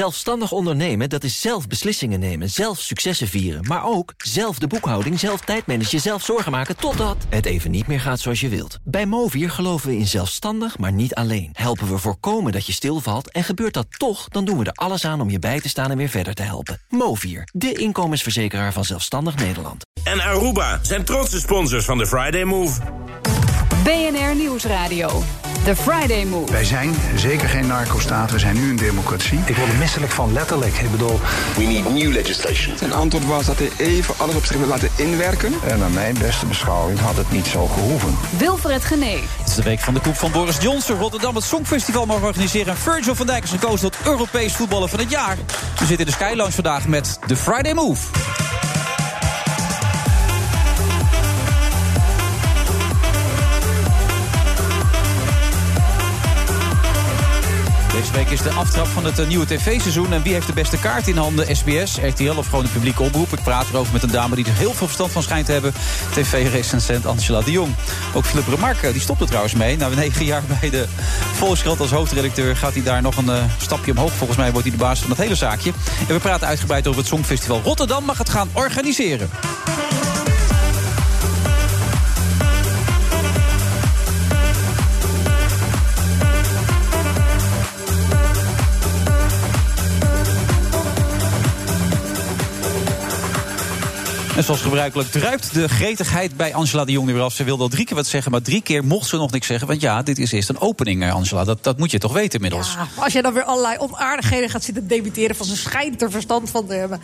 Zelfstandig ondernemen, dat is zelf beslissingen nemen, zelf successen vieren... maar ook zelf de boekhouding, zelf tijdmanagen, zelf zorgen maken... totdat het even niet meer gaat zoals je wilt. Bij Movier geloven we in zelfstandig, maar niet alleen. Helpen we voorkomen dat je stilvalt en gebeurt dat toch... dan doen we er alles aan om je bij te staan en weer verder te helpen. Movier, de inkomensverzekeraar van Zelfstandig Nederland. En Aruba zijn trotse sponsors van de Friday Move. BNR Nieuwsradio. The Friday Move. Wij zijn zeker geen narco-staat, we zijn nu een democratie. Ik word er misselijk van, letterlijk. Ik bedoel... We need new legislation. Zijn antwoord was dat hij even alles op zich wil laten inwerken. En naar mijn beste beschouwing had het niet zo gehoeven. Wilfred Genee. Het is de week van de koep van Boris Johnson. Rotterdam het Songfestival mag organiseren. En Virgil van Dijk is gekozen tot Europees voetballer van het jaar. We zitten in de Skylounge vandaag met The Friday Move. Deze week is de aftrap van het eh, nieuwe tv-seizoen. En wie heeft de beste kaart in handen? SBS, RTL of gewoon de publieke oproep? Ik praat erover met een dame die er heel veel verstand van schijnt te hebben. TV-recensent Angela de Jong. Ook Philip Remarque, eh, die stopt er trouwens mee. Na negen jaar bij de Volkskrant als hoofdredacteur... gaat hij daar nog een eh, stapje omhoog. Volgens mij wordt hij de baas van dat hele zaakje. En we praten uitgebreid over het Songfestival Rotterdam. Mag het gaan organiseren. En zoals gebruikelijk druipt de gretigheid bij Angela de Jong nu weer af. Ze wilde al drie keer wat zeggen, maar drie keer mocht ze nog niks zeggen. Want ja, dit is eerst een opening, eh, Angela. Dat, dat moet je toch weten inmiddels. Ja, maar Nou, als jij dan weer allerlei onaardigheden gaat zitten debiteren... van ze schijnt er verstand van te hebben.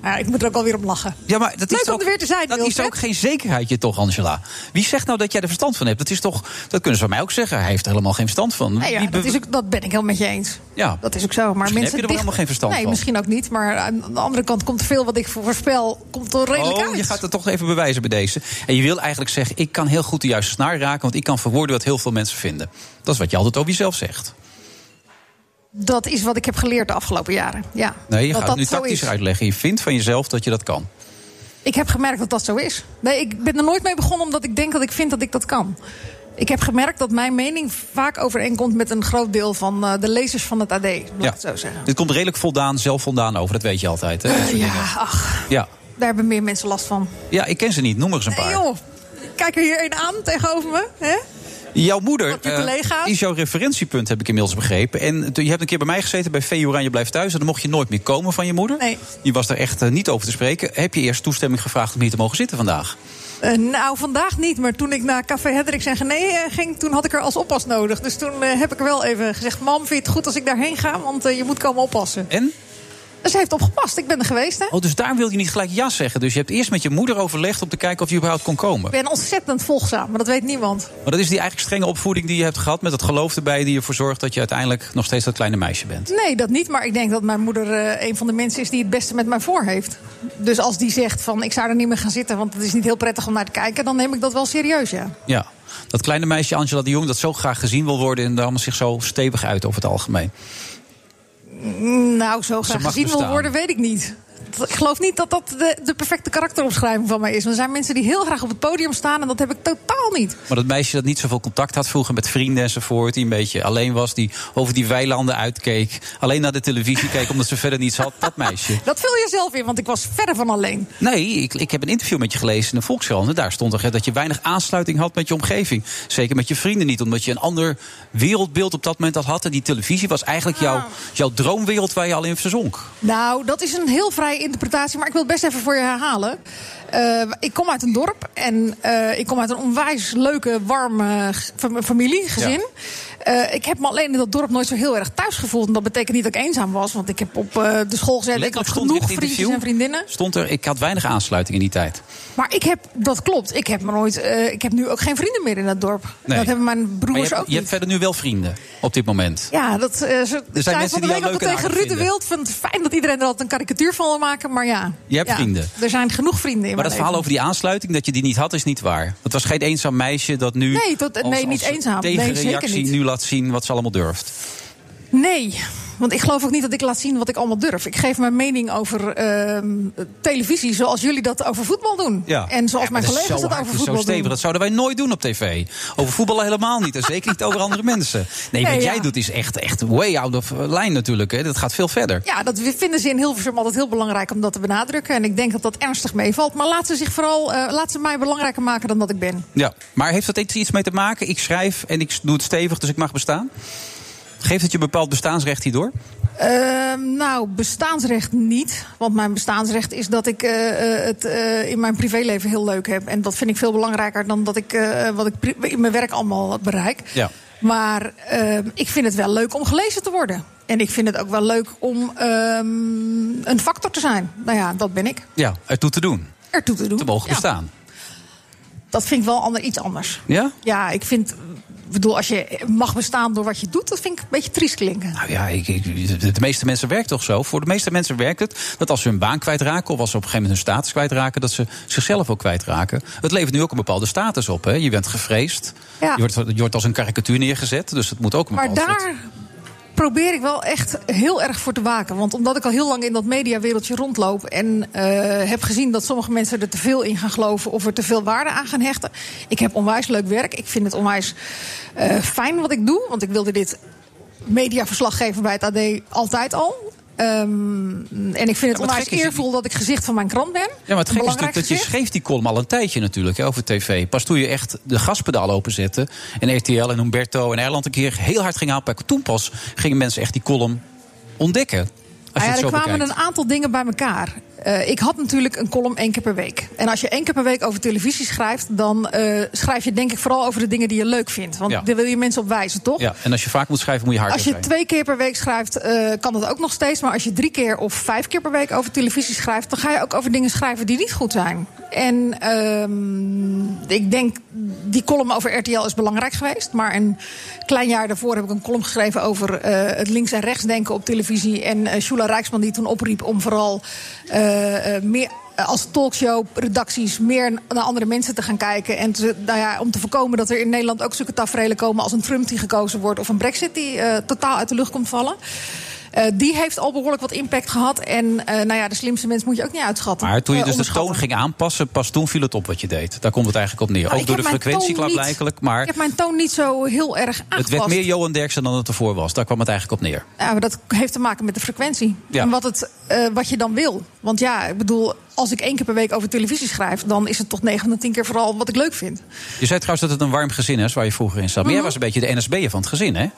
Maar ik moet er ook alweer om lachen. Ja, maar dat Leuk is om ook, er weer te zijn, Dat is Wilfred. ook geen zekerheidje toch, Angela? Wie zegt nou dat jij er verstand van hebt? Dat, is toch, dat kunnen ze van mij ook zeggen. Hij heeft er helemaal geen verstand van. Nee, Nou ja, Wie Hm? be- dat, is ook, dat ben ik helemaal met je eens. Ja. Dat is ook zo. Maar Misschien mensen heb je er wel dicht- helemaal geen verstand nee, van. misschien ook niet. Maar aan de andere kant komt veel wat ik voorspel komt er redelijk Oh, uit. je gaat het toch even bewijzen bij deze. En je wil eigenlijk zeggen, ik kan heel goed de juiste snaar raken... want ik kan verwoorden wat heel veel mensen vinden. Dat is wat je altijd over jezelf zegt. Dat is wat ik heb geleerd de afgelopen jaren. Ja, Nee, je dat gaat het dat nu zo tactisch is. uitleggen. Je vindt van jezelf dat je dat kan. Ik heb gemerkt dat dat zo is. Nee, ik ben er nooit mee begonnen omdat ik denk dat ik vind dat ik dat kan. Ik heb gemerkt dat mijn mening vaak overeenkomt met een groot deel van eh, de lezers van het AD. Laat ik het zo zeggen. Dit komt redelijk voldaan, zelf voldaan over. Dat weet je altijd. Hè? Dat soort dingen. Eh, Ja, ach, ja. daar hebben meer mensen last van. ja, ik ken ze niet. Noem er eens een Hey paar. joh, kijk er hier een aan tegenover me. Hè? Jouw moeder Wat je eh, collega's. is jouw referentiepunt, heb ik inmiddels begrepen. En toen- je hebt een keer bij mij gezeten bij VU Oranje Blijft Thuis. En dan mocht je nooit meer komen van je moeder. Nee. Je was daar echt eh, niet over te spreken. Heb je eerst toestemming gevraagd om hier te mogen zitten vandaag? Eh, nou, vandaag niet, maar toen ik naar Café Hendricks en Gené eh, ging... toen had ik er als oppas nodig. Dus toen eh, heb ik wel even gezegd... mam, vind je het goed als ik daarheen ga? Want eh, je moet komen oppassen. En? Dus hij heeft opgepast. Ik ben er geweest, hè? Oh, dus daar wil je niet gelijk ja zeggen. Dus je hebt eerst met je moeder overlegd om te kijken of je überhaupt kon komen. Ik ben ontzettend volgzaam, maar dat weet niemand. Maar dat is die eigenlijk strenge opvoeding die je hebt gehad... met dat geloof erbij die ervoor zorgt dat je uiteindelijk nog steeds dat kleine meisje bent. Nee, dat niet. Maar ik denk dat mijn moeder eh, een van de mensen is die het beste met mij voor heeft. Dus als die zegt van ik zou er niet meer gaan zitten, want het is niet heel prettig om naar te kijken, dan neem ik dat wel serieus, ja. Ja, dat kleine meisje Angela de Jong dat zo graag gezien wil worden... en daarom zich zo stevig uit over het algemeen. Nou, zo graag mag gezien wil bestaan. worden, weet ik niet. Dat- Ik geloof niet dat dat de, de perfecte karakteromschrijving van mij is. Want er zijn mensen die heel graag op het podium staan en dat heb ik totaal niet. Maar dat meisje dat niet zoveel contact had vroeger met vrienden enzovoort... die een beetje alleen was, die over die weilanden uitkeek... alleen naar de televisie keek omdat ze verder niets had, dat meisje. Dat vul je zelf in, want ik was verre van alleen. Nee, ik, ik heb een interview met je gelezen in de Volkskrant... en daar stond toch hè, dat je weinig aansluiting had met je omgeving. Zeker met je vrienden niet, omdat je een ander wereldbeeld op dat moment al had... en die televisie was eigenlijk jouw, jouw droomwereld waar je al in verzonk. Nou, dat is een heel vrije interpretatie, maar ik wil het best even voor je herhalen. Eh, ik kom uit een dorp en eh, ik kom uit een onwijs leuke, warme g- fam- familie, gezin. Eh, ik heb me alleen in dat dorp nooit zo heel erg thuis gevoeld. En dat betekent niet dat ik eenzaam was, want ik heb op eh, de school gezet. Ik had Letterlijk stond in genoeg het vriendjes interview, en vriendinnen. Stond er, ik had weinig aansluiting in die tijd. Maar ik heb, dat klopt, ik heb, me nooit, eh, ik heb nu ook geen vrienden meer in dat dorp. Nee. Dat hebben mijn Maar je broers hebt, ook je hebt niet. verder nu wel vrienden op dit moment. Ja, dat eh, ze, mensen zei die van de jou week leuk ook al en tegen aardig Ruud de vinden. Wild. Van, fijn dat iedereen er altijd een karikatuur van wil maken, maar ja. Je hebt Ja, vrienden. Er zijn genoeg vrienden Maar in mijn dat verhaal leven. over die aansluiting, dat je die niet had, is niet waar. Het was geen eenzaam meisje dat nu. Nee, tot- nee, niet eenzaam. Nee, zeker Tegenreactie niet. nu laat zien wat ze allemaal durft. Nee, Want ik geloof ook niet dat ik laat zien wat ik allemaal durf. Ik geef mijn mening over ehm, televisie zoals jullie dat over voetbal doen. Ja. En zoals Ja, maar mijn dat is collega's zo dat hard, over is zo voetbal stevig. doen. Dat zouden wij nooit doen op tv. Over voetballen helemaal niet. En zeker niet over andere mensen. Nee, Nee, wat jij ja. doet is echt, echt way out of line natuurlijk. Hè. Dat gaat veel verder. Ja, dat vinden ze in Hilversum altijd heel belangrijk om dat te benadrukken. En ik denk dat dat ernstig meevalt. Maar laat ze zich vooral, eh, laat ze mij belangrijker maken dan dat ik ben. Ja. Maar heeft dat iets mee te maken? Ik schrijf en ik doe het stevig, dus ik mag bestaan. Geeft het je bepaald bestaansrecht hierdoor? Ehm, nou, bestaansrecht niet. Want mijn bestaansrecht is dat ik eh, eh, het eh, in mijn privéleven heel leuk heb. En dat vind ik veel belangrijker dan dat ik, eh, wat ik pri- in mijn werk allemaal bereik. Ja. Maar ehm, ik vind het wel leuk om gelezen te worden. En ik vind het ook wel leuk om ehm, een factor te zijn. Nou ja, dat ben ik. Ja, ertoe te doen. Ertoe te doen. Te mogen Ja. bestaan. Dat vind ik wel ander, iets anders. Ja? Ja, ik vind. Ik bedoel, als je mag bestaan door wat je doet, dat vind ik een beetje triest klinken. Nou ja, ik, ik- de de meeste mensen werkt toch zo? Voor de meeste mensen werkt het dat als ze hun baan kwijtraken... of als ze op een gegeven moment hun status kwijtraken... dat ze zichzelf ook kwijtraken. Het levert nu ook een bepaalde status op. Hè? Je bent gevreesd. Ja. Je, wordt, je wordt als een karikatuur neergezet. Dus het moet ook een Maar bepaald soort- daar probeer ik wel echt heel erg voor te waken. Want omdat ik al heel lang in dat mediawereldje rondloop... en eh, heb gezien dat sommige mensen er te veel in gaan geloven... of er te veel waarde aan gaan hechten. Ik heb onwijs leuk werk. Ik vind het onwijs eh, fijn wat ik doe. Want ik wilde dit mediaverslaggever bij het AD altijd al... Ehm, en ik vind het het onwijs gekke is- eervol dat ik gezicht van mijn krant ben. Ja, maar het gekke is natuurlijk Belangrijk dat je gezicht. schreef die column al een tijdje natuurlijk hè, over tv. Pas toen je echt de gaspedaal openzette... en RTL en Humberto en Erland een keer heel hard gingen aanpakken... toen pas gingen mensen echt die column ontdekken. Als je Nou het ja, zo er kwamen bekijkt. een aantal dingen bij elkaar. Eh, ik had natuurlijk een column één keer per week. En als je één keer per week over televisie schrijft, dan eh, schrijf je denk ik vooral over de dingen die je leuk vindt. Want Ja. daar wil je mensen op wijzen, toch? Ja, en als je vaak moet schrijven, moet je hard Als je zijn. twee keer per week schrijft, eh, kan dat ook nog steeds. Maar als je drie keer of vijf keer per week over televisie schrijft, dan ga je ook over dingen schrijven die niet goed zijn. En ehm, ik denk, die column over RTL is belangrijk geweest. Maar een klein jaar daarvoor heb ik een column geschreven over eh, het links- en rechtsdenken op televisie. En eh, Shula Rijksman die toen opriep om vooral eh, eh, meer als talkshow-redacties meer naar andere mensen te gaan kijken. En te- nou ja, om te voorkomen dat er in Nederland ook zulke tafereelen komen... als een Trump die gekozen wordt of een Brexit die eh, totaal uit de lucht komt vallen. Eh, die heeft al behoorlijk wat impact gehad. En eh, nou ja, de slimste mens moet je ook niet uitschatten. Maar toen je Eh, dus de onderschatten. toon ging aanpassen, pas toen viel het op wat je deed. Daar komt het eigenlijk op neer. Nou, Ook ik door de heb mijn frequentie toon niet- klaarblijkelijk, maar Ik heb mijn toon niet zo heel erg aangepast. het werd meer Johan Derksen dan het ervoor was. Daar kwam het eigenlijk op neer. Ja, maar dat heeft te maken met de frequentie. Ja. En wat, het, eh, wat je dan wil. Want ja, ik bedoel, als ik één keer per week over televisie schrijf... dan is het toch negen van de tien keer vooral wat ik leuk vind. Je zei trouwens dat het een warm gezin is waar je vroeger in zat. Mhm. Maar jij was een beetje de NSB'er van het gezin, hè?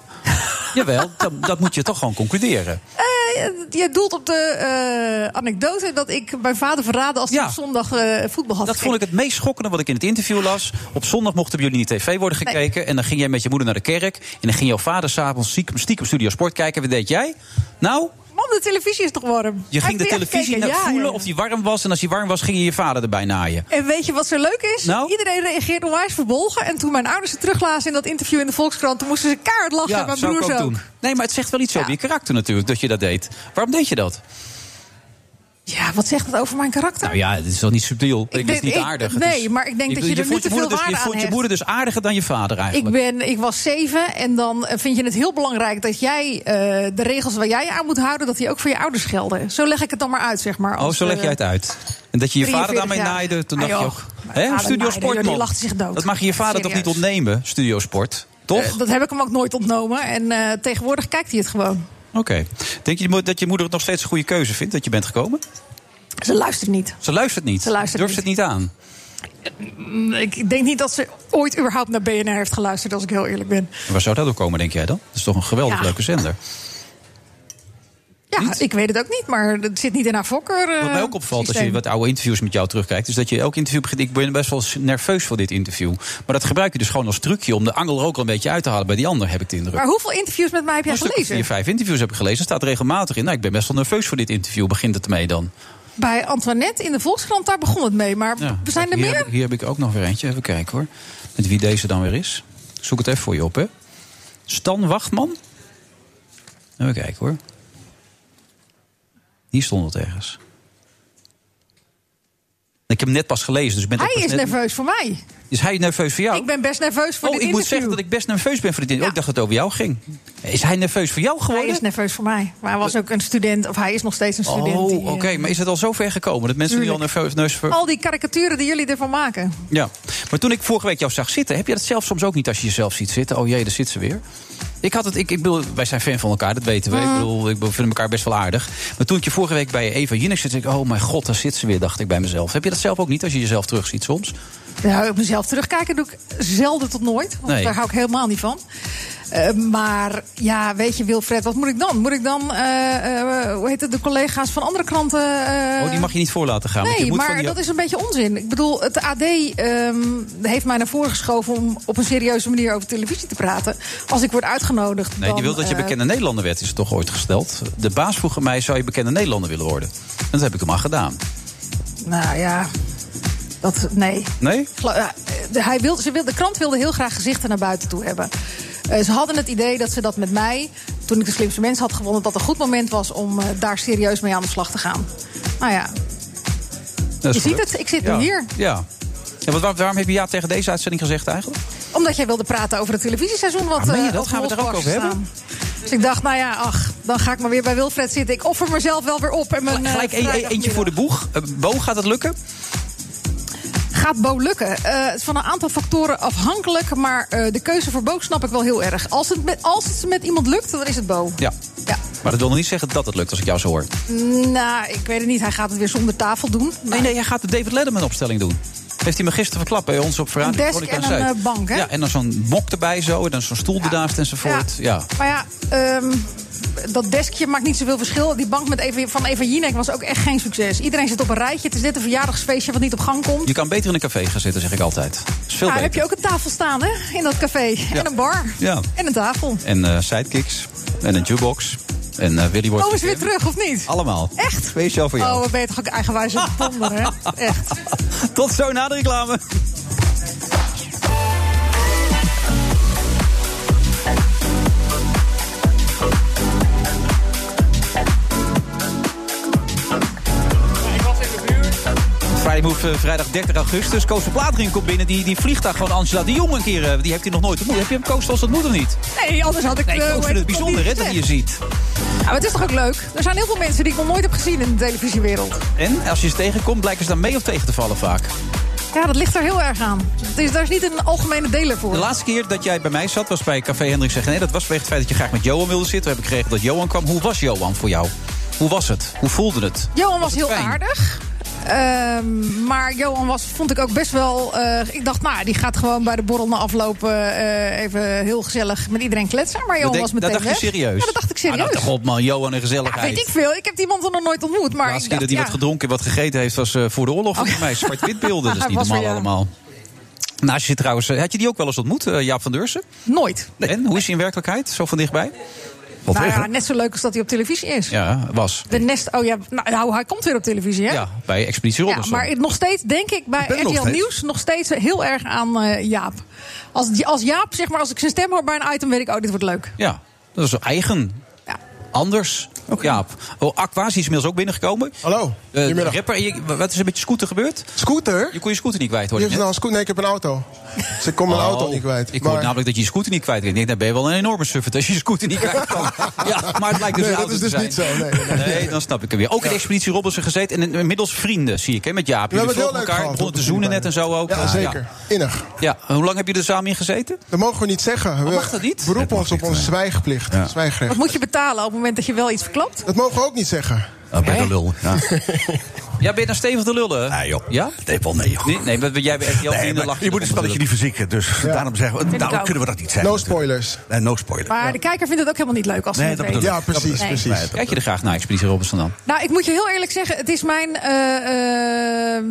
Jawel, dat, dat moet je toch gewoon concluderen. Eh, je doelt op de eh, anekdote dat ik mijn vader verraadde als hij Ja. op zondag eh, voetbal had. Dat vond ik het meest schokkende wat ik in het interview las. Op zondag mochten bij jullie niet tv worden gekeken. En dan ging jij met je moeder naar de kerk. En dan ging jouw vader s'avonds stiekem, stiekem Studio Sport kijken. Wat deed jij? Nou, Man, de televisie is toch warm? je Heb ging de echt televisie gekeken? naar Ja, voelen ja. of die warm was. En als die warm was, ging je je vader erbij naaien. En weet je wat zo leuk is? Nou? Iedereen reageert onwijs verbolgen. En toen mijn ouders het teruglazen in dat interview in de Volkskrant... toen moesten ze keihard lachen. en mijn zou ik broers ook. Nee, maar het zegt wel iets Ja. over je karakter natuurlijk, dat je dat deed. Waarom deed je dat? Ja, wat zegt dat over mijn karakter? Nou ja, het is wel niet subtiel. Ik, Ik het is denk- niet ik- aardig. nee, Het is- maar ik denk dat je er voelt niet te moeder veel dus- waarde Je voelt aan je moeder dus aardiger dan je vader Ik, eigenlijk. ben, ik was zeven en dan eh, vind je het heel belangrijk dat jij eh, de regels waar jij je aan moet houden, dat die ook voor je ouders gelden. Zo leg ik het dan maar uit, zeg maar. Oh, als, zo leg eh, jij het uit. En dat je je vader 43 daarmee jaar. naaide, toen Ah, dacht je joh. ook... Mijn Hè, vader Studio naaide, Sport, joh, die man. lachte zich dood. Dat mag je je vader toch niet Serieus. ontnemen, Studio Sport? Toch? Eh, dat heb ik hem ook nooit ontnomen. En eh, tegenwoordig kijkt hij het gewoon. Oké. Denk je mo- dat je moeder het nog steeds een goede keuze vindt, dat je bent gekomen? Ze luistert niet. Ze luistert niet. Ze luistert Durft niet. het niet aan. Mm, Ik denk niet dat ze ooit überhaupt naar BNR heeft geluisterd, als ik heel eerlijk ben. En waar zou dat door komen, denk jij dan? Dat is toch een geweldig Ja. leuke zender. Ja, Niet? ik weet het ook niet, maar het zit niet in haar fokker. eh, Wat mij ook opvalt als je systeem. wat oude interviews met jou terugkijkt, is dat je elk interview begint. Ik ben best wel nerveus voor dit interview. Maar dat gebruik je dus gewoon als trucje om de angel er ook al een beetje uit te halen bij die ander, heb ik de indruk. Maar hoeveel interviews met mij heb jij een stuk of gelezen? vier, vijf interviews heb ik gelezen. staat regelmatig in. Nou, ik ben best wel nerveus voor dit interview. Begint het mee dan? Bij Antoinette in de Volkskrant, daar begon het mee. Maar Ja. we zijn er hier, meer. heb ik- Hier heb ik ook nog weer eentje. Even kijken hoor. Met wie deze dan weer is. Ik zoek het even voor je op, hè? Stan Wachtman? Even kijken hoor. Hier stond het ergens. Ik heb hem net pas gelezen. Dus ik ben Hij ook pas is net- nerveus voor mij. Is hij nerveus voor jou? Ik ben best nerveus voor oh, dit ik moet interview. zeggen dat ik best nerveus ben voor dit interview. Ja. Oh, ik dacht dat het over jou ging. Is hij nerveus voor jou Hij geworden? Eh. is nerveus voor mij. Maar hij was ook een student, of hij is nog steeds een student. Oh, die, oké. eh, Maar is het al zo ver gekomen dat mensen nu al Tuurlijk. nerveus... nerveus Al die karikaturen die jullie ervan maken. Ja, maar toen ik vorige week jou zag zitten, heb je dat zelf soms ook niet als je jezelf ziet zitten? Oh jee, daar zit ze weer. Ik had het, ik, ik bedoel, wij zijn fan van elkaar, dat weten Mm. we. Ik bedoel, ik vinden elkaar best wel aardig. Maar toen ik je vorige week bij Eva Jinek zit, dacht ik, oh mijn god, daar zit ze weer, dacht ik bij mezelf. Heb je dat zelf ook niet als je jezelf terugziet soms? Oh, Ja, op mezelf terugkijken doe ik zelden tot nooit. Want Nee. daar hou ik helemaal niet van. Eh, maar ja, weet je, Wilfred, wat moet ik dan? Moet ik dan, eh, eh, hoe heet het, de collega's van andere kranten. eh, oh, die mag je niet voor laten gaan. want je Nee, moet maar van die... dat is een beetje onzin. Ik bedoel, het AD ehm, heeft mij naar voren geschoven om op een serieuze manier over televisie te praten. Als ik word uitgenodigd. Nee, dan, die wil dat je eh, bekende Nederlander werd, is het toch ooit gesteld? De baas vroeg aan mij, zou je bekende Nederlander willen worden? En dat heb ik hem al gedaan. Nou ja, dat, nee. Nee? Gla- ja, eh, Hij wilde, ze wilde, de krant wilde heel graag gezichten naar buiten toe hebben. Eh, ze hadden het idee dat ze dat met mij, toen ik de slimste mens had gewonnen, dat een goed moment was om eh, daar serieus mee aan de slag te gaan. Nou ja, Dat je is ziet gelukt. het, ik zit Ja. nu hier. Ja. En wat, waar- waarom heb je ja tegen deze uitzending gezegd eigenlijk? Omdat jij wilde praten over het televisieseizoen. Wat, Ah, meen je eh, dat? op Gaan we het er ook Holspas over hebben? staan. Dus ik dacht, nou ja, ach, dan ga ik maar weer bij Wilfred zitten. Ik offer mezelf wel weer op. En mijn, eh, Gelijk een- een- eentje vrijdagmiddag. voor de boeg. Eh, Bo, gaat het lukken? Gaat Bo lukken? Eh, het is van een aantal factoren afhankelijk. Maar eh, de keuze voor Bo snap ik wel heel erg. Als het met, als het met iemand lukt, dan is het Bo. Ja. Ja. Maar dat wil nog niet zeggen dat het lukt, als ik jou zo hoor. Nou, ik weet het niet. Hij gaat het weer zonder tafel doen. Nee, nee, jij gaat de David Letterman opstelling doen. Heeft hij me gisteren verklapt bij ons op verhaal. Een desk en een, eh, bank, hè? Ja, en dan zo'n mok erbij zo, en dan zo'n stoel ernaast enzovoort. Ja. Maar ja, ehm, dat deskje maakt niet zoveel verschil. Die bank met Eva, van Eva Jinek was ook echt geen succes. Iedereen zit op een rijtje. Het is net een verjaardagsfeestje wat niet op gang komt. Je kan beter in een café gaan zitten, zeg ik altijd. Dat is veel Ja, daar heb beter. je ook een tafel staan, hè? In dat café. En een bar. Ja. En een tafel. En eh, sidekicks, en een jukebox, en eh, Willy wordt... Oh, is weer weer terug, of niet? Allemaal. Echt? Speciaal voor jou. Oh, we ben je toch ook eigenwijs aan het ponderen, hè? Echt. Tot zo na de reclame. Friday Move, eh, vrijdag 30 augustus. Koos van Platering komt binnen. Die, die vliegt daar gewoon Angela de Jong een keer. eh, Die heeft hij nog nooit ontmoet. Heb je hem Koos als dat moet of niet? Nee, anders had ik... Nee, eh, ik hoe ook heet vind het nog bijzonder hè, niet dat hij je gezegd. ziet. Ja, maar het is toch ook leuk? Er zijn heel veel mensen die ik nog nooit heb gezien in de televisiewereld. En als je ze tegenkomt, blijken ze dan mee of tegen te vallen vaak. Ja, dat ligt er heel erg aan. Het is, daar is niet een algemene deler voor. De laatste keer dat jij bij mij zat, was bij Café Hendrik zeggen... nee, dat was vanwege het feit dat je graag met Johan wilde zitten. We hebben geregeld dat Johan kwam. Hoe was Johan voor jou? Hoe was het? Hoe voelde het? Johan was het heel fijn? aardig. Ehm, maar Johan was, vond ik ook best wel. eh, ik dacht, nou, die gaat gewoon bij de borrel na aflopen. eh, even heel gezellig met iedereen kletsen. Maar Johan dat, denk- was meteen. dat dacht je weg. serieus? Ja, dat dacht ik Ah, nou, serieus. toch op, man. Johan en Ja, gezelligheid. weet ik veel. Ik heb die man er nog nooit ontmoet. Maar de laatste keer ik dacht, dat hij ja. wat gedronken en wat gegeten heeft... was eh, voor de oorlog volgens mij. Zwart-wit beelden, dat is Hij niet was normaal weer, ja. allemaal. Naast je trouwens, eh, had je die ook wel eens ontmoet, eh, Jaap van Deursen? Nooit. En hoe is hij in werkelijkheid, zo van dichtbij? Wat Nou erg, ja, hè? net zo leuk als dat hij op televisie is. Ja, was. De Nest, oh ja, nou, nou, hij komt weer op televisie, hè? Ja, bij Expeditie Ja, Robinson. maar het- nog steeds denk ik bij ben er nog RTL steeds. Nieuws nog steeds heel erg aan eh, Jaap. Als, als Jaap, zeg maar, als ik zijn stem hoor bij een item, weet ik, oh, dit wordt leuk. Ja, dat is eigen. Ja. Anders. Jaap. Oh, Aqua is inmiddels ook binnengekomen. Hallo, Eh, goedemiddag. rapper, je- wat is er met je scooter gebeurd? Scooter? Je kon je scooter niet kwijt, hoor Je je hebt net. nou een scooter? Nee, ik heb een auto. Dus ik kon mijn auto Oh, niet kwijt. Ik maar- hoorde namelijk dat je je scooter niet kwijt kan. Ik denk, dan ben je wel een enorme suffert als je je scooter niet kwijt kan. ja, maar het lijkt dus Nee, een dat auto te is dus zijn. niet zo, nee, nee, nee. Nee, dan snap ik hem weer. Ook in de Expeditie Robinson gezeten. En inmiddels vrienden, zie ik, hè, met Jaap. Jullie hebben het heel volgen leuk elkaar, gehad, begonnen te op de zoenen net en Filipijnen. zo ook. Eh, Ja, zeker. Innig. Ja. Ja, hoe lang heb je er samen in gezeten? Dat mogen we niet zeggen. We Oh, mag dat niet? Dat beroepen mag ons op niet, onze nee. zwijgplicht. Wat Zwijgrecht. moet je betalen op het moment dat je wel iets verklapt? Dat mogen we ook niet zeggen. bij de Nou, lul. Ja. Ja, ben je dan stevig te lullen? Nee, joh. Ja? Nee, wel nee, joh. Nee, nee maar jij bent heel Nee, vrienden maar lachen. je moet het erom spelletje niet verzieken, dus daarom, zeggen we, daarom ook. kunnen we dat niet zeggen. No natuurlijk. spoilers. Nee, no spoiler. Maar de kijker vindt het ook helemaal niet leuk als ze Nee, het dat weten. bedoel ik. Ja, precies, Nee. precies. Nee, Kijk je er graag naar, Expeditie Robinson dan? Nou, ik moet je heel eerlijk zeggen, het is mijn, eh, eh,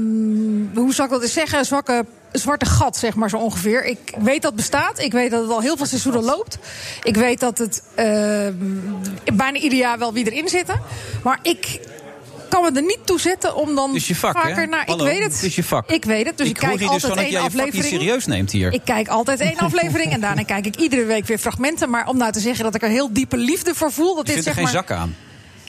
hoe zal ik dat eens zeggen, zwakke, zwarte gat, zeg maar zo ongeveer. Ik weet dat het bestaat, ik weet dat het al heel veel seizoenen loopt. Ik weet dat het eh, bijna ieder jaar wel wie erin zitten. Maar ik kan me er niet toe zetten om dan Het is je vak, hè? vaker naar... Hallo, ik weet het. het is je vak. Ik weet het, dus ik, hoor kijk hier dus altijd van dat één jij je vak niet aflevering. serieus neemt hier. Ik kijk altijd één aflevering en daarna kijk ik iedere week weer fragmenten. Maar om nou te zeggen dat ik er heel diepe liefde voor voel... Dat Je dit, vindt er zeg geen maar, zak aan.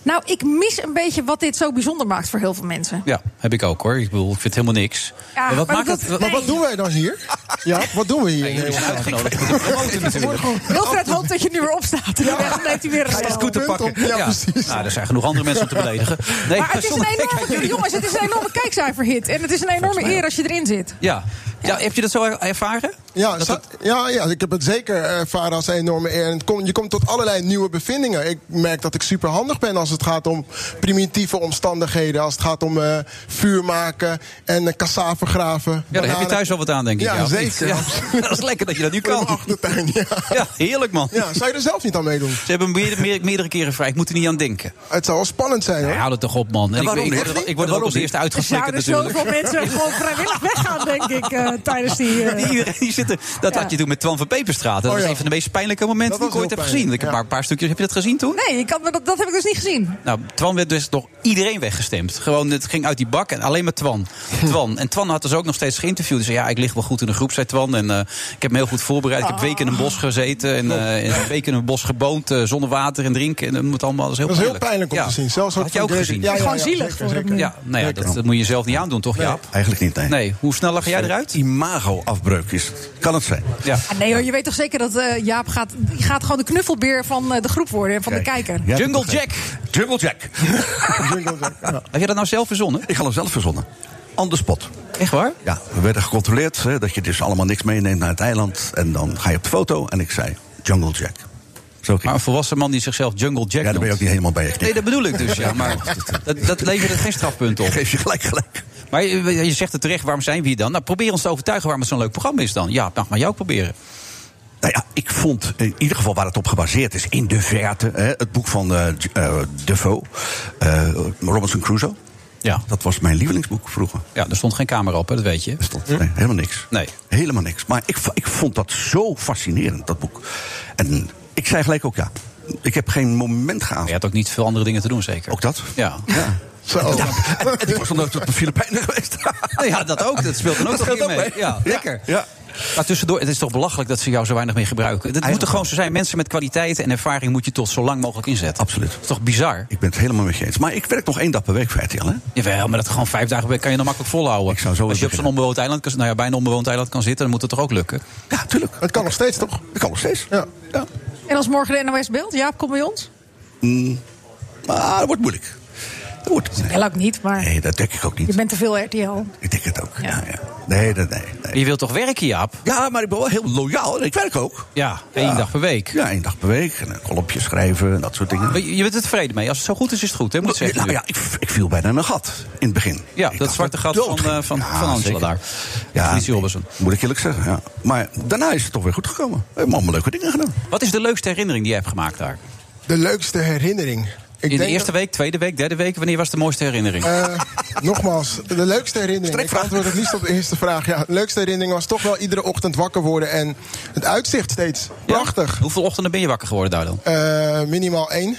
Nou, ik mis een beetje wat dit zo bijzonder maakt voor heel veel mensen. Ja, heb ik ook hoor. Ik bedoel, ik vind helemaal niks. Maar wat maar maakt dat- het? wat- Maar wat doen wij dan hier? Ja, wat doen we hier? in jullie zijn Nederland? uitgenodigd om te promoten natuurlijk. Wilfred hoopt dat je nu weer opstaat. Ja. Dan neemt hij weer een Echt stand. goed te pakken. Ja, precies. Nou, er zijn genoeg andere mensen om te beledigen. Nee, Maar het is een zonder enorme, gekheid. jongens, het is een enorme kijkcijferhit. En het is een enorme eer als je erin zit. Ja. ja, heb je dat zo er- ervaren? Ja, Dat za- ja, ja, ik heb het zeker ervaren als een enorme eer. En het kom- je komt tot allerlei nieuwe bevindingen. Ik merk dat ik superhandig ben als het gaat om primitieve omstandigheden. Als het gaat om eh, vuur maken en uh, cassave graven. Ja, daar heb je bananen. thuis wel wat aan, denk ik. Ja, of niet? zeker. Ja, dat is lekker dat je dat nu In mijn kan. achtertuin, ja. Ja, heerlijk man. Ja, zou je er zelf niet aan meedoen? Ze hebben meer, meer- meerdere keren vrij. Ik moet er niet aan denken. Het zou wel spannend zijn, hoor. Ja, hou het toch op, man. En ik, waarom ik, word niet? er, ik word er ook als eerste Nou, Er uitgeflikkerd zouden natuurlijk. zoveel mensen gewoon vrijwillig weggaan, denk ik, eh, tijdens die... eh, Die, iedereen die zitten, dat Ja. had je toen met Twan van Peperstraat. Dat Oh, was ja. een van de meest pijnlijke momenten Dat die ik was ooit heel heb gezien. Ik pijnlijk, heb ja. maar een paar stukjes. Heb je dat gezien toen? Nee, ik kan, me dat, dat heb ik dus niet gezien. Nou, Twan werd dus nog iedereen weggestemd. Gewoon, het ging uit die bak en alleen maar Twan. Twan. En Twan had dus ook nog steeds geïnterviewd. Dus ja, ik lig wel goed in de groep, zei Twan. En eh, ik heb me heel goed voorbereid. Oh. Ik heb weken in een bos gezeten. En eh, en een week in een bos geboond. eh, zonder water en drinken. En dat moet allemaal. Dat is heel Dat is heel pijnlijk. pijnlijk om Ja. te zien. Zelfs Dat ook had je ook van David- gezien. Ja, ja, Gewoon ja, zielig zeker, voor zeker. hem. Ja, nou ja, dat, dat moet je zelf niet aandoen, toch, Jaap? Eigenlijk niet, nee. Nee, hoe sneller ga jij eruit? Imago-afbreuk is het. Kan het zijn. Ja. Ah, nee hoor, je weet toch zeker dat eh, Jaap gaat, die gaat gewoon de knuffelbeer van eh, de groep worden en van de Kijk, kijker. jij hebt Jungle het begrepen. Jack. Jungle Jack. Heb je dat nou zelf verzonnen? Ik had hem zelf verzonnen. On the spot. Echt waar? Ja, we werden gecontroleerd hè, dat je dus allemaal niks meeneemt naar het eiland. En dan ga je op de foto en ik zei Jungle Jack. Zo ging Maar een het. volwassen man die zichzelf Jungle Jack Ja, daar ben je noemt. ook niet helemaal bij. geknipt. Nee, dat bedoel ik dus, ja. Maar dat, dat levert geen strafpunt op. Geef je gelijk gelijk. Maar je, je zegt het terecht, waarom zijn we hier dan? Nou, probeer ons te overtuigen waarom het zo'n leuk programma is dan. Ja, mag maar jou ook proberen. Nou ja, ik vond in ieder geval waar het op gebaseerd is, in de verte, hè, het boek van eh, J- eh, Defoe, eh, Robinson Crusoe. Ja. Dat was mijn lievelingsboek vroeger. Ja, er stond geen camera op, hè, dat weet je. Er stond nee, helemaal niks. Nee. Helemaal niks. Maar ik, v- ik vond dat zo fascinerend, dat boek. En ik zei gelijk ook ja. Ik heb geen moment Maar je geaanschaft. had ook niet veel andere dingen te doen, zeker. Ook dat? Ja. Zo. En, en ik was nog nooit op de Filipijnen geweest. Nou ja, dat ook. Dat speelt dan ook nog scheelt weer ook mee. mee. Ja, lekker. Ja. Maar tussendoor, het is toch belachelijk dat ze jou zo weinig meer gebruiken. Het moet er gewoon zo zijn. Mensen met kwaliteiten en ervaring moet je tot zo lang mogelijk inzetten. Absoluut. Dat is toch bizar? Ik ben het helemaal met je eens. Maar ik werk nog één dag per week voor RTL, hè? Jawel, maar dat gewoon vijf dagen per week kan je dan makkelijk volhouden. Ik zou zo Als je op zo'n beginnen. onbewoond eiland, kan- nou ja, bij een onbewoond eiland kan zitten, dan moet het toch ook lukken. Ja, tuurlijk. Het kan nog steeds, toch? Dat kan nog steeds. Ja. ja. En als morgen de NOS beeld, Jaap, kom bij ons? Mm. Maar dat wordt moeilijk. Dat wordt Heel ook niet, maar Nee, dat denk ik ook je niet. bent te veel RTL. Ik denk het ook. Ja. Ja. ja. Nee, dat, nee, nee. Je wilt toch werken, Jaap? Ja, maar ik ben wel heel loyaal en ik werk ook. Ja, één dag per week. Ja, één dag per week. En een kolompje schrijven en dat soort dingen. Maar Je je bent er tevreden mee. Als het zo goed is, is het goed, hè? Moet ik zeggen. Nou ja, natuurlijk. ik, ik viel bijna in een gat in het begin. Ik ja, dat dacht zwarte ik gat van, doodging. eh, van, Ja, van Angela zeker. daar. Ja, Ja, nee, Robinson. moet ik eerlijk zeggen. Ja. Maar daarna is het toch weer goed gekomen. We hebben allemaal leuke dingen gedaan. Wat is de leukste herinnering die je hebt gemaakt daar? De leukste herinnering. Ik In de denk eerste week, tweede week, derde week? Wanneer was de mooiste herinnering? Eh, nogmaals, de leukste herinnering. Ik antwoord het liefst op de eerste vraag. Ja, de leukste herinnering was toch wel iedere ochtend wakker worden. En het uitzicht steeds. Ja? Prachtig. Hoeveel ochtenden ben je wakker geworden daar dan? Eh, minimaal één.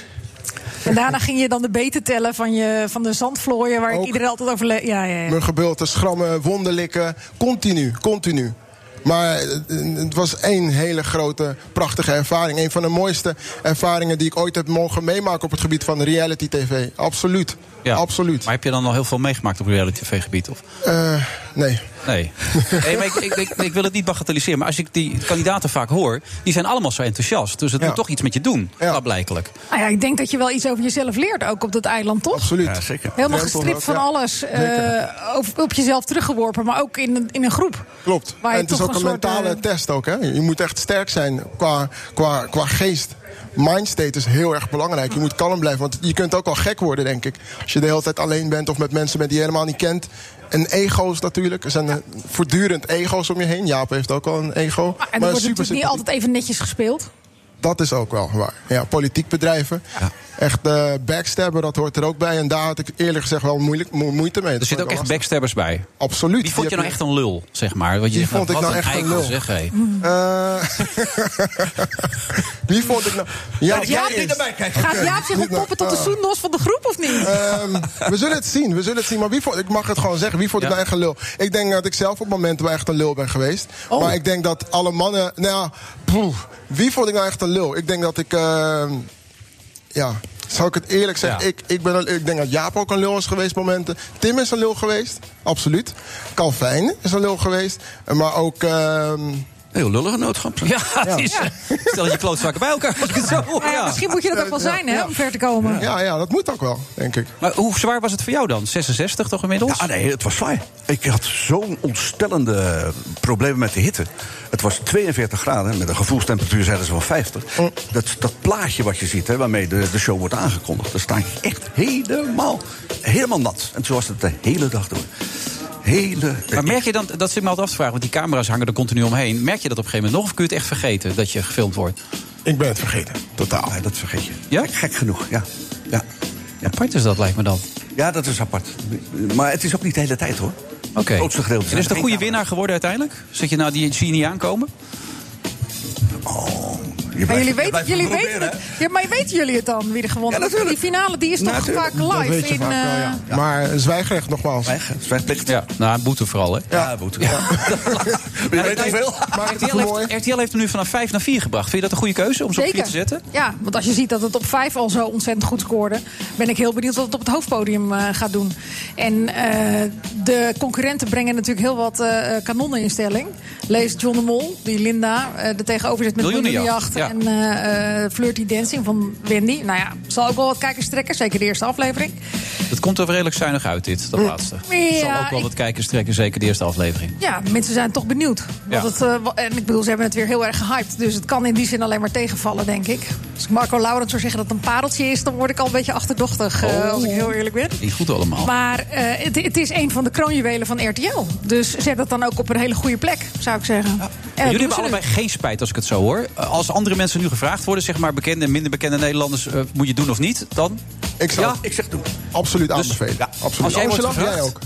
En daarna ging je dan de beten tellen van, je, van de zandvlooien waar ik Ook. iedereen altijd over... le- Ja, ja, ja. Muggenbulten, schrammen, wonden likken. Continu, continu. Maar eh, het was één hele grote, prachtige ervaring. Een van de mooiste ervaringen die ik ooit heb mogen meemaken op het gebied van reality TV. Absoluut. Absoluut. Maar heb je dan al heel veel meegemaakt op reality tv-gebied? Of? Eh, nee. Nee. nee maar ik, ik, ik, ik wil het niet bagatelliseren. Maar als ik die kandidaten vaak hoor, die zijn allemaal zo enthousiast. Dus het Ja. moet toch iets met je doen, Ja. blijkbaar. Nou ja, ik denk dat je wel iets over jezelf leert, ook op dat eiland, toch? Absoluut. Ja, zeker. Helemaal Drempel gestript ook, van ja. alles. eh, op, op jezelf teruggeworpen, maar ook in een, in een groep. Klopt. Waar en je het is toch ook een een soort, mentale eh, test ook, hè? Je moet echt sterk zijn qua, qua, qua geest. Mindstate is heel erg belangrijk. Je moet kalm blijven, want je kunt ook wel gek worden, denk ik. Als je de hele tijd alleen bent of met mensen bent die je helemaal niet kent. En ego's natuurlijk. Er zijn eh, voortdurend ego's om je heen. Jaap heeft ook al een ego. Maar, Ah, en er wordt natuurlijk niet sympathiek. altijd even netjes gespeeld. Dat is ook wel waar. Ja, politiek bedrijven. Echt eh backstabber, dat hoort er ook bij. En daar had ik eerlijk gezegd wel moeilijk, mo- moeite mee. Er zitten ook echt backstabbers bij. Absoluut. Wie vond je Die nou heb echt een lul, zeg maar? Want je Die zegt, vond ik wat nou een echt een eikel, lul. Zeg, hé. Eh, Wie vond ik nou... Ja, Jaap jij niet eerst. Gaat Jaap zich nou, ontpoppen tot de eh, Oh, soendos van de groep of niet? Ehm, we zullen het zien, we zullen het zien. Maar wie vond, ik mag het gewoon zeggen, wie vond ik Ja. nou echt een lul? Ik denk dat ik zelf op momenten wel echt een lul ben geweest. Oh. Maar ik denk dat alle mannen... Nou ja, poeh, wie vond ik nou echt een lul? Ik denk dat ik... ehm, ja, Zal ik het eerlijk zeggen? Ik, ik, ben, ik denk dat Jaap ook een lul is geweest momenten. Tim is een lul geweest, absoluut. Calvin is een lul geweest. Maar ook... ehm, Heel lullige noodgrap. Ja, het is, Stel dat je klootzakken bij elkaar als ik het zo hoor, Nou ja, Misschien moet je dat ook wel zijn, hè, om ver te komen. Ja, ja, dat moet ook wel, denk ik. Maar hoe zwaar was het voor jou dan? 66 toch inmiddels? Ja, nee, het was zwaar. Ik had zo'n ontstellende problemen met de hitte. Het was 42 graden, met een gevoelstemperatuur zeiden ze van 50. Oh. Dat, dat plaatje wat je ziet, hè, waarmee de, de show wordt aangekondigd... daar sta ik echt helemaal, helemaal nat. En zo was het eh, de hele dag door. Hele... Maar merk je dan, dat zit me altijd af te vragen, want die camera's hangen er continu omheen. Merk je dat op een gegeven moment nog of kun je het echt vergeten dat je gefilmd wordt? Ik ben het vergeten, totaal. Nee, dat vergeet je. Ja? Gek genoeg, ja. ja. Apart is dat, lijkt me dan. Ja, dat is apart. Maar het is ook niet de hele tijd, hoor. Oké. Het grootste gedeelte En zijn is het er een geen goede winnaar geworden uiteindelijk? Zet je nou die zie je niet aankomen? Oh, Je Maar blijft- jullie je weten, blijft jullie het weten proberen, het. Ja, maar weten jullie het dan wie er gewonnen Ja, heeft? Die natuurlijk. finale die is toch Natuurlijk, vaak live in. eh, Maar zwijgrecht nogmaals. hè. Weg, zwijgplicht. Ja, nou, een boete vooral, hè? Ja, boete. Ja. Ja, weet nee, hoeveel? Maar het is RTL, mooi. heeft, RTL heeft hem nu vanaf 5 naar 4 gebracht. Vind je dat een goede keuze om ze op 4 te zetten? Ja, want als je ziet dat het op vijf al zo ontzettend goed scoorde, ben ik heel benieuwd wat het op het hoofdpodium eh, gaat doen. En eh, de concurrenten brengen natuurlijk heel wat eh, eh, kanonnen in stelling. Lees John de Mol, die Linda eh, er tegenover zit met Miljoenenjacht, Miljoenenjacht. En eh, eh, Flirty Dancing van Wendy. Nou ja, zal ook wel wat kijkers trekken, zeker de eerste aflevering. Dat komt er wel redelijk zuinig uit, dit, dat laatste. Mm. Ja, zal ook wel ik- wat kijkers trekken, zeker de eerste aflevering. Ja, mensen zijn toch benieuwd. Want Ja. het, eh, wa- en ik bedoel, ze hebben het weer heel erg gehyped. Dus het kan in die zin alleen maar tegenvallen, denk ik. Als ik Marco Laurens zou zeggen dat het een pareltje is... dan word ik al een beetje achterdochtig, eh, Oh. als ik heel eerlijk ben. Niet goed allemaal. Maar eh, het, het is een van de kroonjuwelen van RTL. Dus zet dat dan ook op een hele goede plek, zou ik zeggen. En dat eh, doen Jullie ze hebben nu. allebei geen spijt als ik het zo hoor. Eh, Als andere mensen nu gevraagd worden, zeg maar bekende en minder bekende Nederlanders, eh, moet je het doen of niet? Dan? Ik zou Ja, Dus- het Ik zeg doen. absoluut aanbevelen. ja, absoluut. als jij wordt Angela, gevraagd- jij ook.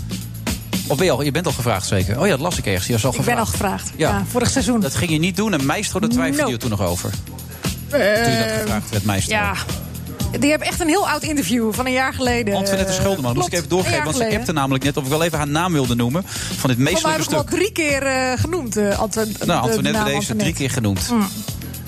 Of ben je, al, je bent al gevraagd zeker? Oh ja, dat las ik ergens. Je was al Ik ben gevraagd. al gevraagd. Ja. Ja. vorig seizoen. Dat ging je niet doen en Meistro, daar twijfelde No. je toen nog over. Eh, Toen je dat gevraagd werd, Meistro. ja. Die hebben echt een heel oud interview van een jaar geleden. Eh, Antoinette Schuldeman, moest ik Klopt, even doorgeven. een jaar Want ze geleden. appte namelijk net of ik wel even haar naam wilde noemen. Van dit Volgens mij heb meestelijke ik hem al stuk. drie keer eh, genoemd, eh Antoinette. Nou, de Antoinette naam Mm. werd deze Antoinette. drie keer genoemd.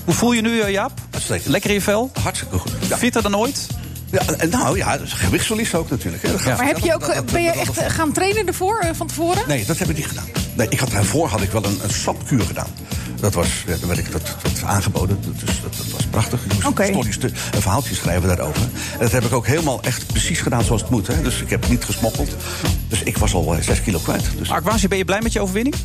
Hoe voel je nu, eh, Jaap? Uitstekend. Lekker in je vel? Hartstikke goed. Ja. Fitter dan ooit? Ja, en nou ja, gewichtsverlies ook natuurlijk. Hè. Dat gaat Maar heb je zelf- ook, dat- dat- ben je dat- echt dat- eh, gaan trainen ervoor eh, van tevoren? Nee, dat heb ik niet gedaan. Nee, ik had, daarvoor had ik wel een, een sapkuur gedaan. Dat was, ja, dan werd ik dat, dat aangeboden. Dat, dus, dat, dat was prachtig. Ik moest Oké. stories te- een verhaaltje schrijven daarover. En dat heb ik ook helemaal echt precies gedaan zoals het moet. Hè. Dus ik heb niet gesmokkeld. Dus ik was al eh, zes kilo kwijt. Dus Arkwasi, ben je blij met je overwinning?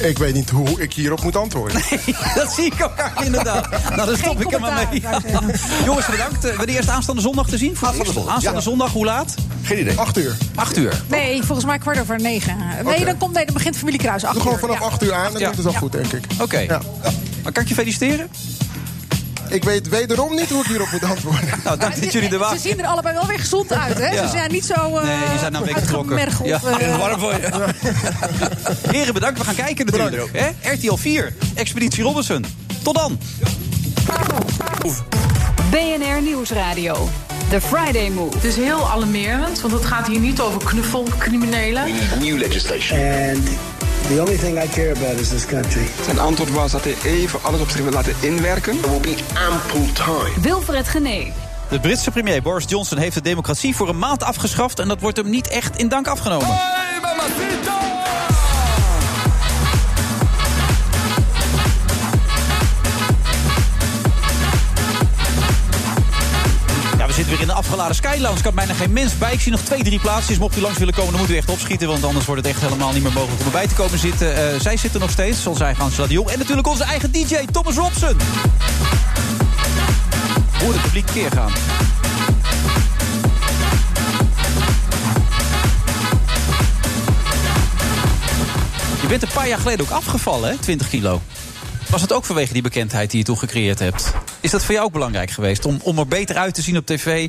Ik weet niet hoe ik hierop moet antwoorden. dat zie ik ook aan, inderdaad. Nou, dan stop Geen ik er maar mee. commentaar, zou ik Jongens, bedankt. Eh, We de eerst aanstaande zondag te zien? Voor het Aanstaande eerst? zondag, Aanstaande ja. zondag, hoe laat? geen idee. Acht uur. Acht uur. Nee, Oh, volgens mij kwart over negen. Eh, Nee, dan, komt, nee, dan begint familie Kruis. Acht Doe gewoon uur, vanaf ja. 8 uur aan, dan Ja. komt het wel goed, denk ik. Oké. Ja. Maar kan ik je feliciteren? Ik weet wederom niet hoe ik hierop moet antwoorden. Nou, dank dat jullie er Ze waren. zien er allebei wel weer gezond uit, hè? Ja. Ze zijn niet zo eh Nee, die zijn nou een beetje getrokken. uitgemergeld, Ja. eh. Warm voor je. Heren, bedankt. We gaan kijken natuurlijk. Hè? RTL 4, Expeditie Robinson. Tot dan. BNR Nieuwsradio. The Friday Move. Het is heel alarmerend, want het gaat hier niet over knuffelcriminelen. We need new legislation. And the only thing I care about is this country. Zijn antwoord was dat hij even alles op zich wil laten inwerken. There will be ample time. Wilfred Genee. De Britse premier Boris Johnson heeft de democratie voor een maand afgeschaft... en dat wordt hem niet echt in dank afgenomen. Ja, we zitten weer in de afgeladen Skylounge. Kan bijna geen mens bij. Ik zie nog twee, drie plaatsjes. Mocht u langs willen komen, dan moet u echt opschieten. Want anders wordt het echt helemaal niet meer mogelijk om erbij te komen zitten. Eh, zij zitten nog steeds, onze eigen Angela de Jong. En natuurlijk onze eigen DJ, Thomas Robson. Hoor het publiek keer gaan. Je bent een paar jaar geleden ook afgevallen, hè? 20 kilo. Was dat ook vanwege die bekendheid die je toen gecreëerd hebt? Is dat voor jou ook belangrijk geweest? Om, om er beter uit te zien op tv?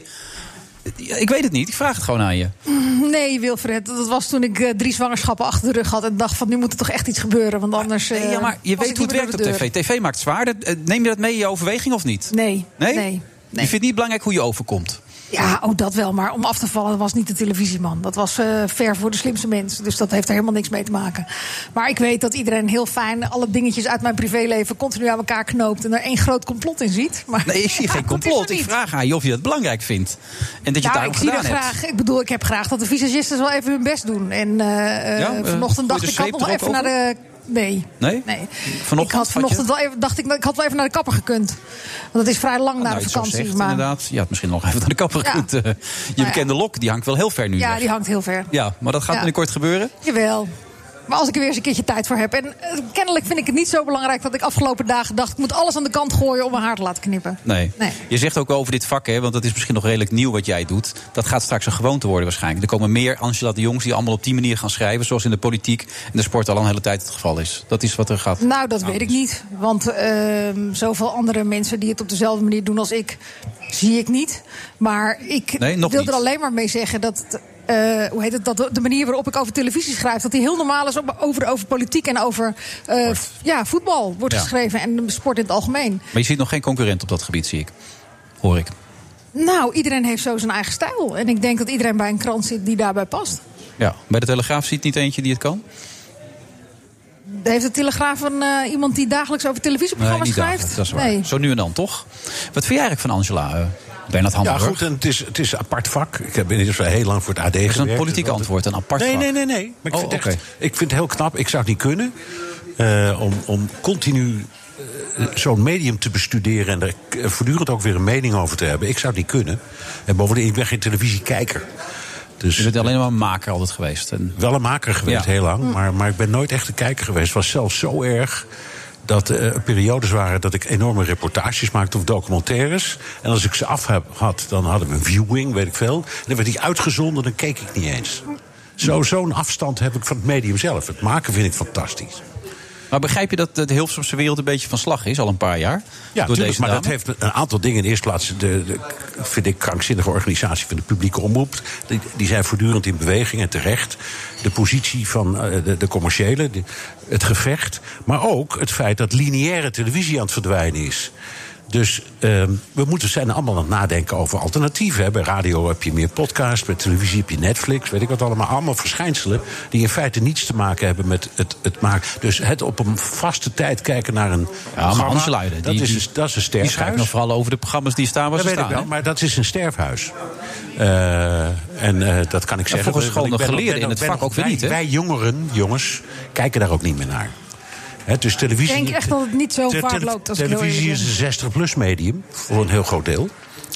Ja, Ik weet het niet, ik vraag het gewoon aan je. Mm, Nee, Wilfred, dat was toen ik eh, drie zwangerschappen achter de rug had... en dacht van, nu moet er toch echt iets gebeuren, want anders... eh, Nee, ja, maar je was weet ik hoe het niet werkt op meer door de tv. TV maakt zwaar. Dat- eh, Neem je dat mee in je overweging of niet? deur. Nee. Nee? Nee. Je vindt niet belangrijk hoe je overkomt. Ja, ook dat wel. Maar om af te vallen was niet de televisieman. Dat was eh, ver voor de slimste mens. Dus dat heeft er helemaal niks mee te maken. Maar ik weet dat iedereen heel fijn alle dingetjes uit mijn privéleven continu aan elkaar knoopt. En er één groot complot in ziet. Maar Nee, ik zie geen complot. Ik vraag aan je of je dat belangrijk vindt. En dat je het nou, daarom ik zie dat gedaan hebt. graag. Ik bedoel, ik heb graag dat de visagisten wel even hun best doen. En eh, eh, Ja, eh, vanochtend gooi dacht je de ik, had zweep nog er even ook naar de. Nee. Nee? Vanochtend ik had vanochtend wel even, dacht ik, ik had wel even naar de kapper gekund. Want het is vrij lang na Nou, de je het zo vakantie. zegt, maar inderdaad. Je had misschien nog even naar de kapper Ja. Nou gekund, eh. je ja. bekende lok, die hangt wel heel ver nu. ja, weg. die hangt heel ver. ja maar dat gaat Ja. binnenkort gebeuren. Jawel. Maar als ik er weer eens een keertje tijd voor heb. En eh, kennelijk vind ik het niet zo belangrijk dat ik afgelopen dagen dacht... ik moet alles aan de kant gooien om mijn haar te laten knippen. Nee. Nee. Je zegt ook over dit vak, hè, want dat is misschien nog redelijk nieuw wat jij doet. Dat gaat straks een gewoonte worden waarschijnlijk. Er komen meer Angela de Jongs die allemaal op die manier gaan schrijven... zoals in de politiek en de sport al een hele tijd het geval is. Dat is wat er gaat. Nou, dat weet ik niet. Want ehm, zoveel andere mensen die het op dezelfde manier doen als ik... zie ik niet. Maar ik Nee, nog wil niet. er alleen maar mee zeggen dat... eh, hoe heet het, dat de- de manier waarop ik over televisie schrijf... dat die heel normaal is op- over, over politiek en over eh, ja, voetbal wordt Ja. geschreven. En sport in het algemeen. Maar je ziet nog geen concurrent op dat gebied, zie ik. Hoor ik. Nou, iedereen heeft zo zijn eigen stijl. En ik denk dat iedereen bij een krant zit die daarbij past. Ja. Bij de Telegraaf ziet niet eentje die het kan? Heeft de Telegraaf een, eh, iemand die dagelijks over televisieprogramma's niet schrijft? dagelijks, dat is waar. Nee. Zo nu en dan, toch? Wat vind jij eigenlijk van Angela? eh, Bernard Hamburg? Ja, goed, en het, is, het is een apart vak. Ik heb in ieder geval heel lang voor het AD is een gewerkt. politiek Dus dat- antwoord, een apart nee, vak. Nee, nee, nee. Maar ik, Oh, vind het oké. echt, ik vind het heel knap. Ik zou het niet kunnen eh, om, om continu eh, zo'n medium te bestuderen... en er eh, voortdurend ook weer een mening over te hebben. Ik zou het niet kunnen. En bovendien, ik ben geen televisiekijker. Dus, je bent alleen maar een maker altijd geweest. Wel een maker geweest, Ja. heel lang. Mm. Maar, maar ik ben nooit echt een kijker geweest. Het was zelfs zo erg dat eh, er periodes waren dat ik enorme reportages maakte of documentaires. En als ik ze af heb, had, dan hadden we viewing, weet ik veel. En dan werd die uitgezonden, dan keek ik niet eens. Zo- Zo'n afstand heb ik van het medium zelf. Het maken vind ik fantastisch. Maar begrijp je dat de Hilversumse wereld een beetje van slag is al een paar jaar? Ja, door tuurlijk, deze maar dame? dat heeft een aantal dingen. In de eerste plaats de, de vind ik krankzinnige organisatie van de publieke omroep. Die, die zijn voortdurend in beweging en terecht. De positie van eh, de, de commerciële, de- het gevecht. Maar ook het feit dat lineaire televisie aan het verdwijnen is. Dus ehm, we moeten zijn allemaal aan het nadenken over alternatieven. Hè. Bij radio heb je meer podcasts, bij televisie heb je Netflix, weet ik wat allemaal. Allemaal verschijnselen die in feite niets te maken hebben met het, het maken. Dus het op een vaste tijd kijken naar een. Ja, maar programma, Hans Luijden, dat, die- is, die- een- dat is een Die sterfhuis. schrijft nog vooral over de programma's die staan waar dat ze weet staan. ik wel, hè? maar dat is een sterfhuis. Eh, en eh, dat kan ik Ja, zeggen. volgens want gewoon ik ben geleerden ben in het ben vak ook weer wij, niet, hè? Wij jongeren, jongens, kijken daar ook niet meer naar. Hè, dus Ik televisie. denk echt dat het niet zo Te- vaart tele- loopt als ik heel televisie eerlijk is een 60-plus medium, voor een heel groot deel.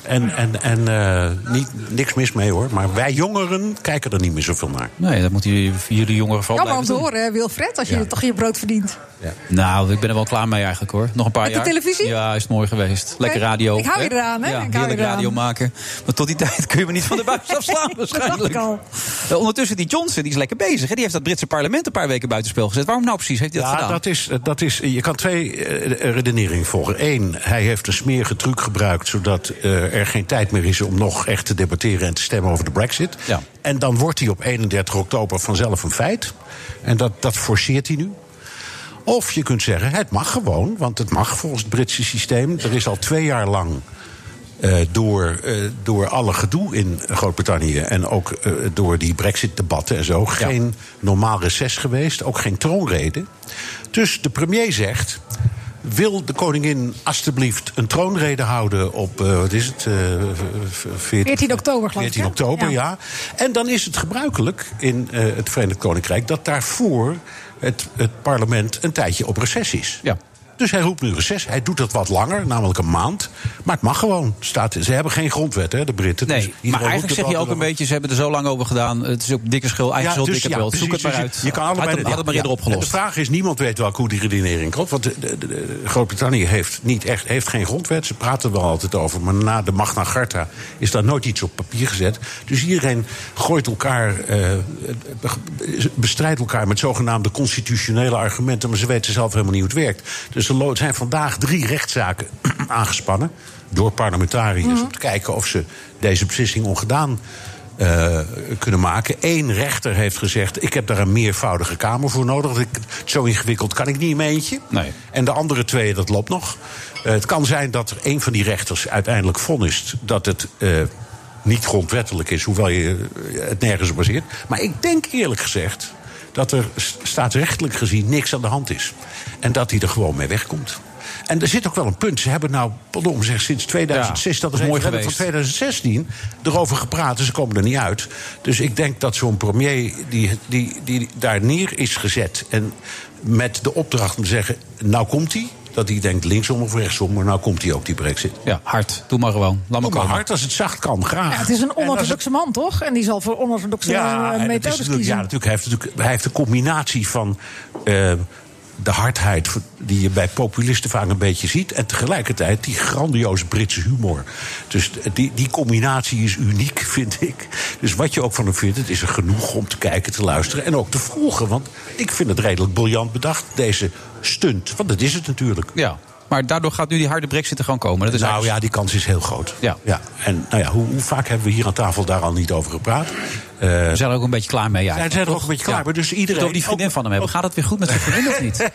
En, en, en eh, niet, niks mis mee hoor, maar wij jongeren kijken er niet meer zoveel naar. Nee, dat moeten jullie, jullie jongeren ben. vooral Jammer om te blijven horen, hè, Wilfred, als je Ja. toch je brood verdient. doen. Nou, ik ben er wel klaar mee eigenlijk hoor. Nog een paar Met de jaar. televisie? Ja, is het mooi geweest. Lekker radio. Ik hou je hè? eraan, hè? Ja, Ik hou je heerlijk eraan. radio maken. Maar tot die tijd kun je me niet van de buis afslaan waarschijnlijk. Eh, Ondertussen die Johnson, die is lekker bezig. Hè? Die heeft dat Britse parlement een paar weken buitenspel gezet. Waarom nou precies heeft hij dat ja, gedaan? dat is, dat is, je kan twee eh, redeneringen volgen. Eén, hij heeft een smerige truc gebruikt... zodat eh, er geen tijd meer is om nog echt te debatteren en te stemmen over de brexit. Ja. En dan wordt hij op 31 oktober vanzelf een feit. En dat, dat forceert hij nu. Of je kunt zeggen, het mag gewoon, want het mag volgens het Britse systeem. Er is al twee jaar lang eh, door, eh, door alle gedoe in Groot-Brittannië... en ook eh, door die brexit-debatten en zo... geen normaal reces geweest, ook geen troonrede. Dus de premier zegt... Wil de koningin alstublieft een troonrede houden op, eh, wat is het, eh, v- v- 14 oktober, geloof ik, 14 hè? oktober, Ja. ja. En dan is het gebruikelijk in eh, het Verenigd Koninkrijk dat daarvoor het, het parlement een tijdje op reces is. Ja. Dus hij roept nu reces. Hij doet dat wat langer, namelijk een maand. Maar het mag gewoon. Staat, ze hebben geen grondwet, hè, de Britten. Dus Nee, maar eigenlijk zeg je ook een beetje, ze hebben er zo lang over gedaan. Het is ook dikke schil, eigen schuld, dus dikke wel. Zoek het maar uit. Je kan allebei had, de- hem- had het maar ja, eerder ja. opgelost. De vraag is, niemand weet wel hoe die redenering komt. Want de- de- de- de- Groot-Brittannië heeft, niet echt, heeft geen grondwet. Ze praten er wel altijd over. Maar na de Magna Carta is daar nooit iets op papier gezet. Dus iedereen gooit elkaar, eh, be- bestrijdt elkaar met zogenaamde constitutionele argumenten. Maar ze weten zelf helemaal niet hoe het werkt. Dus er lo- zijn vandaag drie rechtszaken aangespannen. Door parlementariërs om te kijken of ze deze beslissing ongedaan eh, kunnen maken. Eén rechter heeft gezegd: Ik heb daar een meervoudige kamer voor nodig. Dat ik- Zo ingewikkeld kan ik niet in mijn eentje. En de andere twee, dat loopt nog. Eh, het kan zijn dat er een van die rechters uiteindelijk vonnist dat het. eh, niet grondwettelijk is, hoewel je eh, het nergens op baseert. Maar ik denk eerlijk gezegd dat er staatsrechtelijk gezien niks aan de hand is. En dat hij er gewoon mee wegkomt. En er zit ook wel een punt. Ze hebben nou, pardon, zeg, sinds 2006, Ja, dat dat is is mooi referendum geweest. van 2016, erover gepraat. En ze komen er niet uit. Dus ik denk dat zo'n premier die, die, die daar neer is gezet... en met de opdracht om te zeggen, nou komt hij... dat hij denkt linksom of rechtsom, maar nou komt hij ook, die brexit. Ja, hard. Doe maar gewoon. Laat maar komen. hard, als het zacht kan, graag. Ja, het is een En als het- onorthodoxe man, toch? En die zal voor onorthodoxe eh, en dat is methodes natuurlijk- kiezen. Ja, natuurlijk. Hij heeft, natuurlijk, hij heeft de combinatie van eh, de hardheid die je bij populisten vaak een beetje ziet. En tegelijkertijd die grandioze Britse humor. Dus die, die combinatie is uniek, vind ik. Dus wat je ook van hem vindt, het is er genoeg om te kijken, te luisteren en ook te volgen. Want ik vind het redelijk briljant bedacht, deze stunt. Want dat is het natuurlijk. Ja. Maar daardoor gaat nu die harde brexit er gewoon komen. Dat is nou eigenlijk- ja, die kans is heel groot. Ja. En nou ja, hoe, hoe vaak hebben we hier aan tafel daar al niet over gepraat? we zijn er ook een beetje klaar mee. Ja. We zijn er ook een beetje klaar Ja. mee. Dus Ik moet iedereen. over die vriendin van hem hebben. Gaat het weer goed met zijn vriendin of niet?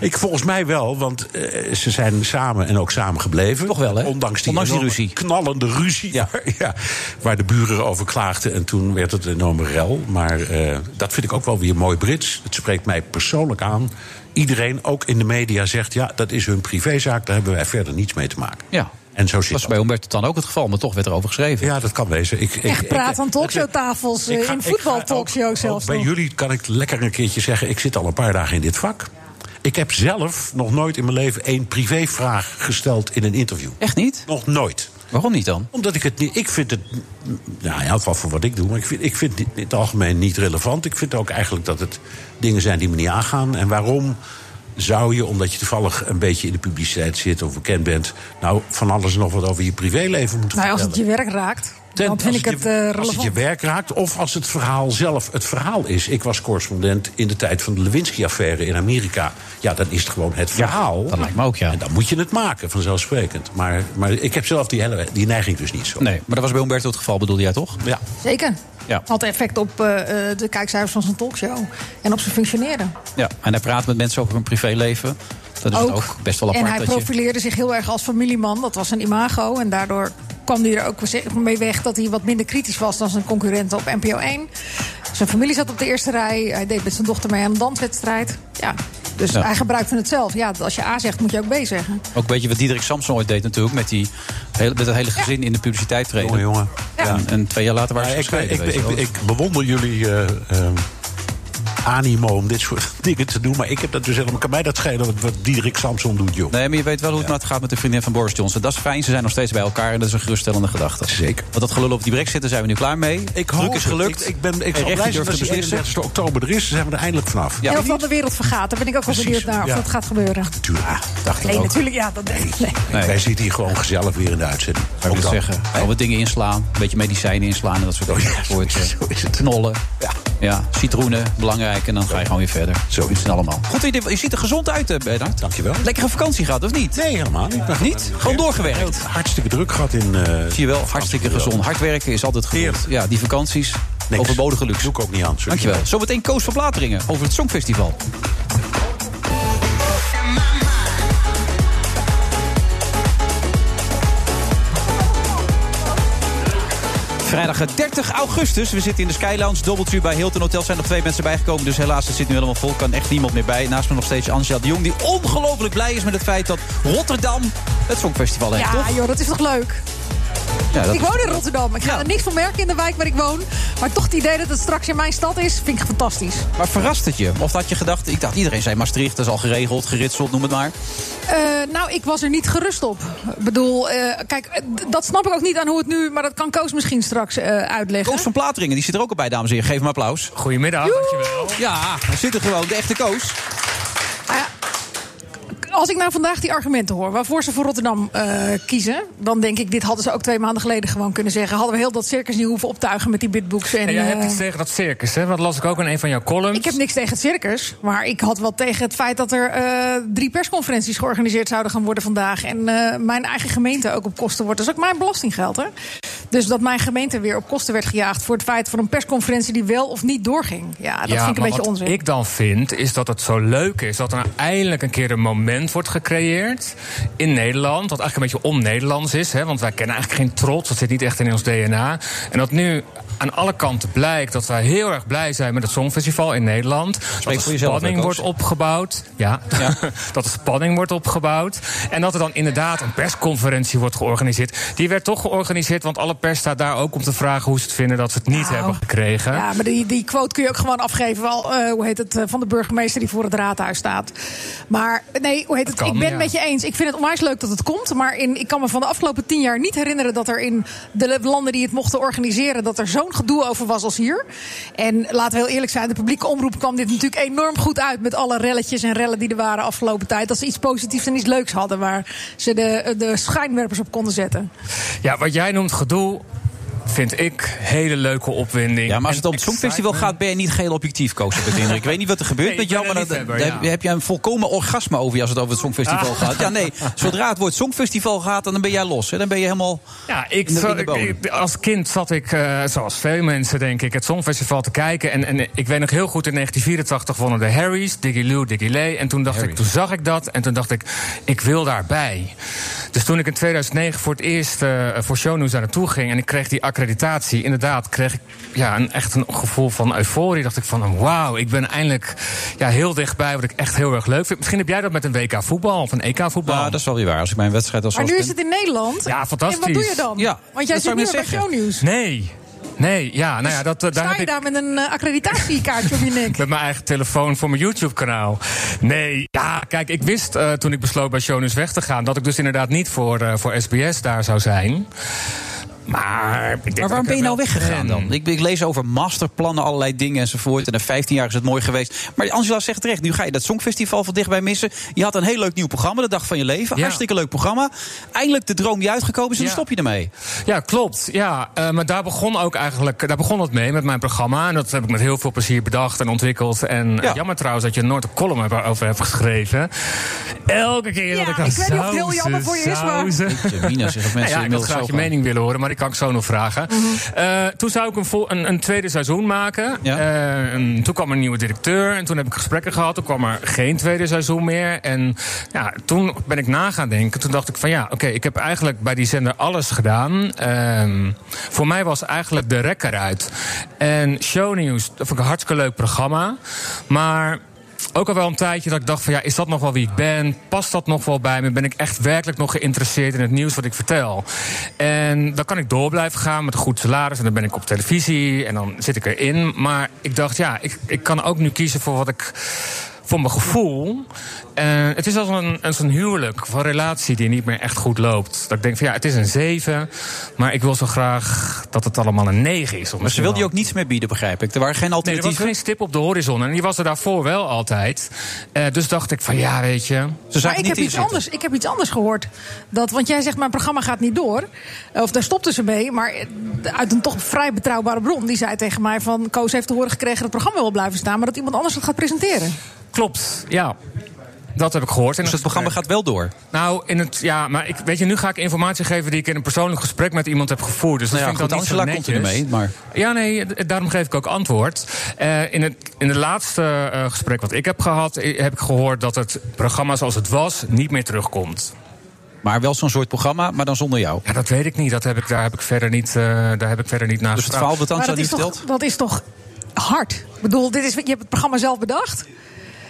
Ik volgens mij wel, want eh, ze zijn samen en ook samen gebleven. Toch wel, hè? Ondanks die, Ondanks die enorme ruzie. Knallende ruzie. Ja. Waar, ja, waar de buren over klaagden. En toen werd het een enorme rel. Maar eh, dat vind ik ook wel weer mooi Brits. Het spreekt mij persoonlijk aan. Iedereen, ook in de media, zegt... ja, dat is hun privézaak, daar hebben wij verder niets mee te maken. Ja. En zo zit Dat was bij Humbert dan ook het geval, maar toch werd erover geschreven. Ja, dat kan wezen. Ik, ik, Echt praat aan talkshowtafels, ik eh, ga- in ik ga ook- voetbaltalkshows Ook zelfs bij nog. jullie kan ik lekker een keertje zeggen: ik zit al een paar dagen in dit vak. Ik heb zelf nog nooit in mijn leven één privévraag gesteld in een interview. Echt niet? Nog nooit. Waarom niet dan? Omdat ik het niet. Ik vind het. Nou, in elk geval voor wat ik doe. Maar ik vind, ik vind het in het algemeen niet relevant. Ik vind ook eigenlijk dat het dingen zijn die me niet aangaan. En waarom zou je, omdat je toevallig een beetje in de publiciteit zit of bekend bent. nou van alles en nog wat over je privéleven moeten Nou, als vertellen? het je werk raakt, dan Als vind ik het eh, je- Als het je relevant. werk raakt of als het verhaal zelf het verhaal is. Ik was correspondent in de tijd van de Lewinsky-affaire in Amerika. Ja, dan is het gewoon het verhaal. dat lijkt me ook, ja. En dan moet je het maken, vanzelfsprekend. Maar, maar ik heb zelf die, hele, die neiging dus niet zo. Nee, maar dat was bij Humberto het geval, bedoelde jij toch? Ja. Zeker. Ja. Had effect op eh, eh, de kijkcijfers van zijn talkshow. En op zijn functioneren. ja. En hij praat met mensen over hun privéleven. Dat is het ook best wel apart. en hij dat je- profileerde zich heel erg als familieman. Dat was zijn imago. En daardoor kwam hij er ook mee weg dat hij wat minder kritisch was dan zijn concurrenten op NPO 1. Zijn familie zat op de eerste rij. Hij deed met zijn dochter mee aan een danswedstrijd. Ja. Dus Ja. hij gebruikte het zelf. Ja, als je A zegt, moet je ook B zeggen. Ook een beetje wat Diederik Samson ooit deed natuurlijk. Met, die, hele- met het hele gezin in de publiciteit treden. Jongen, jongen. En, en twee jaar later waren ze Maar ik, gescheiden. ik, weet je ik, wel. ik bewonder jullie eh, ehm, animo om dit soort dingen te doen. Maar ik heb dat dus helemaal. Kan mij dat schelen wat, wat Diederik Samson doet, joh? Nee, maar je weet wel hoe het met gaat met de vriendin van Boris Johnson. Dat is fijn, ze zijn nog steeds bij elkaar en dat is een geruststellende gedachte. Zeker. Want dat gelul op die brexit, daar zijn we nu klaar mee. Ik Druk hoop is het. gelukt. Ik, ik ben ik En zal recht blij die zijn durft dat te die beslissen. 31 oktober er is. Dan zijn we er eindelijk vanaf. Heel veel de wereld vergaat. Daar ben ik ook wel Precies, benieuwd naar of ja. dat gaat gebeuren. Natuurlijk, ja, dacht ik Nee, ook. natuurlijk. Ja, dat nee. Nee. Wij zitten hier gewoon gezellig weer in de uitzending. Ik Ook moet dat. zeggen, al wat dingen inslaan, een beetje medicijnen inslaan en dat Oh soort dingen. Soort, eh, Knollen, ja. citroenen, belangrijk. En dan ga je gewoon weer verder. Zo is het allemaal. Goed, je, je ziet er gezond uit, eh, Bernard. Dankjewel. Lekkere vakantie gehad, of niet? Nee, helemaal niet. Maar Niet? Gewoon doorgewerkt. Hartstikke druk gehad in. eh, Zie je wel, hartstikke gezond. Hard werken is altijd goed. Ja, die vakanties, overbodige luxe. Doe ik ook niet aan. sorry. Dankjewel. Zometeen Koos van Blateringen over het Songfestival. Vrijdag 30 augustus. We zitten in de Sky Lounge. Dobbeltje bij Hilton Hotel zijn nog twee mensen bijgekomen. Dus helaas, het zit nu helemaal vol. Kan echt niemand meer bij. Naast me nog steeds Angela de Jong. Die ongelooflijk blij is met het feit dat Rotterdam het Songfestival heeft, toch? Ja, joh, dat is toch leuk? Ja, dat ik is- woon in Rotterdam. Ik ga er niks van merken in de wijk waar ik woon. Maar toch het idee dat het straks in mijn stad is, vind ik fantastisch. Maar verrast het je? Of had je gedacht, ik dacht iedereen zei Maastricht, dat is al geregeld, geritseld, noem het maar. Eh, nou, ik was er niet gerust op. Ik bedoel, eh, kijk, eh, d- dat snap ik ook niet aan hoe het nu... maar dat kan Koos misschien straks eh, uitleggen. Koos van Plateringen, die zit er ook al bij, dames en heren. Geef hem applaus. Goedemiddag, dankjewel. Ja, hij zit er gewoon, de echte Koos. Als ik nou vandaag die argumenten hoor waarvoor ze voor Rotterdam eh, kiezen... dan denk ik, dit hadden ze ook twee maanden geleden gewoon kunnen zeggen. Hadden we heel dat circus niet hoeven optuigen met die bitbooks. En, En jij hebt eh, iets tegen dat circus, hè? Want dat las ik ook in een van jouw columns. Ik heb niks tegen het circus, maar ik had wel tegen het feit dat er eh, drie persconferenties georganiseerd zouden gaan worden vandaag. En eh, mijn eigen gemeente ook op kosten wordt. Dat is ook mijn belastinggeld, hè? Dus dat mijn gemeente weer op kosten werd gejaagd voor het feit van een persconferentie die wel of niet doorging. Ja, ja, dat vind ik een maar beetje wat onzin. ik dan vind, is dat het zo leuk is dat er nou eindelijk een keer een moment wordt gecreëerd in Nederland. Wat eigenlijk een beetje on-Nederlands is, hè, want wij kennen eigenlijk geen trots. Dat zit niet echt in ons DNA. En dat nu aan alle kanten blijkt dat wij heel erg blij zijn met het Songfestival in Nederland. dat de voor jezelf, spanning hè, wordt opgebouwd. Ja, dat de spanning wordt opgebouwd. En dat er dan inderdaad een persconferentie wordt georganiseerd. Die werd toch georganiseerd, want alle pers staat daar ook om te vragen hoe ze het vinden dat ze het niet hebben gekregen. Nou, Ja, maar die, die quote kun je ook gewoon afgeven. Wel, eh, hoe heet het, eh, van de burgemeester die voor het raadhuis staat. Maar nee, hoe heet het, kan, ik ben ja. het met je eens. Ik vind het onwijs leuk dat het komt. Maar in, ik kan me van de afgelopen tien jaar niet herinneren... dat er in de landen die het mochten organiseren... dat er zo'n gedoe over was als hier. En laten we heel eerlijk zijn, de publieke omroep kwam dit natuurlijk enorm goed uit... met alle relletjes en rellen die er waren afgelopen tijd. Dat ze iets positiefs en iets leuks hadden... waar ze de, de schijnwerpers op konden zetten. Ja, wat jij noemt gedoe, vind ik hele leuke opwinding. Ja, maar als het om het Songfestival gaat, ben je niet geheel objectief, Koos. heb ik de indruk. Ik weet niet wat er gebeurt Nee, ik met jou, ben maar een dat, liefhebber, daar ja. heb je een volkomen orgasme over je als het over het Songfestival Ah. gaat. Ja, nee. Zodra het woord Songfestival gaat, dan ben jij los. Hè. Dan ben je helemaal. Ja, ik, in de- zat- in de ik- bodem. ik- als kind zat ik, eh, zoals veel mensen denk ik, het Songfestival te kijken. En, en ik weet nog heel goed, in 1984 wonnen de Harrys, Diggy Lou, Diggy Lee. En toen, dacht ik, toen zag ik dat en toen dacht ik, ik wil daarbij. Dus toen ik in 2009 voor het eerst eh, voor Shownews daar naartoe ging... en ik kreeg die accreditatie, inderdaad kreeg ik ja, een, echt een gevoel van euforie. Dacht ik van, wauw, ik ben eindelijk ja, heel dichtbij wat ik echt heel erg leuk vind. Misschien heb jij dat met een WK voetbal of een EK voetbal. Ja, dat is wel weer waar. Als ik mijn wedstrijd als Maar nu host is ben- het in Nederland. Ja, fantastisch. En wat doe je dan? Ja, Want jij dat zit zou ik nu net bij zeggen. shownieuws. Dus Nee. Nee, ja, nou ja, dat, eh, daar Sta heb je ik daar met een eh, accreditatiekaartje op je nek? met mijn eigen telefoon voor mijn YouTube-kanaal. Nee, ja, kijk, ik wist eh, toen ik besloot bij Shownews weg te gaan... dat ik dus inderdaad niet voor, eh, voor SBS daar zou zijn. Maar, ik denk dat Maar waarom ik ben je er nou wel weggegaan ben. dan? Ik, ik lees over masterplannen, allerlei dingen enzovoort. En na 15 jaar is het mooi geweest. Maar Angela zegt terecht, nu ga je dat Songfestival van dichtbij missen. Je had een heel leuk nieuw programma, de dag van je leven. Ja. Hartstikke leuk programma. Eindelijk de droom die uitgekomen is en dan stop je ermee. Ja, klopt. Ja, eh, maar daar begon ook eigenlijk, daar begon het mee met mijn programma. En dat heb ik met heel veel plezier bedacht en ontwikkeld. En eh, jammer trouwens dat je nooit een column heb- over hebt geschreven. Elke keer dat ik dat ik weet niet of het heel jammer voor je is, maar- Jeetje, Mina, zeg, of mensen Nou ja, ik inmiddels had graag zo je gaan. mening willen horen, maar ik kan ik zo nog vragen. Eh, toen zou ik een, vol- een, een tweede seizoen maken. Eh, en toen kwam er een nieuwe directeur en toen heb ik gesprekken gehad. Toen kwam er geen tweede seizoen meer. En ja, toen ben ik na gaan denken. Toen dacht ik van ja, oké, ik heb eigenlijk bij die zender alles gedaan. Ehm, voor mij was eigenlijk de rek eruit. En Shownieuws, dat vond ik een hartstikke leuk programma. Maar ook al wel een tijdje dat ik dacht van ja, is dat nog wel wie ik ben? Past dat nog wel bij me? Ben ik echt werkelijk nog geïnteresseerd in het nieuws wat ik vertel? En dan kan ik door blijven gaan met een goed salaris. En dan ben ik op televisie en dan zit ik erin. Maar ik dacht ja, ik, ik kan ook nu kiezen voor wat ik... Voor mijn gevoel. En het is als een, als een huwelijk of een relatie die niet meer echt goed loopt. Dat ik denk van ja, het is een zeven. Maar ik wil zo graag dat het allemaal een negen is. Of Maar ze misschien wilde wel je ook niets meer bieden, begrijp ik. Er waren geen Nee, er was alternatieven. geen stip op de horizon. En die was er daarvoor wel altijd. Eh, dus dacht ik van ja, weet je. Ze maar ik heb, iets anders, ik heb iets anders gehoord. Dat, want jij zegt, mijn programma gaat niet door. Eh, Of daar stopten ze mee. Maar eh, uit een toch vrij betrouwbare bron. Die zei tegen mij van... Koos heeft te horen gekregen dat het programma wil blijven staan... maar dat iemand anders het gaat presenteren. Klopt, ja. Dat heb ik gehoord. Dus het programma gaat wel door? Nou, in het, ja, maar ik, weet je, nu ga ik informatie geven die ik in een persoonlijk gesprek met iemand heb gevoerd. Dus dat Nou ja, vind ik dan goed, niet zo Angela komt er netjes. mee, maar- Ja, nee, d- daarom geef ik ook antwoord. Eh, in, het, in het laatste eh, gesprek wat ik heb gehad, eh, heb ik gehoord dat het programma zoals het was niet meer terugkomt. Maar wel zo'n soort programma, maar dan zonder jou. Ja, dat weet ik niet. Dat heb ik, daar, heb ik verder niet, eh, daar heb ik verder niet naar Dus het verhaal wat Maar Angela dat nu is, vertelt... toch, dat is toch hard? Ik bedoel, dit is, je hebt het programma zelf bedacht.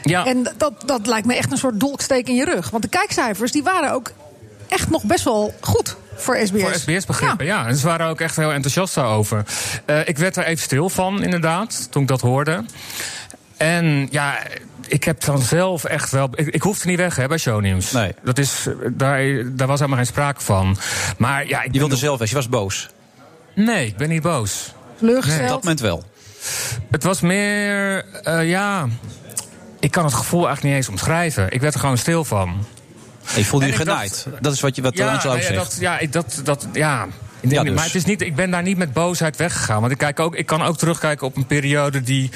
Ja. En dat, dat lijkt me echt een soort dolksteek in je rug. Want de kijkcijfers die waren ook echt nog best wel goed voor SBS. Voor SBS-begrippen, ja. En ze waren ook echt heel enthousiast daarover. Eh, ik werd er even stil van, inderdaad, toen ik dat hoorde. En ja, ik heb dan zelf echt wel... Ik, ik hoefde niet weg hè, bij Shownieuws. Nee. Dat is, eh, daar, daar was helemaal geen sprake van. Maar ja, ik Je wilde zelf weg, je was boos. Nee, ik ben niet boos. Teleurgesteld? Op dat moment wel. Het was meer, eh, ja... Ik kan het gevoel eigenlijk niet eens omschrijven. Ik werd er gewoon stil van. Je voelde je En ik genaaid. dacht- dat is wat, je, wat ja, Angela ook nou ja, zegt. Dat, ja, ik- dat, dat, ja, Ik denk Ja, niet, dus. Maar het is niet, ik ben daar niet met boosheid weggegaan. Want ik, kijk ook, ik kan ook terugkijken op een periode die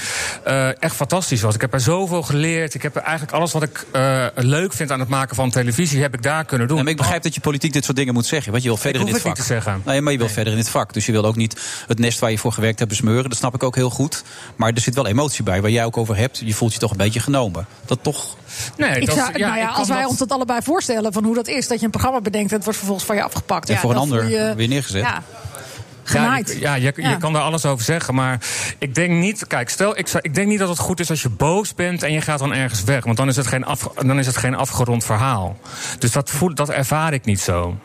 eh, echt fantastisch was. Ik heb er zoveel geleerd. Ik heb er eigenlijk alles wat ik eh, leuk vind aan het maken van televisie... heb ik daar kunnen doen. Ja, maar ik begrijp dat je politiek dit soort dingen moet zeggen. Want je wil verder hoef in dit het vak. niet te zeggen. Nee, maar je wil verder in dit vak. Dus je wil ook niet het nest waar je voor gewerkt hebt besmeuren. Dat snap ik ook heel goed. Maar er zit wel emotie bij waar jij ook over hebt. Je voelt je toch een beetje genomen. Dat toch. Nee, Ik zou, nou ja, als wij ons dat allebei voorstellen van hoe dat is, dat je een programma bedenkt en het wordt vervolgens van je afgepakt. En ja, voor een dan ander voel je- weer neergezet. Ja, Ja, genaaid. ik- ja, je, je Ja. kan daar alles over zeggen. Maar ik denk niet. Kijk, stel, ik, zou- ik denk niet dat het goed is als je boos bent en je gaat dan ergens weg. Want dan is het geen, af, dan is het geen afgerond verhaal. Dus dat, voel, dat ervaar ik niet zo.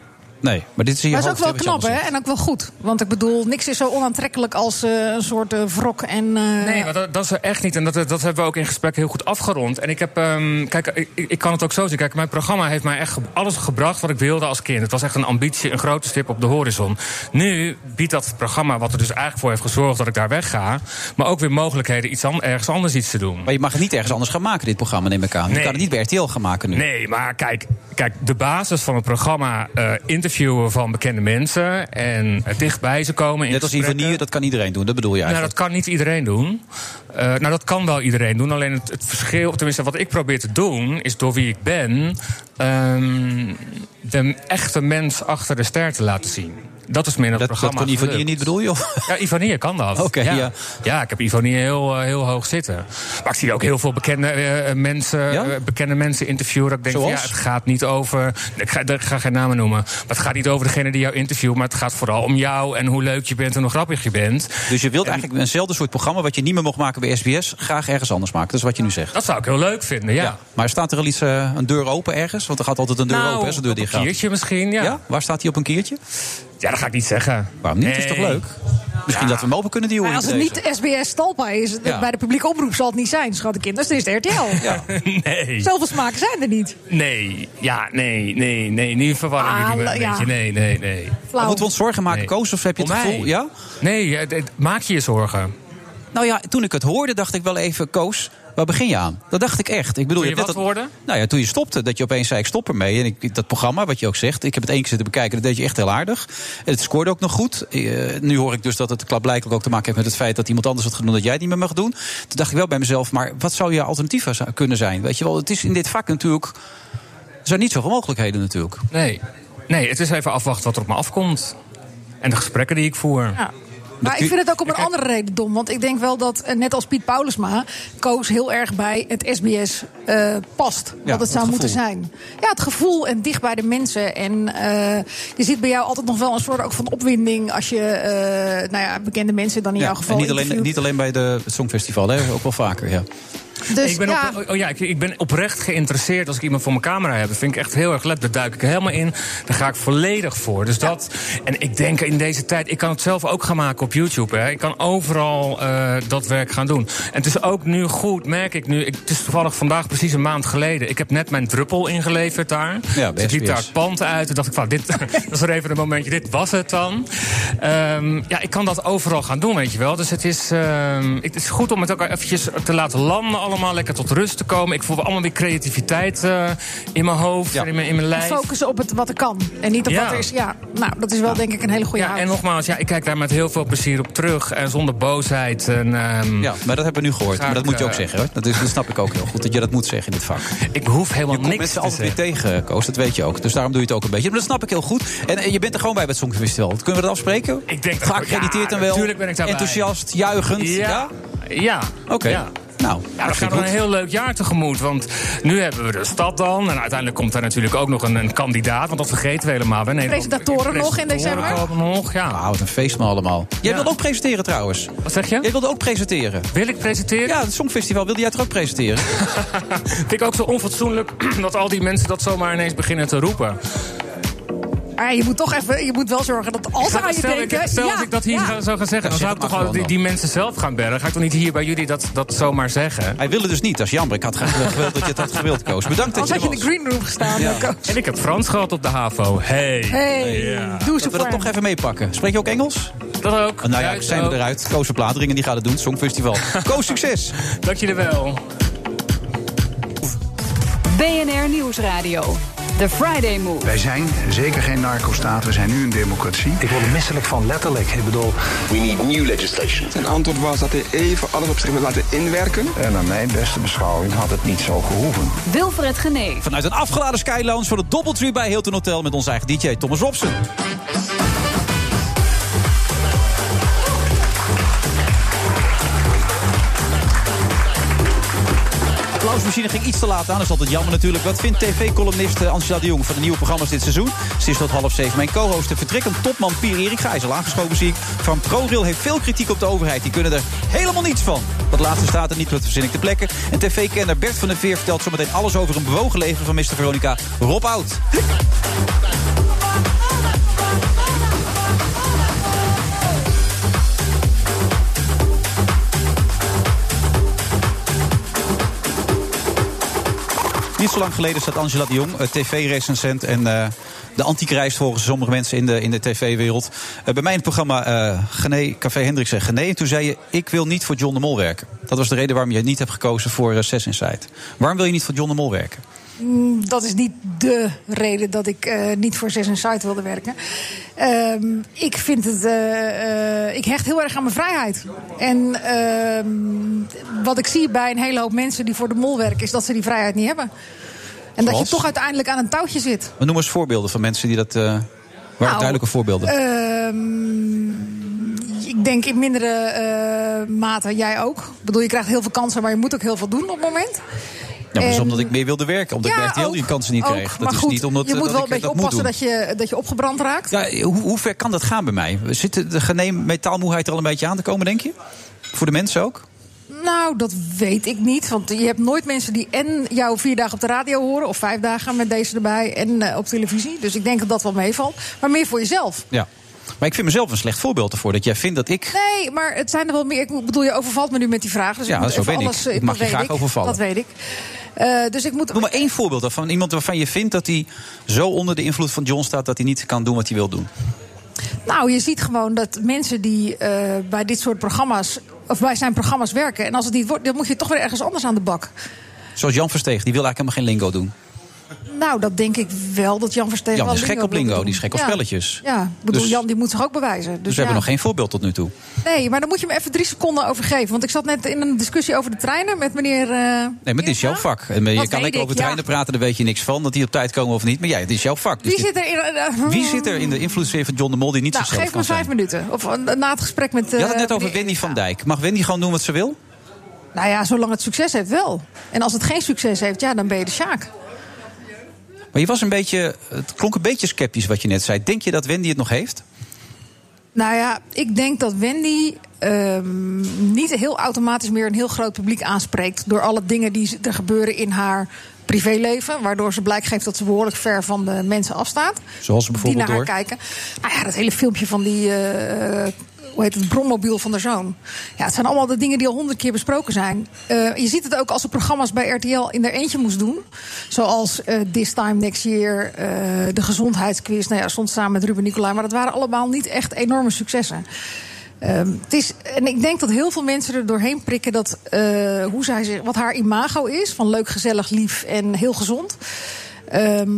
Nee, maar dit maar is ook wel knap, hè? En ook wel goed. Want ik bedoel, niks is zo onaantrekkelijk als eh, een soort eh, wrok en. eh, Nee, maar dat, dat is er echt niet. En dat, dat hebben we ook in gesprek heel goed afgerond. En ik heb, ehm, kijk, ik, ik kan het ook zo zien. Kijk, mijn programma heeft mij echt ge- alles gebracht wat ik wilde als kind. Het was echt een ambitie, een grote stip op de horizon. Nu biedt dat programma, wat er dus eigenlijk voor heeft gezorgd dat ik daar wegga, maar ook weer mogelijkheden iets an- ergens anders iets te doen. Maar je mag het niet ergens anders gaan maken, dit programma, neem ik aan. Je Nee. kan het niet bij RTL gaan maken nu. Nee, maar kijk, kijk de basis van het programma: eh, interviewen van bekende mensen en eh, dichtbij ze komen. in Net als gesprekken. Ivanier, dat kan iedereen doen. Dat bedoel je Nou, eigenlijk. dat kan niet iedereen doen. Eh, nou, dat kan wel iedereen doen. Alleen het, het verschil, tenminste wat ik probeer te doen, is door wie ik ben, ehm, de echte mens achter de ster te laten zien. Dat is meer het Dat- dat programma. kon Ivanier gelukt. niet, bedoel je? Ja, Ivanier kan dat. Oké, ja. ja. Ja. ik heb Ivanier heel, eh, heel hoog zitten. Maar ik zie ook heel veel bekende, eh, mensen, eh, bekende mensen interviewen. Dat ik denk, van, ja, Zoals? het gaat niet over. Ik ga, ik ga geen namen noemen. Maar het gaat niet over degene die jou interviewt. Nou, Maar het gaat vooral om jou en hoe leuk je bent en hoe grappig je bent. Dus je wilt eigenlijk eenzelfde soort programma wat je niet meer mocht maken bij SBS, graag ergens anders maken. Dat is wat je nu zegt. Dat zou ik heel leuk vinden, ja. Maar staat er al iets, eh, een deur open ergens? Want er gaat altijd een deur Nou, open, hè, als een deur op een dichtgaat. kiertje misschien, ja. Waar staat die op een kiertje? Ja, dat ga ik niet zeggen. Waarom niet? Dat is toch Nee. leuk? Misschien dat we hem open kunnen duwen. Maar als het niet SBS Talpa is, Ja. bij de publieke oproep zal het niet zijn, schat ik in. Dus dan is het RTL. Nee. Zoveel smaken zijn er niet. Nee, ja, nee, nee, nee. Nu verwarren Ah, jullie me een ja. beetje. Nee, nee, nee. Flauw. Moeten we ons zorgen maken, Koos? Of heb je het gevoel- ja? Nee, eh, d- maak je je zorgen. Nou ja, toen ik het hoorde, dacht ik wel even, Koos, waar begin je aan? Dat dacht ik echt. Ik bedoel, Toen je hebt wat net dat- hoorde? Nou ja, toen je stopte, dat je opeens zei, ik stop ermee. En ik, dat programma, wat je ook zegt, ik heb het één keer zitten bekijken, dat deed je echt heel aardig. En het scoorde ook nog goed. Eh, nu hoor ik dus dat het klaarblijkelijk ook te maken heeft met het feit dat iemand anders het gaat doen dat jij het niet meer mag doen. Toen dacht ik wel bij mezelf, maar wat zou je alternatief zou- kunnen zijn? Weet je wel, het is in dit vak natuurlijk, er zijn niet zoveel mogelijkheden natuurlijk. Nee. nee, het is even afwachten wat er op me afkomt. En de gesprekken die ik voer. Ja. Maar ik vind het ook om een Kijk, andere reden dom. Want ik denk wel dat, eh, net als Piet Paulusma, Koos heel erg bij het SBS eh, past. wat het het zou moeten gevoel. zijn. Ja, het gevoel en dicht bij de mensen. En eh, je ziet bij jou altijd nog wel een soort ook van opwinding als je eh, nou ja, bekende mensen dan in jouw geval. en niet alleen, interviewt. niet alleen bij de, het Songfestival, hè, ook wel vaker, ja. Dus, ik ben, ja. op- oh ja, ik, ik ben oprecht geïnteresseerd als ik iemand voor mijn camera heb. Dat vind ik echt heel erg leuk. Daar duik ik helemaal in. Daar ga ik volledig voor. Dus dat, en ik denk in deze tijd, ik kan het zelf ook gaan maken op YouTube. Hè. Ik kan overal eh, dat werk gaan doen. En het is ook nu goed, merk ik nu. Ik, het is toevallig vandaag precies een maand geleden. Ik heb net mijn druppel ingeleverd daar. Ja, dus ik liep SBS. daar het pand uit. Toen dacht ik, van, dit dat is er even een momentje. Dit was het dan. Ehm, ja, ik kan dat overal gaan doen, weet je wel. Dus het is, ehm, het is goed om het ook eventjes te laten landen allemaal. Lekker tot rust te komen. Ik voel allemaal weer creativiteit eh, in mijn hoofd en in mijn, in mijn lijf. Focussen op het wat er kan. En niet op Ja. wat er is. Ja, nou, dat is wel denk ik een hele goede Ja, en nogmaals, ja, ik kijk daar met heel veel plezier op terug. En zonder boosheid. En, ehm, Ja, maar dat hebben we nu gehoord. Ga Maar dat ik, moet je ook eh, zeggen. Hoor. Dat, is, dat snap ik ook heel goed, dat je dat moet zeggen in dit vak. Ik hoef helemaal je komt niks mensen te altijd weer tegen, Koos. Dat weet je ook. Dus daarom doe je het ook een beetje. Maar dat snap ik heel goed. En, eh, je bent er gewoon bij bij het Songfestival. Kunnen we dat afspreken? Ik denk dat- Geaccrediteerd ja, en wel. natuurlijk ben ik daarbij. Enthousiast, juigend. Ja? Ja. Ja. Oké. Ja. Nou, Ja, we gaan hartstikke er een goed. heel leuk jaar tegemoet. Want nu hebben we de stad dan. En uiteindelijk komt daar natuurlijk ook nog een, een kandidaat. Want dat vergeten we helemaal. We nemen presentatoren nog in december. Presentatoren nog, ja. Ah, wat een feest maar allemaal. Jij wilde ook presenteren trouwens. Wat zeg je? Jij wilde ook presenteren. Wil ik presenteren? Ja, het Songfestival wilde jij toch ook presenteren? Vind ik ook zo onfatsoenlijk dat al die mensen dat zomaar ineens beginnen te roepen. Maar Ah, je moet toch even, je moet wel zorgen dat als ze Stel, aan je ik- denken. stel ja, als ik dat hier ja. zou- zou gaan zeggen, dan zou ik toch al die, die mensen zelf gaan bellen. Ga ik toch niet hier bij jullie dat, dat zomaar zeggen? Hij wilde dus niet, dat is jammer. Ik had graag gewild dat je het had gewild, Koos. Bedankt dat Als je had er je was. in de green room gestaan. Ja. Koos. En ik heb Frans gehad op de HAVO. Hey. Hey, doe eens Zullen we voor dat nog even meepakken? Spreek je ook Engels? Dat ook. Nou ja, Duits zijn ook. we eruit. Koos Verplateringen, die gaat het doen. het Songfestival. Koos, succes! Dank jullie wel. BNR Nieuwsradio. The Friday Move. Wij zijn zeker geen narcostaat, we zijn nu een democratie. Ik word er misselijk van, letterlijk. Ik bedoel... We need new legislation. Zijn antwoord was dat hij even alles op zich wil laten inwerken. En naar mijn beste beschouwing had het niet zo gehoeven. Wilfred Genee. Vanuit een afgeladen skylounge voor de Doubletree bij Hilton Hotel... met onze eigen DJ Thomas Robson. applausmachine ging iets te laat aan. Dat is altijd jammer natuurlijk. Wat vindt tv-columnist Angela de Jong van de nieuwe programma's dit seizoen? Ze is tot half zeven mijn co-host. De vertrekkend topman Pier-Erik Gijzel, aangeschoven zie ik. Van ProRail heeft veel kritiek op de overheid. Die kunnen er helemaal niets van. Dat laatste staat er niet, dat verzin ik te plekken. En tv-kenner Bert van der Veer vertelt zometeen alles over een bewogen leven van Mr. Veronica Rob Oud. Niet zo lang geleden staat Angela de Jong, eh, tv-recensent en eh, de antichrist volgens sommige mensen in de, in de tv-wereld. Eh, bij mij in het programma eh Gené, Café Hendricks en Gené. En toen zei je, ik wil niet voor John de Mol werken. Dat was de reden waarom je niet hebt gekozen voor eh, Zes Inside. Waarom wil je niet voor John de Mol werken? Mm, Dat is niet de reden dat ik eh, niet voor Zes en Site wilde werken. Ehm, ik vind het. eh, eh, ik hecht heel erg aan mijn vrijheid. En ehm, wat ik zie bij een hele hoop mensen die voor de mol werken, is dat ze die vrijheid niet hebben. En dat Zoals? je toch uiteindelijk aan een touwtje zit. Maar Noem eens voorbeelden van mensen die dat... eh waar Nou, duidelijke eh, voorbeelden? Nou, Ehm, ik denk in mindere eh, mate, jij ook. Ik bedoel, je krijgt heel veel kansen, maar je moet ook heel veel doen op het moment. ja, maar dat is en- omdat ik meer wilde werken. Omdat ik bij RTL die kansen niet eh, Ook, kreeg. Dat maar is goed, niet omdat je eh, moet dat wel ik een beetje dat moet oppassen doen. dat je, eh, dat je opgebrand raakt. Ja, eh, hoe, hoe ver kan dat gaan bij mij? Zit de geneem metaalmoeheid er al een beetje aan te komen, denk je? Voor de mensen ook? Nou, dat weet ik niet. Want je hebt nooit mensen die en jou vier dagen op de radio horen... of vijf dagen met deze erbij en eh, op televisie. Dus ik denk dat dat wel meevalt. Maar meer voor jezelf. Ja. Maar ik vind mezelf een slecht voorbeeld ervoor. Dat jij vindt dat ik Nee, maar het zijn er wel meer. Ik bedoel, je overvalt me nu met die vraag. Dus Ja, ik moet zo even ben ik. Ik alles, mag je dat weet graag ik. overvallen. Dat weet ik. Eh, dus ik moet... Noem maar één voorbeeld van iemand waarvan je vindt dat hij zo onder de invloed van John staat dat hij niet kan doen wat hij wil doen. Nou, je ziet gewoon dat mensen die eh, bij dit soort programma's... of bij zijn programma's werken... en als het niet wordt, dan moet je toch weer ergens anders aan de bak. Zoals Jan Versteeg, die wil eigenlijk helemaal geen lingo doen. Dus Nou, dat denk ik wel dat Jan Verstegen Jan wel is gek op wil lingo, doen. die is gek op Ja. spelletjes. Ja, ik bedoel, Dus- Jan die moet zich ook bewijzen. Dus, Dus we ja. hebben nog geen voorbeeld tot nu toe. Nee, maar dan moet je hem even drie seconden overgeven. Want ik zat net in een discussie over de treinen met meneer... eh, Nee, maar dit is jouw vak. En je Dat kan weet lekker ik, over ja. treinen praten, daar weet je niks van. Dat die op tijd komen of niet. Maar jij, dit is jouw vak. Dus wie, dit- zit er in, eh, wie zit er in de invloedssfeer van John de Mol die niet Nou, zichzelf geef me kan vijf zijn? minuten. Of eh, na het gesprek met... Je had het eh, net over meneer- Wendy van Dijk. Mag Wendy gewoon doen wat ze wil? Nou ja, zolang het succes heeft wel. En als het geen succes heeft, ja, dan ben je de Sjaak. Maar je was een beetje, het klonk een beetje sceptisch wat je net zei. Denk je dat Wendy het nog heeft? Nou ja, ik denk dat Wendy ehm, niet heel automatisch meer een heel groot publiek aanspreekt. Door alle dingen die er gebeuren in haar privéleven. Waardoor ze blijk geeft dat ze behoorlijk ver van de mensen afstaat. Zoals ze bijvoorbeeld die naar door- haar kijken. Nou ja, dat hele filmpje van die. eh, hoe heet het? Brommobiel van de zoon. Ja, het zijn allemaal de dingen die al honderd keer besproken zijn. Eh, je ziet het ook als ze programma's bij RTL in haar eentje moest doen. Zoals eh, This Time Next Year, eh, de gezondheidsquiz. Nou ja, stond samen met Ruben Nicolai. Maar dat waren allemaal niet echt enorme successen. Ehm, het is, en ik denk dat heel veel mensen er doorheen prikken dat eh, hoe zij zich, wat haar imago is, van leuk, gezellig, lief en heel gezond. ehm,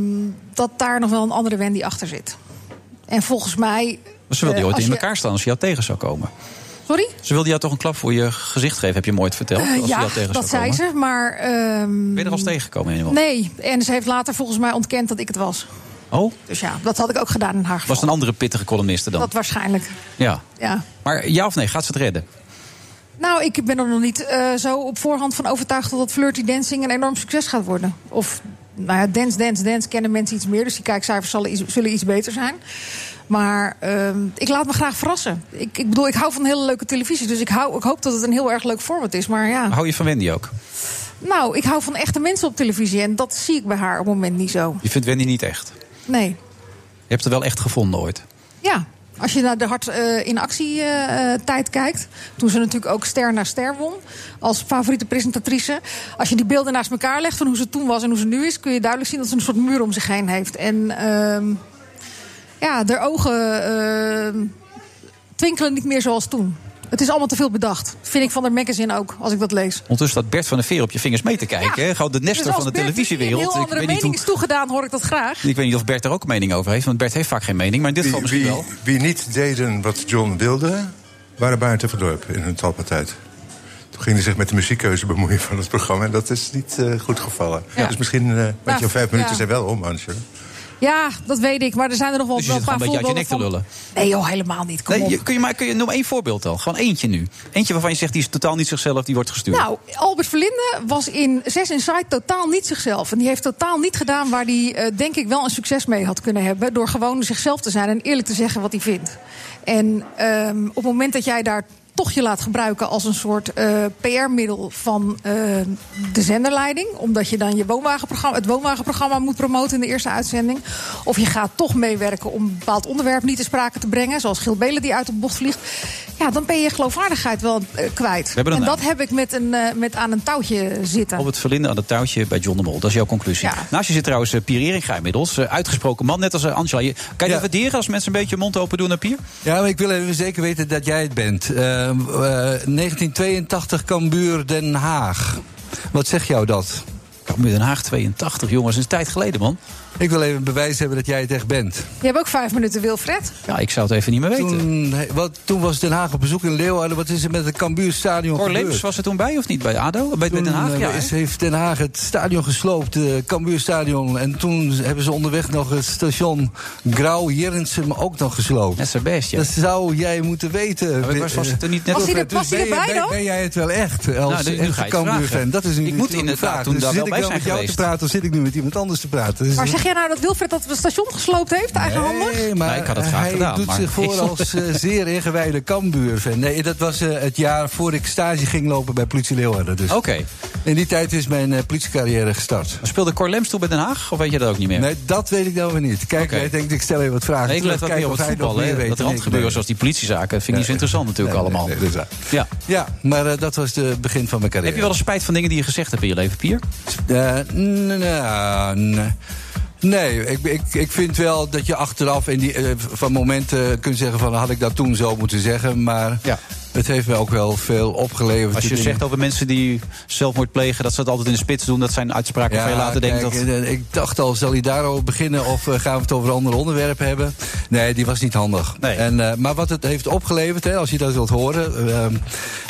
dat daar nog wel een andere Wendy achter zit. En volgens mij. Maar Ze wilde eh, je ooit als in je- elkaar staan als je jou tegen zou komen. Sorry? Ze wilde jou toch een klap voor je gezicht geven, heb je hem ooit verteld? Eh, als je ja, jou tegen dat zou zei komen. ze, maar. ehm, Ben je er al eens tegengekomen? Helemaal? nee, en ze heeft later volgens mij ontkend dat ik het was. Oh, Dus ja, dat had ik ook gedaan in haar geval. was het een andere pittige columniste dan? Dat waarschijnlijk. Ja. Ja. Maar ja of nee, gaat ze het redden? Nou, ik ben er nog niet eh, zo op voorhand van overtuigd dat flirty dancing een enorm succes gaat worden. Of, nou ja, dance, dance, dance kennen mensen iets meer, dus die kijkcijfers zullen iets, zullen iets beter zijn. Maar ehm, ik laat me graag verrassen. Ik, ik bedoel, ik hou van hele leuke televisie, dus ik, hou, ik hoop dat het een heel erg leuk format is. Maar ja, Hou je van Wendy ook? nou, ik hou van echte mensen op televisie en dat zie ik bij haar op het moment niet zo. Je vindt Wendy niet echt. Nee. Je hebt het wel echt gevonden ooit. Ja, als je naar de hard eh, in actie eh, eh, tijd kijkt. Toen ze natuurlijk ook ster naar ster won. Als favoriete presentatrice. Als je die beelden naast elkaar legt van hoe ze toen was en hoe ze nu is. kun je duidelijk zien dat ze een soort muur om zich heen heeft. En ehm, ja, haar ogen ehm, twinkelen eh, niet meer zoals toen. Het is allemaal te veel bedacht. Vind ik van de magazine ook, als ik dat lees. Ondertussen staat Bert van der Veer op je vingers mee te kijken. hè? Gewoon de nester Dus als van de Bert televisiewereld. Een heel ik, andere weet niet mening hoe, is toegedaan, hoor ik dat graag. ik weet niet of Bert er ook een mening over heeft. Want Bert heeft vaak geen mening. Maar in dit geval misschien wie, wel. wie niet deden wat John wilde, waren buiten van dorp in hun talpartij. Toen ging hij zich met de muziekkeuze bemoeien van het programma. En dat is niet eh, goed gevallen. Ja. Dus misschien, eh want Nou, jouw vijf ja. minuten zijn wel om, Hansje. Ja, dat weet ik. Maar er zijn er nog wel, Dus je wel zit een gewoon paar een beetje uit je nek te voorbeelden lullen. van- Nee joh, helemaal niet. Kom Nee, op. je, kun je, maar kun je, noem één voorbeeld dan. Gewoon eentje nu. Eentje waarvan je zegt die is totaal niet zichzelf, die wordt gestuurd. Nou, Albert Verlinde was in Zes Inside totaal niet zichzelf. En die heeft totaal niet gedaan waar hij, eh, denk ik, wel een succes mee had kunnen hebben. Door gewoon zichzelf te zijn en eerlijk te zeggen wat hij vindt. En ehm, op het moment dat jij daar toch je laat gebruiken als een soort eh, PR-middel van eh, de zenderleiding... omdat je dan je woonwagenprogramma, het woonwagenprogramma moet promoten in de eerste uitzending... of je gaat toch meewerken om een bepaald onderwerp niet te sprake te brengen... zoals Gil Belen die uit de bocht vliegt... ja, dan ben je je geloofwaardigheid wel eh, kwijt. We hebben een en naam. dat heb ik met, een, eh, met aan een touwtje zitten. Op het verlinden aan het touwtje bij John de Mol. Dat is jouw conclusie. Naast je zit trouwens eh, Pier Eringa inmiddels. Eh, Uitgesproken man, net als eh, Angela. Je, kan je dat waarderen als mensen een beetje hun mond open doen eh, naar Pier? Ja, maar ik wil even zeker weten dat jij het bent. Eh, eh, 1982 Cambuur Den Haag. Wat zegt jou dat? Cambuur Den Haag 82, jongens. Dat is een tijd geleden, man. Ik wil even bewijs hebben dat jij het echt bent. Je hebt ook vijf minuten, Wilfred. Ja, ik zou het even niet meer weten. Toen, he- wat, toen was Den Haag op bezoek in Leeuwarden. Wat is er met het Cambuurstadion Cor gebeurd? Leemers was er toen bij of niet? Bij ADO? Bij, bij Toen, Den Haag? eh, Ja, is, hè? heeft Den Haag het stadion gesloopt, het Cambuurstadion. En toen hebben ze onderweg nog het station Grauw-Jerensum ook nog gesloopt. Dat is zijn best, ja. Dat zou jij moeten weten. Maar ik was- was het er niet net- Was hij er- Eh, Dus was hij ben je- erbij ben- dan? Ben jij het wel echt, als Nou, nu- nu ga echte je het vragen. Cambuur-fan? Dat is nu Ik moet natuurlijk de inderdaad vraag. toen dus daar zit wel ik bij nou met zijn jou geweest. te praten of zit ik nu met iemand anders te praten? Dus Maar dat- zeg jij nou dat Wilfred dat station gesloopt heeft, eigenhandig? Nee, maar eh, ik had het graag hij gedaan, doet maar- zich voor als eh, zeer ingewijde Cambuur-fan. Nee, dat was eh, het jaar voor ik stage ging lopen bij politie Leeuwarden. Dus. Oké. In die tijd is mijn eh, politiecarrière gestart. Speelde Cor Leemers toen bij Den Haag? Of weet je dat ook niet meer? Nee, dat weet ik nou weer niet. Kijk, Oké. ik denk ik stel even wat vragen. Nee, ik let terug, wat meer kijken op of het hij nog voetbal. meer hè. weet. Dat Nee, nee, randgebeuren nee. zoals die politiezaken vind ik niet zo interessant natuurlijk allemaal. ja. Ja, maar eh, dat was het begin van mijn carrière. Heb je wel eens spijt van dingen die je gezegd hebt in je leven, Pier? Eh, n- nou, n- Nee, ik, ik, ik vind wel dat je achteraf in die, eh, van momenten kunt zeggen van had ik dat toen zo moeten zeggen, maar het heeft me ook wel veel opgeleverd. Als je die dingen. zegt over mensen die zelfmoord plegen, dat ze dat altijd in de spits doen, dat zijn uitspraken waarvan je later denkt kijk, dat. eh, Ik dacht al, zal hij daarover beginnen of eh, gaan we het over een ander onderwerp hebben? Nee, die was niet handig. En, eh, maar wat het heeft opgeleverd, hè, als je dat wilt horen. eh,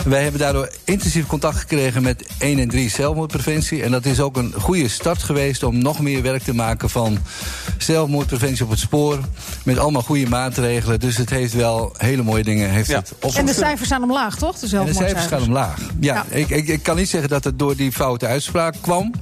wij hebben daardoor intensief contact gekregen met 1 en 3 zelfmoordpreventie. En dat is ook een goede start geweest om nog meer werk te maken van zelfmoordpreventie op het spoor. Met allemaal goede maatregelen. Dus het heeft wel hele mooie dingen. Heeft het En de opgeleverd. cijfers zijn omlaag, toch? De En de cijfers gaan omlaag. Ja, Ik, ik, ik kan niet zeggen dat het door die foute uitspraak kwam.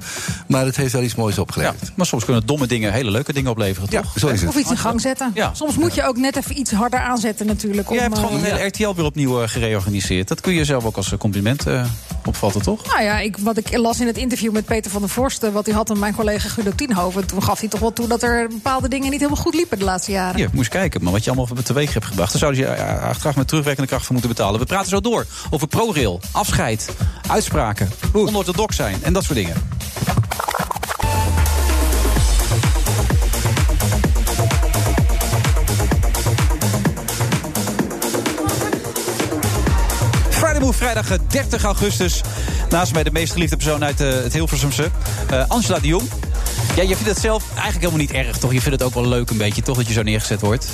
Maar het heeft wel iets moois opgeleverd. Maar soms kunnen domme dingen hele leuke dingen opleveren, toch? zo is het. Of iets in gang zetten. Soms moet je ook net even iets harder aanzetten natuurlijk. Je om, hebt gewoon het eh, hele RTL weer opnieuw eh, gereorganiseerd. Dat kun je zelf ook als eh, compliment eh, opvatten, toch? Nou ja, ik, wat ik las in het interview met Peter van der Vorsten... wat hij had aan mijn collega Guido Tienhoven... toen gaf hij toch wel toe dat er bepaalde dingen niet helemaal goed liepen de laatste jaren. Hier, moest kijken, maar wat je allemaal teweeg hebt gebracht. Daar zouden ze je eh, achteraf met terugwerkende kracht voor moeten betalen. We praten zo door over ProRail, afscheid, uitspraken, onorthodox zijn en dat soort dingen. Friday Move, vrijdag eh, 30 augustus. Naast mij de meest geliefde persoon uit eh, het Hilversumse, eh, Angela de Jong. Ja, je vindt het zelf eigenlijk helemaal niet erg, toch? Je vindt het ook wel leuk een beetje, toch? Dat je zo neergezet wordt.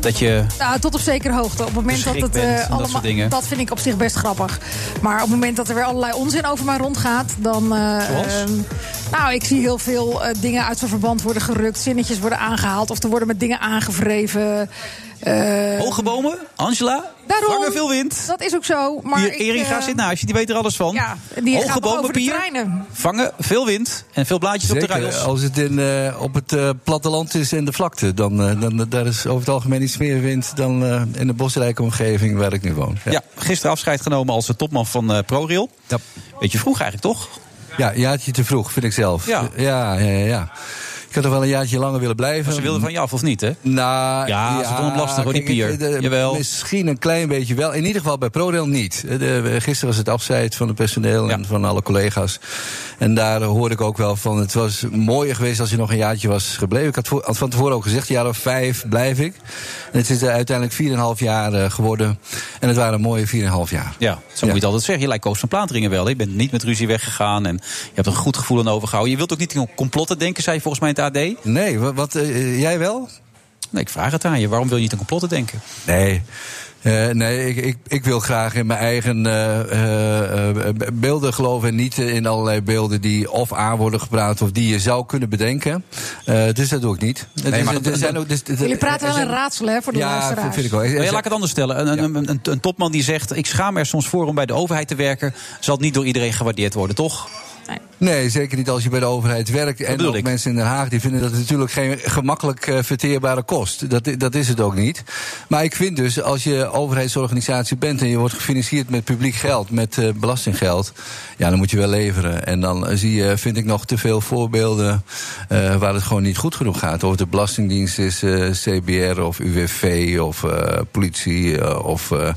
Dat je... Nou, tot op zekere hoogte. Op het moment dat Verschrikt het bent en eh, dat soort allemaal. dingen. dat vind ik op zich best grappig. Maar op het moment dat er weer allerlei onzin over mij rondgaat, dan. eh, Zoals? ehm, nou, ik zie heel veel eh, dingen uit zijn verband worden gerukt, zinnetjes worden aangehaald of er worden met dingen aangevreven. Eh, Hoge bomen, Angela, Daarom, vangen veel wind. Dat is ook zo. Maar Hier, ik, Eringa eh, zit naast je, die weet er alles van. Ja, die Hoge gaat nog bomen, over de Pier. treinen. Vangen veel wind en veel blaadjes op de Zeker, rails. als het in, eh, op het eh, platteland is en de vlakte, dan, eh, dan daar is over het algemeen iets meer wind dan eh, in de bosrijke omgeving waar ik nu woon. Ja, gisteren afscheid genomen als eh, topman van eh, ProRail. Beetje vroeg eigenlijk, toch? Ja, jaartje te vroeg, vind ik zelf. Ja. ja, ja. ja, ja. Ik had toch wel een jaartje langer willen blijven. Maar ze wilden van je af, of niet, hè? Nou, Ja, ze vonden hem lastig, hoor, die kijk, pier. ik- de- Jawel. Misschien een klein beetje wel. In ieder geval bij ProRail niet. De- de- gisteren was het afscheid van het personeel en van alle collega's. En daar hoorde ik ook wel van... het was mooier geweest als je nog een jaartje was gebleven. Ik had, voor- had van tevoren ook gezegd, een jaar of vijf blijf ik. En het is eh, uiteindelijk 4,5 jaar eh, geworden. En het waren mooie 4,5 jaar. Ja, zo moet je het altijd zeggen. Je lijkt Koos van Plaateringen wel. hè? Je bent niet met ruzie weggegaan en je hebt een goed gevoel aan overgehouden. Je wilt ook niet in complotten denken, zei je volgens mij in het AD. Nee, wat, eh, jij wel? Nee, ik vraag het aan je. Waarom wil je niet in complotten denken? Nee. Eh, nee, ik, ik, ik wil graag in mijn eigen eh, eh, eh, be- beelden geloven. En niet eh, in allerlei beelden die of aan worden gepraat. of die je zou kunnen bedenken. Eh, dus dat doe ik niet. Nee, Dus, maar eh, dat- er zijn ook- dus- Jullie praten er wel zijn- een raadsel hè, voor de Ja, luisteraars. vind ik wel. Er Maar ja, zijn- laat ik het anders stellen. Een, een, een, een topman die zegt: Ik schaam me er soms voor om bij de overheid te werken, zal niet door iedereen gewaardeerd worden, toch? Nee, zeker niet als je bij de overheid werkt. En bedoel ook ik. mensen in Den Haag die vinden dat het natuurlijk geen gemakkelijk eh, verteerbare kost. Dat, i- dat is het ook niet. Maar ik vind dus, als je overheidsorganisatie bent en je wordt gefinancierd met publiek geld, met eh, belastinggeld, ja, dan moet je wel leveren. En dan eh, zie je, vind ik nog te veel voorbeelden eh, waar het gewoon niet goed genoeg gaat. Of de Belastingdienst is eh, CBR of UWV of eh, politie eh, of. eh,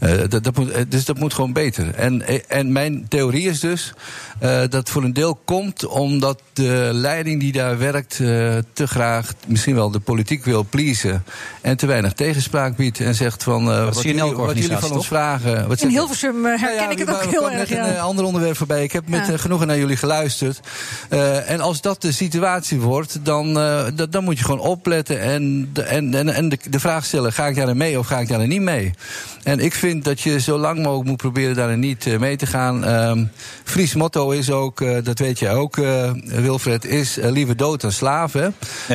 eh, dat, dat moet, eh, dus dat moet gewoon beter. En, eh, en mijn theorie is dus eh, dat voor een deel komt omdat de leiding die daar werkt eh, te graag misschien wel de politiek wil pleasen. En te weinig tegenspraak biedt en zegt van eh, wat, zie je in jullie, elke wat jullie van organisatie, ons vragen. Wat In zegt- Hilversum eh, herken ik het ook we heel kwamen erg. net een eh, Ja. ander onderwerp voorbij. Ik heb met Ja. eh, genoegen naar jullie geluisterd. Eh, en als dat de situatie wordt, dan, eh, dat- dan moet je gewoon opletten en, de- en, en, en de, de vraag stellen: ga ik daarin mee of ga ik daarin niet mee? En ik vind dat je zo lang mogelijk moet proberen daarin niet eh, mee te gaan. Ehm Fries motto is ook, eh, dat weet jij ook, eh, Wilfred, is eh, liever dood dan slaaf. Hè?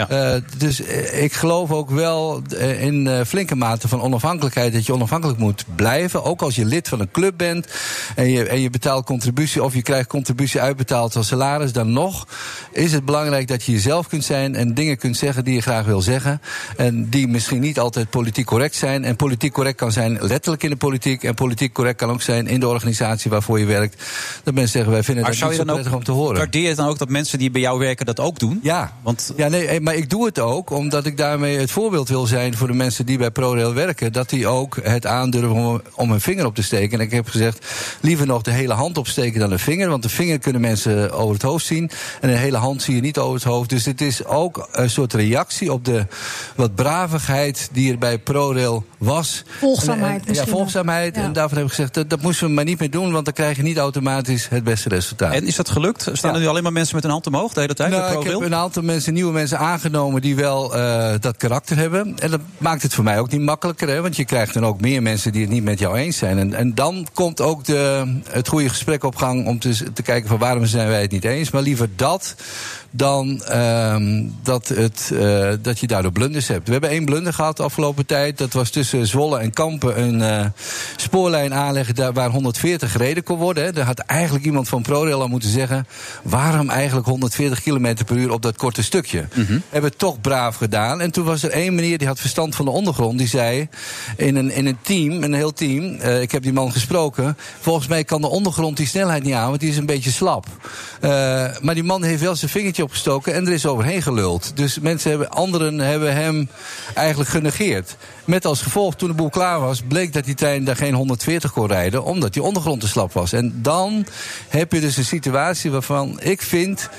Eh, dus eh, ik geloof ook wel eh, in eh, flinke mate van onafhankelijkheid. Dat je onafhankelijk moet blijven. Ook als je lid van een club bent. En je, en je betaalt contributie. Of je krijgt contributie uitbetaald als salaris. Dan nog is het belangrijk dat je jezelf kunt zijn. En dingen kunt zeggen die je graag wil zeggen. En die misschien niet altijd politiek correct zijn. En politiek correct kan zijn letterlijk in de politiek. En politiek correct kan ook zijn in de organisatie waarvoor je werkt. Dat mensen zeggen wij vinden Maar dat zou niet je zo dan prettig ook om te horen. waardeer je het dan ook dat mensen die bij jou werken dat ook doen? Ja, want ja nee, eh, maar ik doe het ook omdat ik daarmee het voorbeeld wil zijn voor de mensen die bij ProRail werken. Dat die ook het aandurven om, om hun vinger op te steken. En ik heb gezegd, liever nog de hele hand opsteken dan de vinger. Want de vinger kunnen mensen over het hoofd zien. En de hele hand zie je niet over het hoofd. Dus het is ook een soort reactie op de wat bravigheid die er bij ProRail was. Volgzaamheid En- en- Ja, misschien wel. volgzaamheid. Ja. En daarvan heb ik gezegd, dat, dat moesten we maar niet meer doen. Want dan krijg je niet automatisch het beste resultaat. En is dat gelukt? Staan er nu alleen maar mensen met een hand omhoog de hele tijd? bij Nou, ik ProRail? heb een aantal mensen, nieuwe mensen aangenomen die wel eh, dat karakter hebben. En dat maakt het voor mij ook niet makkelijker. Hè? Want je krijgt dan ook meer mensen die het niet met jou eens zijn. En, en dan komt ook de, het goede gesprek op gang om te, te kijken van waarom zijn wij het niet eens. Maar liever dat dan ehm, dat, het, eh, dat je daardoor blunders hebt. We hebben één blunder gehad de afgelopen tijd. Dat was tussen Zwolle en Kampen een eh, spoorlijn aanleggen daar waar 140 gereden kon worden. Hè. Daar had eigenlijk iemand van ProRail al moeten zeggen... waarom eigenlijk 140 km per uur op dat korte stukje? Mhm. Hebben we toch braaf gedaan. En toen was er één meneer die had verstand van de ondergrond. Die zei in een, in een team, een heel team... eh, ik heb die man gesproken... volgens mij kan de ondergrond die snelheid niet aan... want die is een beetje slap. Eh, maar die man heeft wel zijn vingertje opgestoken... en er is overheen geluld. Dus mensen hebben, anderen hebben hem eigenlijk genegeerd. Met als gevolg, toen de boel klaar was, bleek dat die trein daar geen 140 kon rijden, omdat die ondergrond te slap was. En dan heb je dus een situatie waarvan ik vind.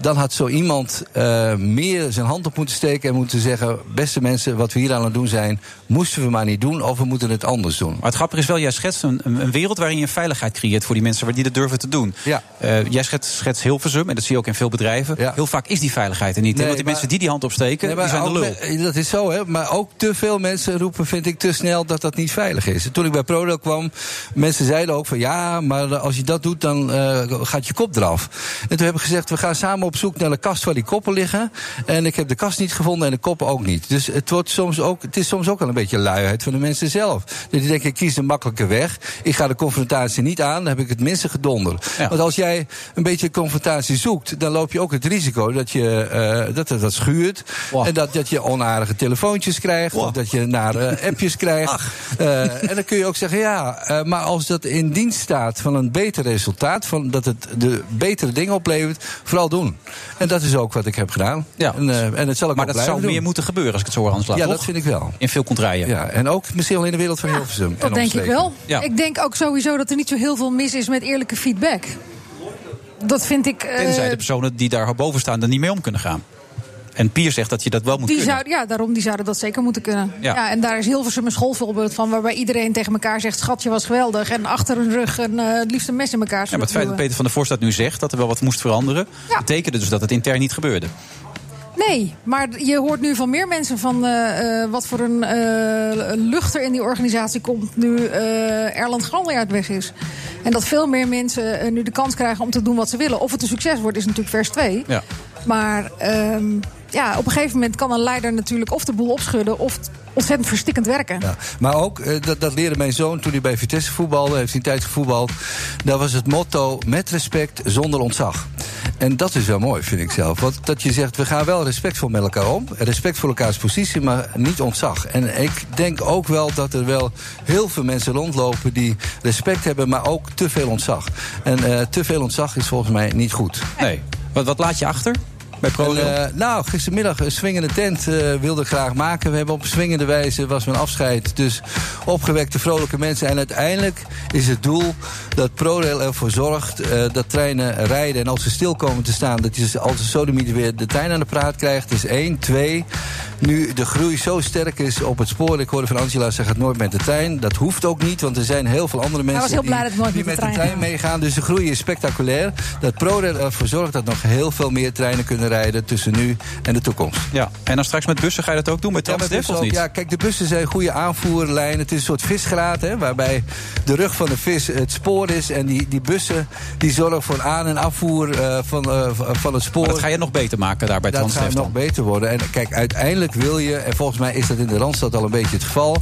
Dan had zo iemand eh, meer zijn hand op moeten steken en moeten zeggen: beste mensen, wat we hier aan het doen zijn, moesten we maar niet doen of we moeten het anders doen. Maar het grappige is wel, jij schetst een, een een wereld waarin je veiligheid creëert voor die mensen die dat durven te doen. Ja. Eh, jij schetst, schetst Hilversum, en dat zie je ook in veel bedrijven. Heel vaak is die veiligheid er niet. hè, Nee, want die maar- mensen die die hand opsteken, Nee, die zijn de ook lul. me- eh, dat is zo, hè. Maar ook te veel mensen roepen, vind ik, te snel dat dat niet veilig is. Toen ik bij ProRail kwam, mensen zeiden ook van... ja, maar als je dat doet, dan eh, gaat je kop eraf. En toen heb ik gezegd, we gaan samen op zoek naar de kast waar die koppen liggen. En ik heb de kast niet gevonden en de koppen ook niet. Dus het, wordt soms ook, het is soms ook wel een beetje luiheid van de mensen zelf. Dat die denken, ik kies de makkelijke weg. Ik ga de confrontatie niet aan, dan heb ik het minste gedonder. Want als jij een beetje confrontatie zoekt... dan loop je ook het risico dat je, eh, dat, het dat schuurt. En dat, dat je onaardige telefoontjes krijgt. Of dat je nare appjes krijgt. Eh, en dan kun je ook zeggen, ja, eh, maar als dat in dienst staat van een beter resultaat... Van dat het de betere dingen oplevert, vooral doen. doen. En dat is ook wat ik heb gedaan. Ja. En, eh, en het zal ik ook Maar dat blijven zou doen. meer moeten gebeuren, als ik het zo hoor, Hans Laat, Ja, toch? dat vind ik wel. In veel contraien. Ja, en ook misschien wel in de wereld van Hilversum. en Dat denk ik omstreken. wel. Ja. Ik denk ook sowieso dat er niet zo heel veel mis is met eerlijke feedback. Dat vind ik. eh, Tenzij de personen die daar boven staan er niet mee om kunnen gaan. En Pier zegt dat je dat wel moet die kunnen. zouden, ja, daarom die zouden dat zeker moeten kunnen. Ja. Ja. en daar is Hilversum een schoolvoorbeeld van, waarbij iedereen tegen elkaar zegt: schat, je was geweldig. En achter hun rug een, eh, het liefst een mes in elkaar. Ja, maar het feit dat duwen. Peter van der Vorst dat nu zegt, dat er wel wat moest veranderen... betekende dus dat het intern niet gebeurde. Nee, maar je hoort nu van meer mensen van eh, eh, wat voor een eh, lucht er in die organisatie komt nu eh, Erland Granjaard weg is. En dat veel meer mensen eh, nu de kans krijgen om te doen wat ze willen. Of het een succes wordt, is natuurlijk vers 2. Ja. Maar ehm, ja, op een gegeven moment kan een leider natuurlijk of de boel opschudden of t- ontzettend verstikkend werken. Ja. Maar ook, eh, dat, dat leerde mijn zoon toen hij bij Vitesse voetbalde. Heeft hij een tijd gevoetbald. Daar was het motto met respect zonder ontzag. En dat is wel mooi, vind ik zelf. Want dat je zegt, we gaan wel respectvol met elkaar om. Respect voor elkaars positie, maar niet ontzag. En ik denk ook wel dat er wel heel veel mensen rondlopen... die respect hebben, maar ook te veel ontzag. En eh, te veel ontzag is volgens mij niet goed. Nee. Wat, wat laat je achter? Bij ProRail? En, eh, nou, gistermiddag een swingende tent eh, wilde ik graag maken. We hebben op swingende wijze was mijn afscheid. Dus opgewekte, vrolijke mensen. En uiteindelijk is het doel dat ProRail ervoor zorgt eh, dat treinen rijden. En als ze stil komen te staan, dat je ze als een sodemieter weer de trein aan de praat krijgt. Dus één, twee. Nu de groei zo sterk is op het spoor. Ik hoorde van Angela, ze gaat nooit met de trein. Dat hoeft ook niet, want er zijn heel veel andere Hij mensen was heel die, blij dat het nooit die met de met de trein trein ging. meegaan. Dus de groei is spectaculair. Dat ProRail ervoor zorgt dat nog heel veel meer treinen kunnen rijden tussen nu en de toekomst. Ja. En dan straks met bussen ga je dat ook doen? Met Ja, maar Transdev bussen of ook. niet? Ja, kijk, de bussen zijn goede aanvoerlijnen. Het is een soort visgraat, hè, waarbij de rug van de vis het spoor is. En die, die bussen die zorgen voor aan- en afvoer eh, van, eh, van het spoor. Maar dat ga je nog beter maken daar bij dat Transdev gaat dan. nog beter worden. En kijk, uiteindelijk wil je, en volgens mij is dat in de Randstad al een beetje het geval...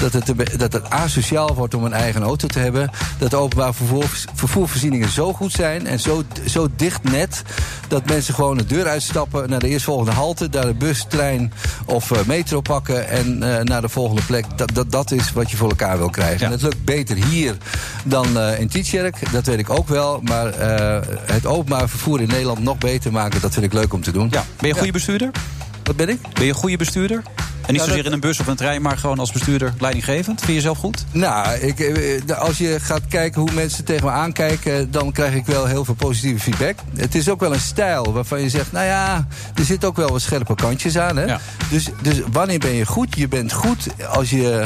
dat het, een be- dat het asociaal wordt om een eigen auto te hebben. Dat de openbaar vervoer, vervoervoorzieningen zo goed zijn en zo, zo dicht net... dat mensen gewoon de deur uitstappen naar de eerstvolgende halte... daar de bus, trein of eh, metro pakken en eh, naar de volgende plek. Dat, dat, dat is wat je voor elkaar wil krijgen. En het lukt beter hier dan eh, in Tietjerk, dat weet ik ook wel. Maar eh, het openbaar vervoer in Nederland nog beter maken... dat vind ik leuk om te doen. Ja. Ben je een goede bestuurder? Wat ben ik? Ben je een goede bestuurder? En niet Ja, zozeer dat- in een bus of een trein, maar gewoon als bestuurder leidinggevend? Vind je jezelf goed? Nou, ik, eh, als je gaat kijken hoe mensen tegen me aankijken, dan krijg ik wel heel veel positieve feedback. Het is ook wel een stijl waarvan je zegt, nou ja, er zitten ook wel wat scherpe kantjes aan. Hè? Dus, dus wanneer ben je goed? Je bent goed als je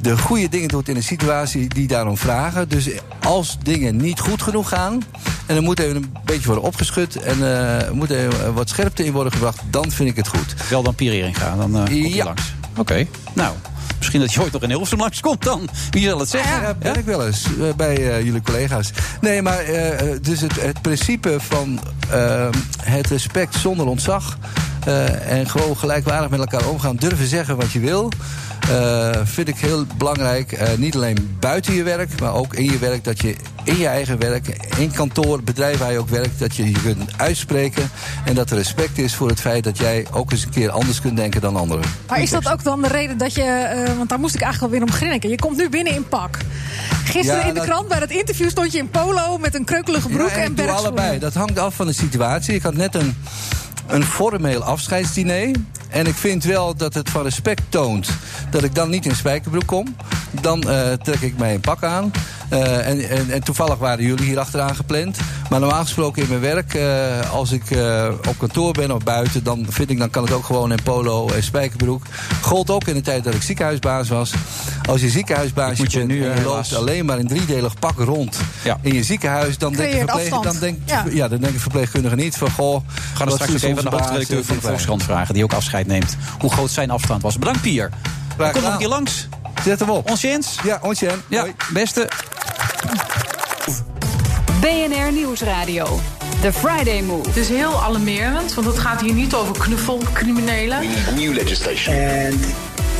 de goede dingen doet in een situatie die daarom vragen. Dus als dingen niet goed genoeg gaan, en er moet even een beetje worden opgeschud en eh, er moet even wat scherpte in worden gebracht, dan vind ik het goed. Wel dan pirering gaan, dan eh, komt hij Ja. langs. Oké. Nou, misschien dat je ooit nog in Hilversum langskomt dan. Wie zal het zeggen? Ja, ben ik wel eens eh, bij eh, jullie collega's. Nee, maar eh, eh, dus het, het principe van eh, het respect zonder ontzag. eh, en gewoon gelijkwaardig met elkaar omgaan. Durven zeggen wat je wil. eh, vind ik heel belangrijk. Eh, niet alleen buiten je werk, maar ook in je werk. Dat je in je eigen werk, in kantoor, bedrijf waar je ook werkt. Dat je je kunt uitspreken. En dat er respect is voor het feit dat jij ook eens een keer anders kunt denken dan anderen. Maar is dat ook dan de reden dat je, eh, want daar moest ik eigenlijk alweer om grinniken. Je komt nu binnen in pak. Gisteren Ja, in de dat- krant bij dat interview stond je in polo met een kreukelige broek Ja, en ik doe bergschoenen. allebei. Dat hangt af van de situatie. Ik had net een, een formeel afscheidsdiner. En ik vind wel dat het van respect toont dat ik dan niet in spijkerbroek kom. Dan eh, trek ik mij een pak aan. Eh, en, en, en toevallig waren jullie hier achteraan gepland. Maar normaal gesproken in mijn werk, eh, als ik eh, op kantoor ben of buiten, dan vind ik dan kan het ook gewoon in polo en spijkerbroek. Gold ook in de tijd dat ik ziekenhuisbaas was. Als je ziekenhuisbaas moet je bent nu, en eh, je helaas- loopt alleen maar in driedelig pak rond in je ziekenhuis, dan denk, je Creëert verpleeg, afstand. dan, denkt, Ja. ja. dan denkt de verpleegkundige niet van... Goh, We gaan er straks ook even aan de hoofdredacteur van de Volkskrant vragen... die ook afscheid neemt. Hoe groot zijn afstand was. Bedankt, Pier. Kom nog een gedaan. keer langs. Zet hem op. Ons Jens. Ja, ons Jens. Ja, beste. BNR Nieuwsradio. The Friday Move. Het is heel alarmerend, want het gaat hier niet over knuffelcriminelen. We need new legislation. And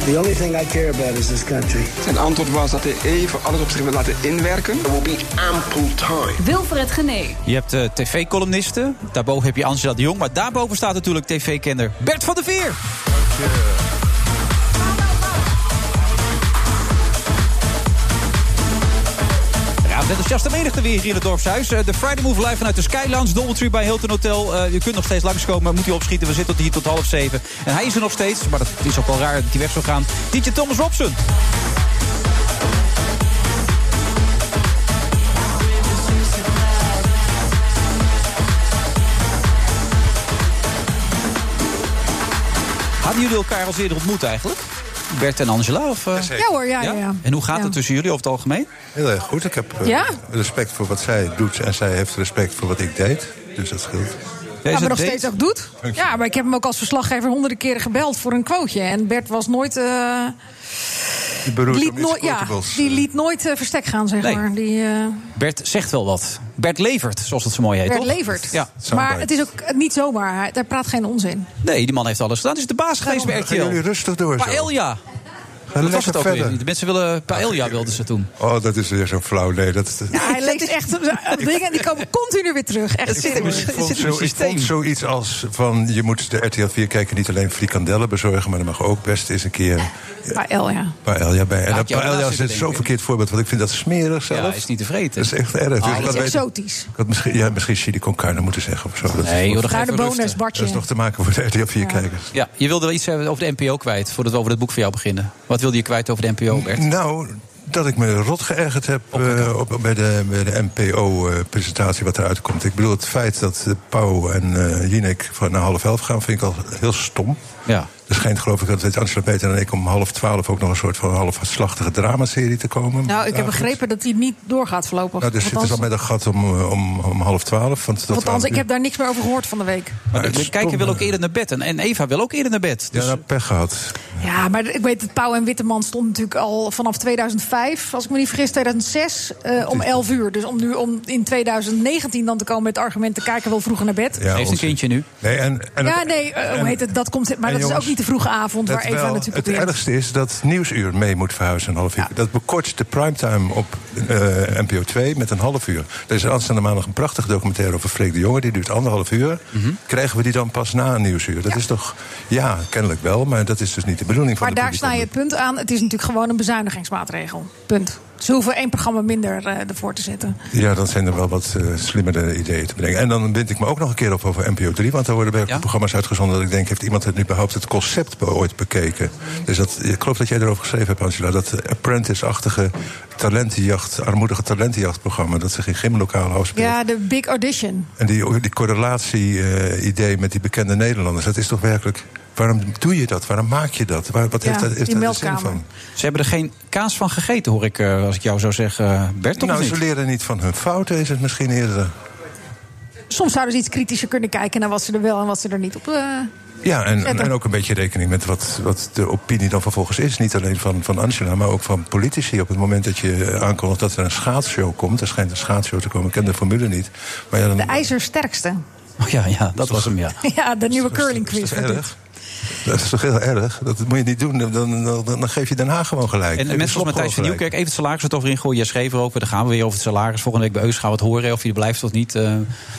the only thing I care about is this country. Zijn antwoord was dat hij even alles op zich wil laten inwerken. There will be ample time. Wilfred Genee. Je hebt eh, tv-columnisten. Daarboven heb je Angela de Jong. Maar daarboven staat natuurlijk tv-kenner Bert van der Veer. Raad enthousiaste menigte weer hier in het dorpshuis. Eh, De Friday Move live vanuit de Skylands, Doubletree bij Hilton Hotel. Eh, je kunt nog steeds langskomen, moet u opschieten. We zitten tot hier tot half zeven. En hij is er nog steeds, maar dat is ook wel raar dat hij weg zou gaan. DJ Thomas Robson. Hadden jullie elkaar al eerder ontmoet eigenlijk? Bert en Angela? Of, eh? Ja hoor, ja, ja, ja. En hoe gaat Ja. het tussen jullie over het algemeen? Heel erg goed. Ik heb eh, Ja? Mhm. respect voor wat zij doet en zij heeft respect voor wat ik deed. Dus dat scheelt. Ja, maar nog steeds ook doet. Ja, maar ik heb hem ook als verslaggever honderden keren gebeld voor een quoteje. En Bert was nooit. eh, Die beroert liet om iets nooit- ja, quotables. die liet nooit eh, verstek gaan, zeg Nee. maar. Die, eh, Bert zegt wel wat. Bert levert, zoals dat zo mooi heet. Bert toch? levert. Ja. maar het is ook eh, niet zomaar. Hij, daar praat geen onzin. Nee, die man heeft alles gedaan. Hij is de baas geweest bij RTL. Gaan jullie rustig door zo. Paella. Dat was lekker het ook verder. weer. De mensen willen... Paella wilden ze toen. Oh, dat is weer zo'n flauw. Nee, dat is... Ja, hij leest echt zo- dingen en die komen continu weer terug. Echt zit hem- Ik zit vond, hem zo, in het ik vond systeem. zoiets als van je moet de RTL 4 kijken niet alleen frikandellen bezorgen, maar er mag ook best eens een keer Maar Ah, L, Oh ja. Bij Elja bij. En Ja, dat ik jou bij na Elja is zitten het zo'n denken. verkeerd voorbeeld, want ik vind dat smerig zelf. Ja, is niet tevreden. Dat is echt erg. Dus Ah, ik had dat is weten- exotisch. ik had misschien, ja, misschien chili con carne moeten zeggen of zo. Dat is- Nee, joh, dat Naar geeft de wel bonus, rust, hè. Bartje. dat is nog te maken voor de RTL 4 kijkers. Ja, je wilde wel iets hebben over de NPO kwijt... voordat we over dat boek van jou beginnen. Wat wilde je kwijt over de NPO, Bert? Nou, dat ik me rot geërgerd heb eh, op, bij de, bij de NPO-presentatie eh, wat eruit komt. Ik bedoel, het feit dat eh, Pauw en eh Jinek van naar half elf gaan, vind ik al heel stom. Ja. Er schijnt geloof ik dat weet Angela Peter en ik om half twaalf ook nog een soort van half slachtige dramaserie te komen. Nou, ik heb Avond. begrepen dat hij niet doorgaat voorlopig. Nou, dus zitten Althans- ze al met een gat om, eh, om, om half twaalf. Want dat Althans, waren- Nou, ik heb daar niks meer over gehoord van de week. Maar de- de kijker wil ook eerder naar bed. En, en Eva wil ook eerder naar bed. Dus eh. Ja, nou, pech gehad. Ja, maar ik weet dat Pauw en Witteman stond natuurlijk al vanaf 2005, als ik me niet vergis, 2006, eh, om 11 uur. Dus om nu om in 2019 dan te komen met het argument... de kijker wil vroeger naar bed. heeft een kindje nu. Nee, en, en ja, het- nee, eh, en- hoe heet het? Dat komt, maar en dat is jongens, ook niet de vroege avond waar het Eva wel- natuurlijk het probeert. ergste is dat Nieuwsuur mee moet verhuizen een half uur. Dat bekort de primetime op eh, NPO 2 met een half uur. Er is aanstaande maandag een prachtige documentaire over Freek de Jonge. Die duurt anderhalf uur. Mhm. Krijgen we die dan pas na een Nieuwsuur? Dat is toch... Ja, kennelijk wel, maar dat is dus niet de bedoeling van Maar de daar snij je het punt aan. Het is natuurlijk gewoon een bezuinigingsmaatregel. Punt. Ze hoeven één programma minder eh, ervoor te zetten. Ja, dan zijn er wel wat eh, slimmere ideeën te bedenken. En dan wind ik me ook nog een keer op over NPO 3. Want daar worden bij programma's uitgezonden. Dat ik denk, heeft iemand het nu überhaupt het concept be- ooit bekeken? Dus dat, ik geloof dat jij erover geschreven hebt, Angela. Dat eh, Apprentice-achtige talentenjacht, armoedige talentenjachtprogramma. Dat zich in gymlokalen afspeelt. Ja, de Big Audition. En die, die correlatie-idee met die bekende Nederlanders. Dat is toch werkelijk... Waarom doe je dat? Waarom maak je dat? Waar, wat Ja, heeft dat, heeft die dat de zin meldkamer. van? Ze hebben er geen kaas van gegeten, hoor ik, eh, als ik jou zou zeggen. eh, Bert, toch Nou, of ze niet? leren niet van hun fouten, is het misschien eerder. Soms zouden ze iets kritischer kunnen kijken naar wat ze er wel en wat ze er niet op. eh, Ja, en, zetten. en ook een beetje rekening met wat, wat de opinie dan vervolgens is. Niet alleen van, van Angela, maar ook van politici. Op het moment dat je eh, aankondigt dat er een schaatsshow komt... er schijnt een schaatsshow te komen, ik ken de formule niet. Maar ja, dan, de ijzersterkste. Oh, ja, ja, dat was hem, ja. Ja, de nieuwe curling quiz. dat is erg. Dat is toch heel erg? Dat moet je niet doen, dan, dan, dan, dan geef je Den Haag gewoon gelijk. En Geef je mensen Slob als Matthijs van gewoon Nieuwkerk, even het salaris wat over ingooien. Jij schreef er ook, daar gaan we weer over het salaris. Volgende week bij Eus gaan we het horen, of hij er blijft of niet. Eh,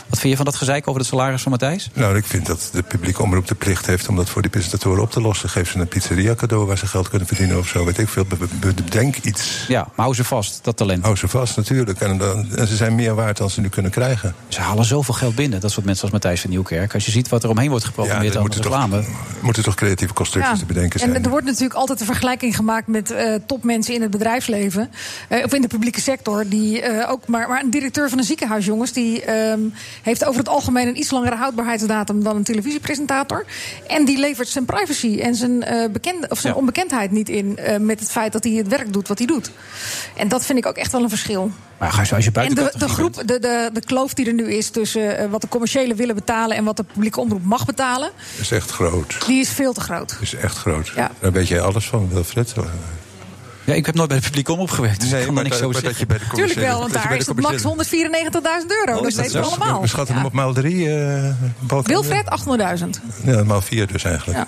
wat vind je van dat gezeik over het salaris van Matthijs? Nou, ik vind dat de publieke omroep de plicht heeft om dat voor die presentatoren op te lossen. Geef ze een pizzeria cadeau waar ze geld kunnen verdienen of zo. Weet ik veel. Be- be- be- Bedenk iets. Ja, maar hou ze vast, dat talent. Hou ze vast natuurlijk. En, dan, en ze zijn meer waard dan ze nu kunnen krijgen. Ze halen zoveel geld binnen, dat soort mensen als Matthijs van Nieuwkerk. Als je ziet wat er omheen wordt geprogrammeerd Ja, aan dan moeten reclame. Er moeten toch creatieve constructies te bedenken zijn. En er wordt natuurlijk altijd een vergelijking gemaakt met eh, topmensen in het bedrijfsleven. eh, of in de publieke sector. Die, eh, ook maar, maar een directeur van een ziekenhuis, jongens, die ehm, heeft over het algemeen een iets langere houdbaarheidsdatum dan een televisiepresentator. En die levert zijn privacy en zijn, eh, bekende, of zijn Ja. onbekendheid niet in. eh, met het feit dat hij het werk doet wat hij doet. En dat vind ik ook echt wel een verschil. Maar ga je, als je En buiten de, de groep, de, de, de kloof die er nu is tussen eh, wat de commerciële willen betalen en wat de publieke omroep mag betalen, is echt groot. die is veel te groot. is echt groot. Ja. Daar weet jij alles van, Wilfred. Ja, ik heb nooit bij het publiek omroep gewerkt, dus ik kan maar daar niks dat- over maar dat je zeggen. bij de Tuurlijk wel, want dat je daar bij is de het max 194.000 commerciële- euro. Dus Oh, dat is weten we zo? allemaal. We schatten hem op maal drie. eh, balken. Wilfred, 800.000. Ja, maal vier dus eigenlijk. Ja.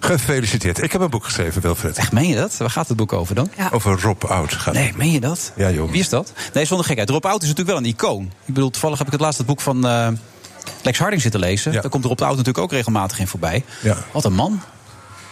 Gefeliciteerd. Ik heb een boek geschreven, Wilfred. Echt, meen je dat? Waar gaat het boek over dan? Ja. Over Rob Oud gaat Nee, meen je dat? Ja, joh. Wie is dat? Nee, zonder gekheid. Rob Oud is natuurlijk wel een icoon. Ik bedoel, toevallig heb ik het laatste boek van eh, Lex Harding zitten lezen. Daar komt Rob Oud natuurlijk ook regelmatig in voorbij. Ja. Wat een man.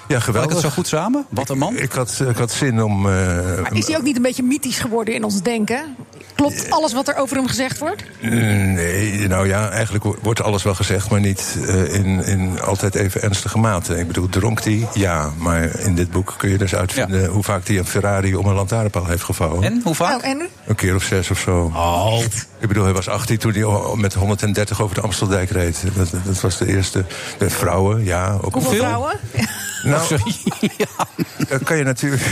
Ja, Had ik geweldig. het zo goed samen? Wat een man. Ik Oh, had, ik had zin om... eh, Maar is hij ook niet een beetje mythisch geworden in ons denken? Klopt alles wat er over hem gezegd wordt? Eh, Nee, nou ja, eigenlijk wo- wordt alles wel gezegd, maar niet eh, in, in altijd even ernstige mate. Ik bedoel, dronk hij? Ja, maar in dit boek kun je dus uitvinden hoe vaak hij een Ferrari om een lantaarnpaal heeft gevouwen. En hoe vaak? Een keer of zes of zo. Nou, Oh. Ik bedoel, hij was 18 toen hij o- met 130 over de Amsteldijk reed. Dat, dat was de eerste. De vrouwen, ja. Ook Hoeveel vrouwen? Nou, dat kan je natuurlijk.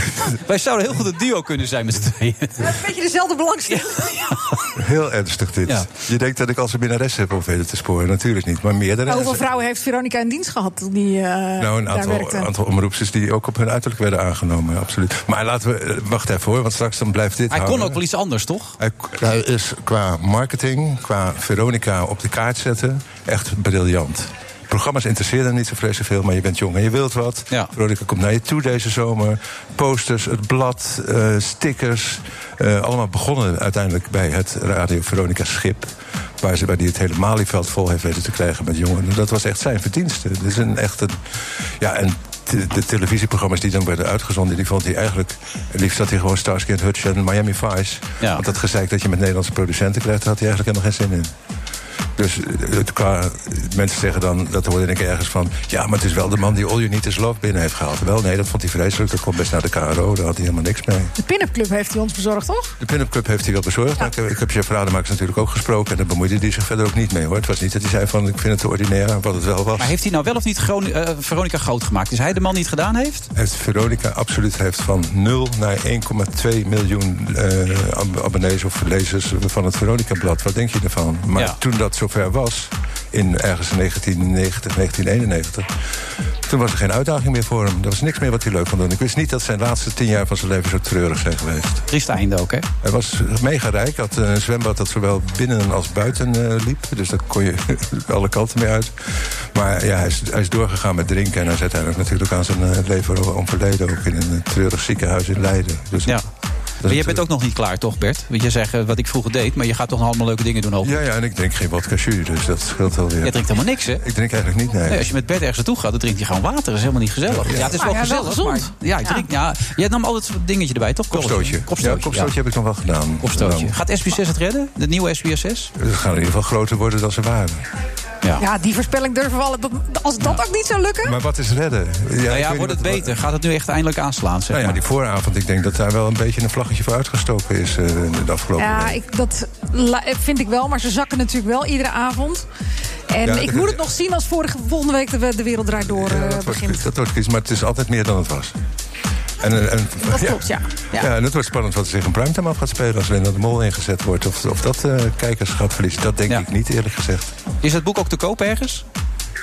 Wij zouden heel goed een duo kunnen zijn met z'n tweeën. Een beetje dezelfde belangstelling. Heel ernstig dit. Je denkt dat ik als een minnares heb om verder te sporen. Natuurlijk niet, maar meerdere. Hoeveel vrouwen heeft Veronica in dienst gehad toen die eh, Nou, een daar aantal, werkte? aantal omroepsters die ook op hun uiterlijk werden aangenomen, absoluut. Maar laten we, eh, wacht even hoor, want straks dan blijft dit Hij kon hangen. ook wel iets anders, toch? Hij, hij is qua marketing, qua Veronica op de kaart zetten, echt briljant. Programma's interesseren hem niet zo vreselijk veel, maar je bent jong en je wilt wat. Veronica komt naar je toe deze zomer. Posters, het blad, eh, stickers. eh, allemaal begonnen uiteindelijk bij het Radio Veronica Schip. Waar, ze, waar die het hele Malieveld vol heeft weten te krijgen met jongeren. Dat was echt zijn verdienste. Dit is een echt een. Ja, en de, de televisieprogramma's die dan werden uitgezonden, die vond hij eigenlijk. Het liefst had hij gewoon Starsky and Hutch en Miami Vice. Want dat gezeik dat je met Nederlandse producenten krijgt, daar had hij eigenlijk helemaal geen zin in. Dus eh, het, qua, mensen zeggen dan, dat hoorde ik ergens van... ja, maar het is wel de man die All You Need Is Love binnen heeft gehaald. Wel, nee, dat vond hij vreselijk. Dat kwam best naar de KRO, daar had hij helemaal niks mee. De pin-up club heeft hij ons bezorgd, toch? De pin-up cup heeft hij wel bezorgd. Maar ik, heb- ik heb Jeff Rademax natuurlijk ook gesproken... en daar bemoeide hij zich verder ook niet mee, hoor. Het was niet dat hij zei van, ik vind het te ordinair, wat het wel was. Maar heeft hij nou wel of niet Groni- eh, Veronica groot gemaakt? Is hij de man die het gedaan heeft? heeft Veronica absoluut heeft van 0 naar 1,2 miljoen eh, ab- abonnees of lezers van het Veronica-blad. Wat denk je ervan? Maar Ja. toen dat zover was, in ergens in 1990, 1991... toen was er geen uitdaging meer voor hem. Er was niks meer wat hij leuk kon doen. Ik wist niet dat zijn laatste tien jaar van zijn leven zo treurig zijn geweest. Trieste einde ook, hè? Hij was mega rijk, had een zwembad dat zowel binnen als buiten eh, liep. Dus daar kon je alle kanten mee uit. Maar ja, hij is, hij is doorgegaan met drinken. En hij is uiteindelijk natuurlijk aan zijn eh, leven overleden. Ook in een eh, treurig ziekenhuis in Leiden. Dus Ja. Maar jij bent ook nog niet klaar, toch, Bert? Want je zegt eh, wat ik vroeger deed, maar je gaat toch nog allemaal leuke dingen doen, hoop ik. Ja, ja, en ik drink geen vodka jus, dus dat scheelt wel weer. Jij drinkt helemaal niks, hè? Ik drink eigenlijk niet, nee. Nee, als je met Bert ergens naartoe gaat, dan drinkt hij gewoon water. Dat is helemaal niet gezellig. Ja, het is Maar wel ja, wel gezellig. gezond. maar- ja, ik drink, ja, jij nam altijd zo'n dingetje erbij, toch? Kopstootje. Kopstootje, Ja, kopstootje heb ik nog wel gedaan. Kopstootje. Dan- Gaat SBS6 het redden? De nieuwe SBS6? Ze gaan in ieder geval groter worden dan ze waren. Ja. Ja, die voorspelling durven we al. dat- Als dat ook niet zou lukken. Maar wat is redden? nou ik ja, weet wordt het niet wat- beter? Gaat het nu echt eindelijk aanslaan? Zeg Nou ja, maar. die vooravond, ik denk dat daar wel een beetje een vlaggetje voor uitgestoken is eh, de afgelopen Ja, ik, dat la- vind ik wel. Maar ze zakken natuurlijk wel iedere avond. En Ja, ik dat- moet het nog zien als vorige, volgende week de, de wereld draait door eh, dat, begint. wordt, dat wordt kies, maar het is altijd meer dan het was. En, eh, en, Dat klopt, ja. Ja. en het wordt spannend wat er zich in primetime af gaat spelen... als Linda de Mol ingezet wordt. Of, of dat eh, kijkerschap verliest, dat denk ik niet, eerlijk gezegd. Is dat boek ook te koop ergens?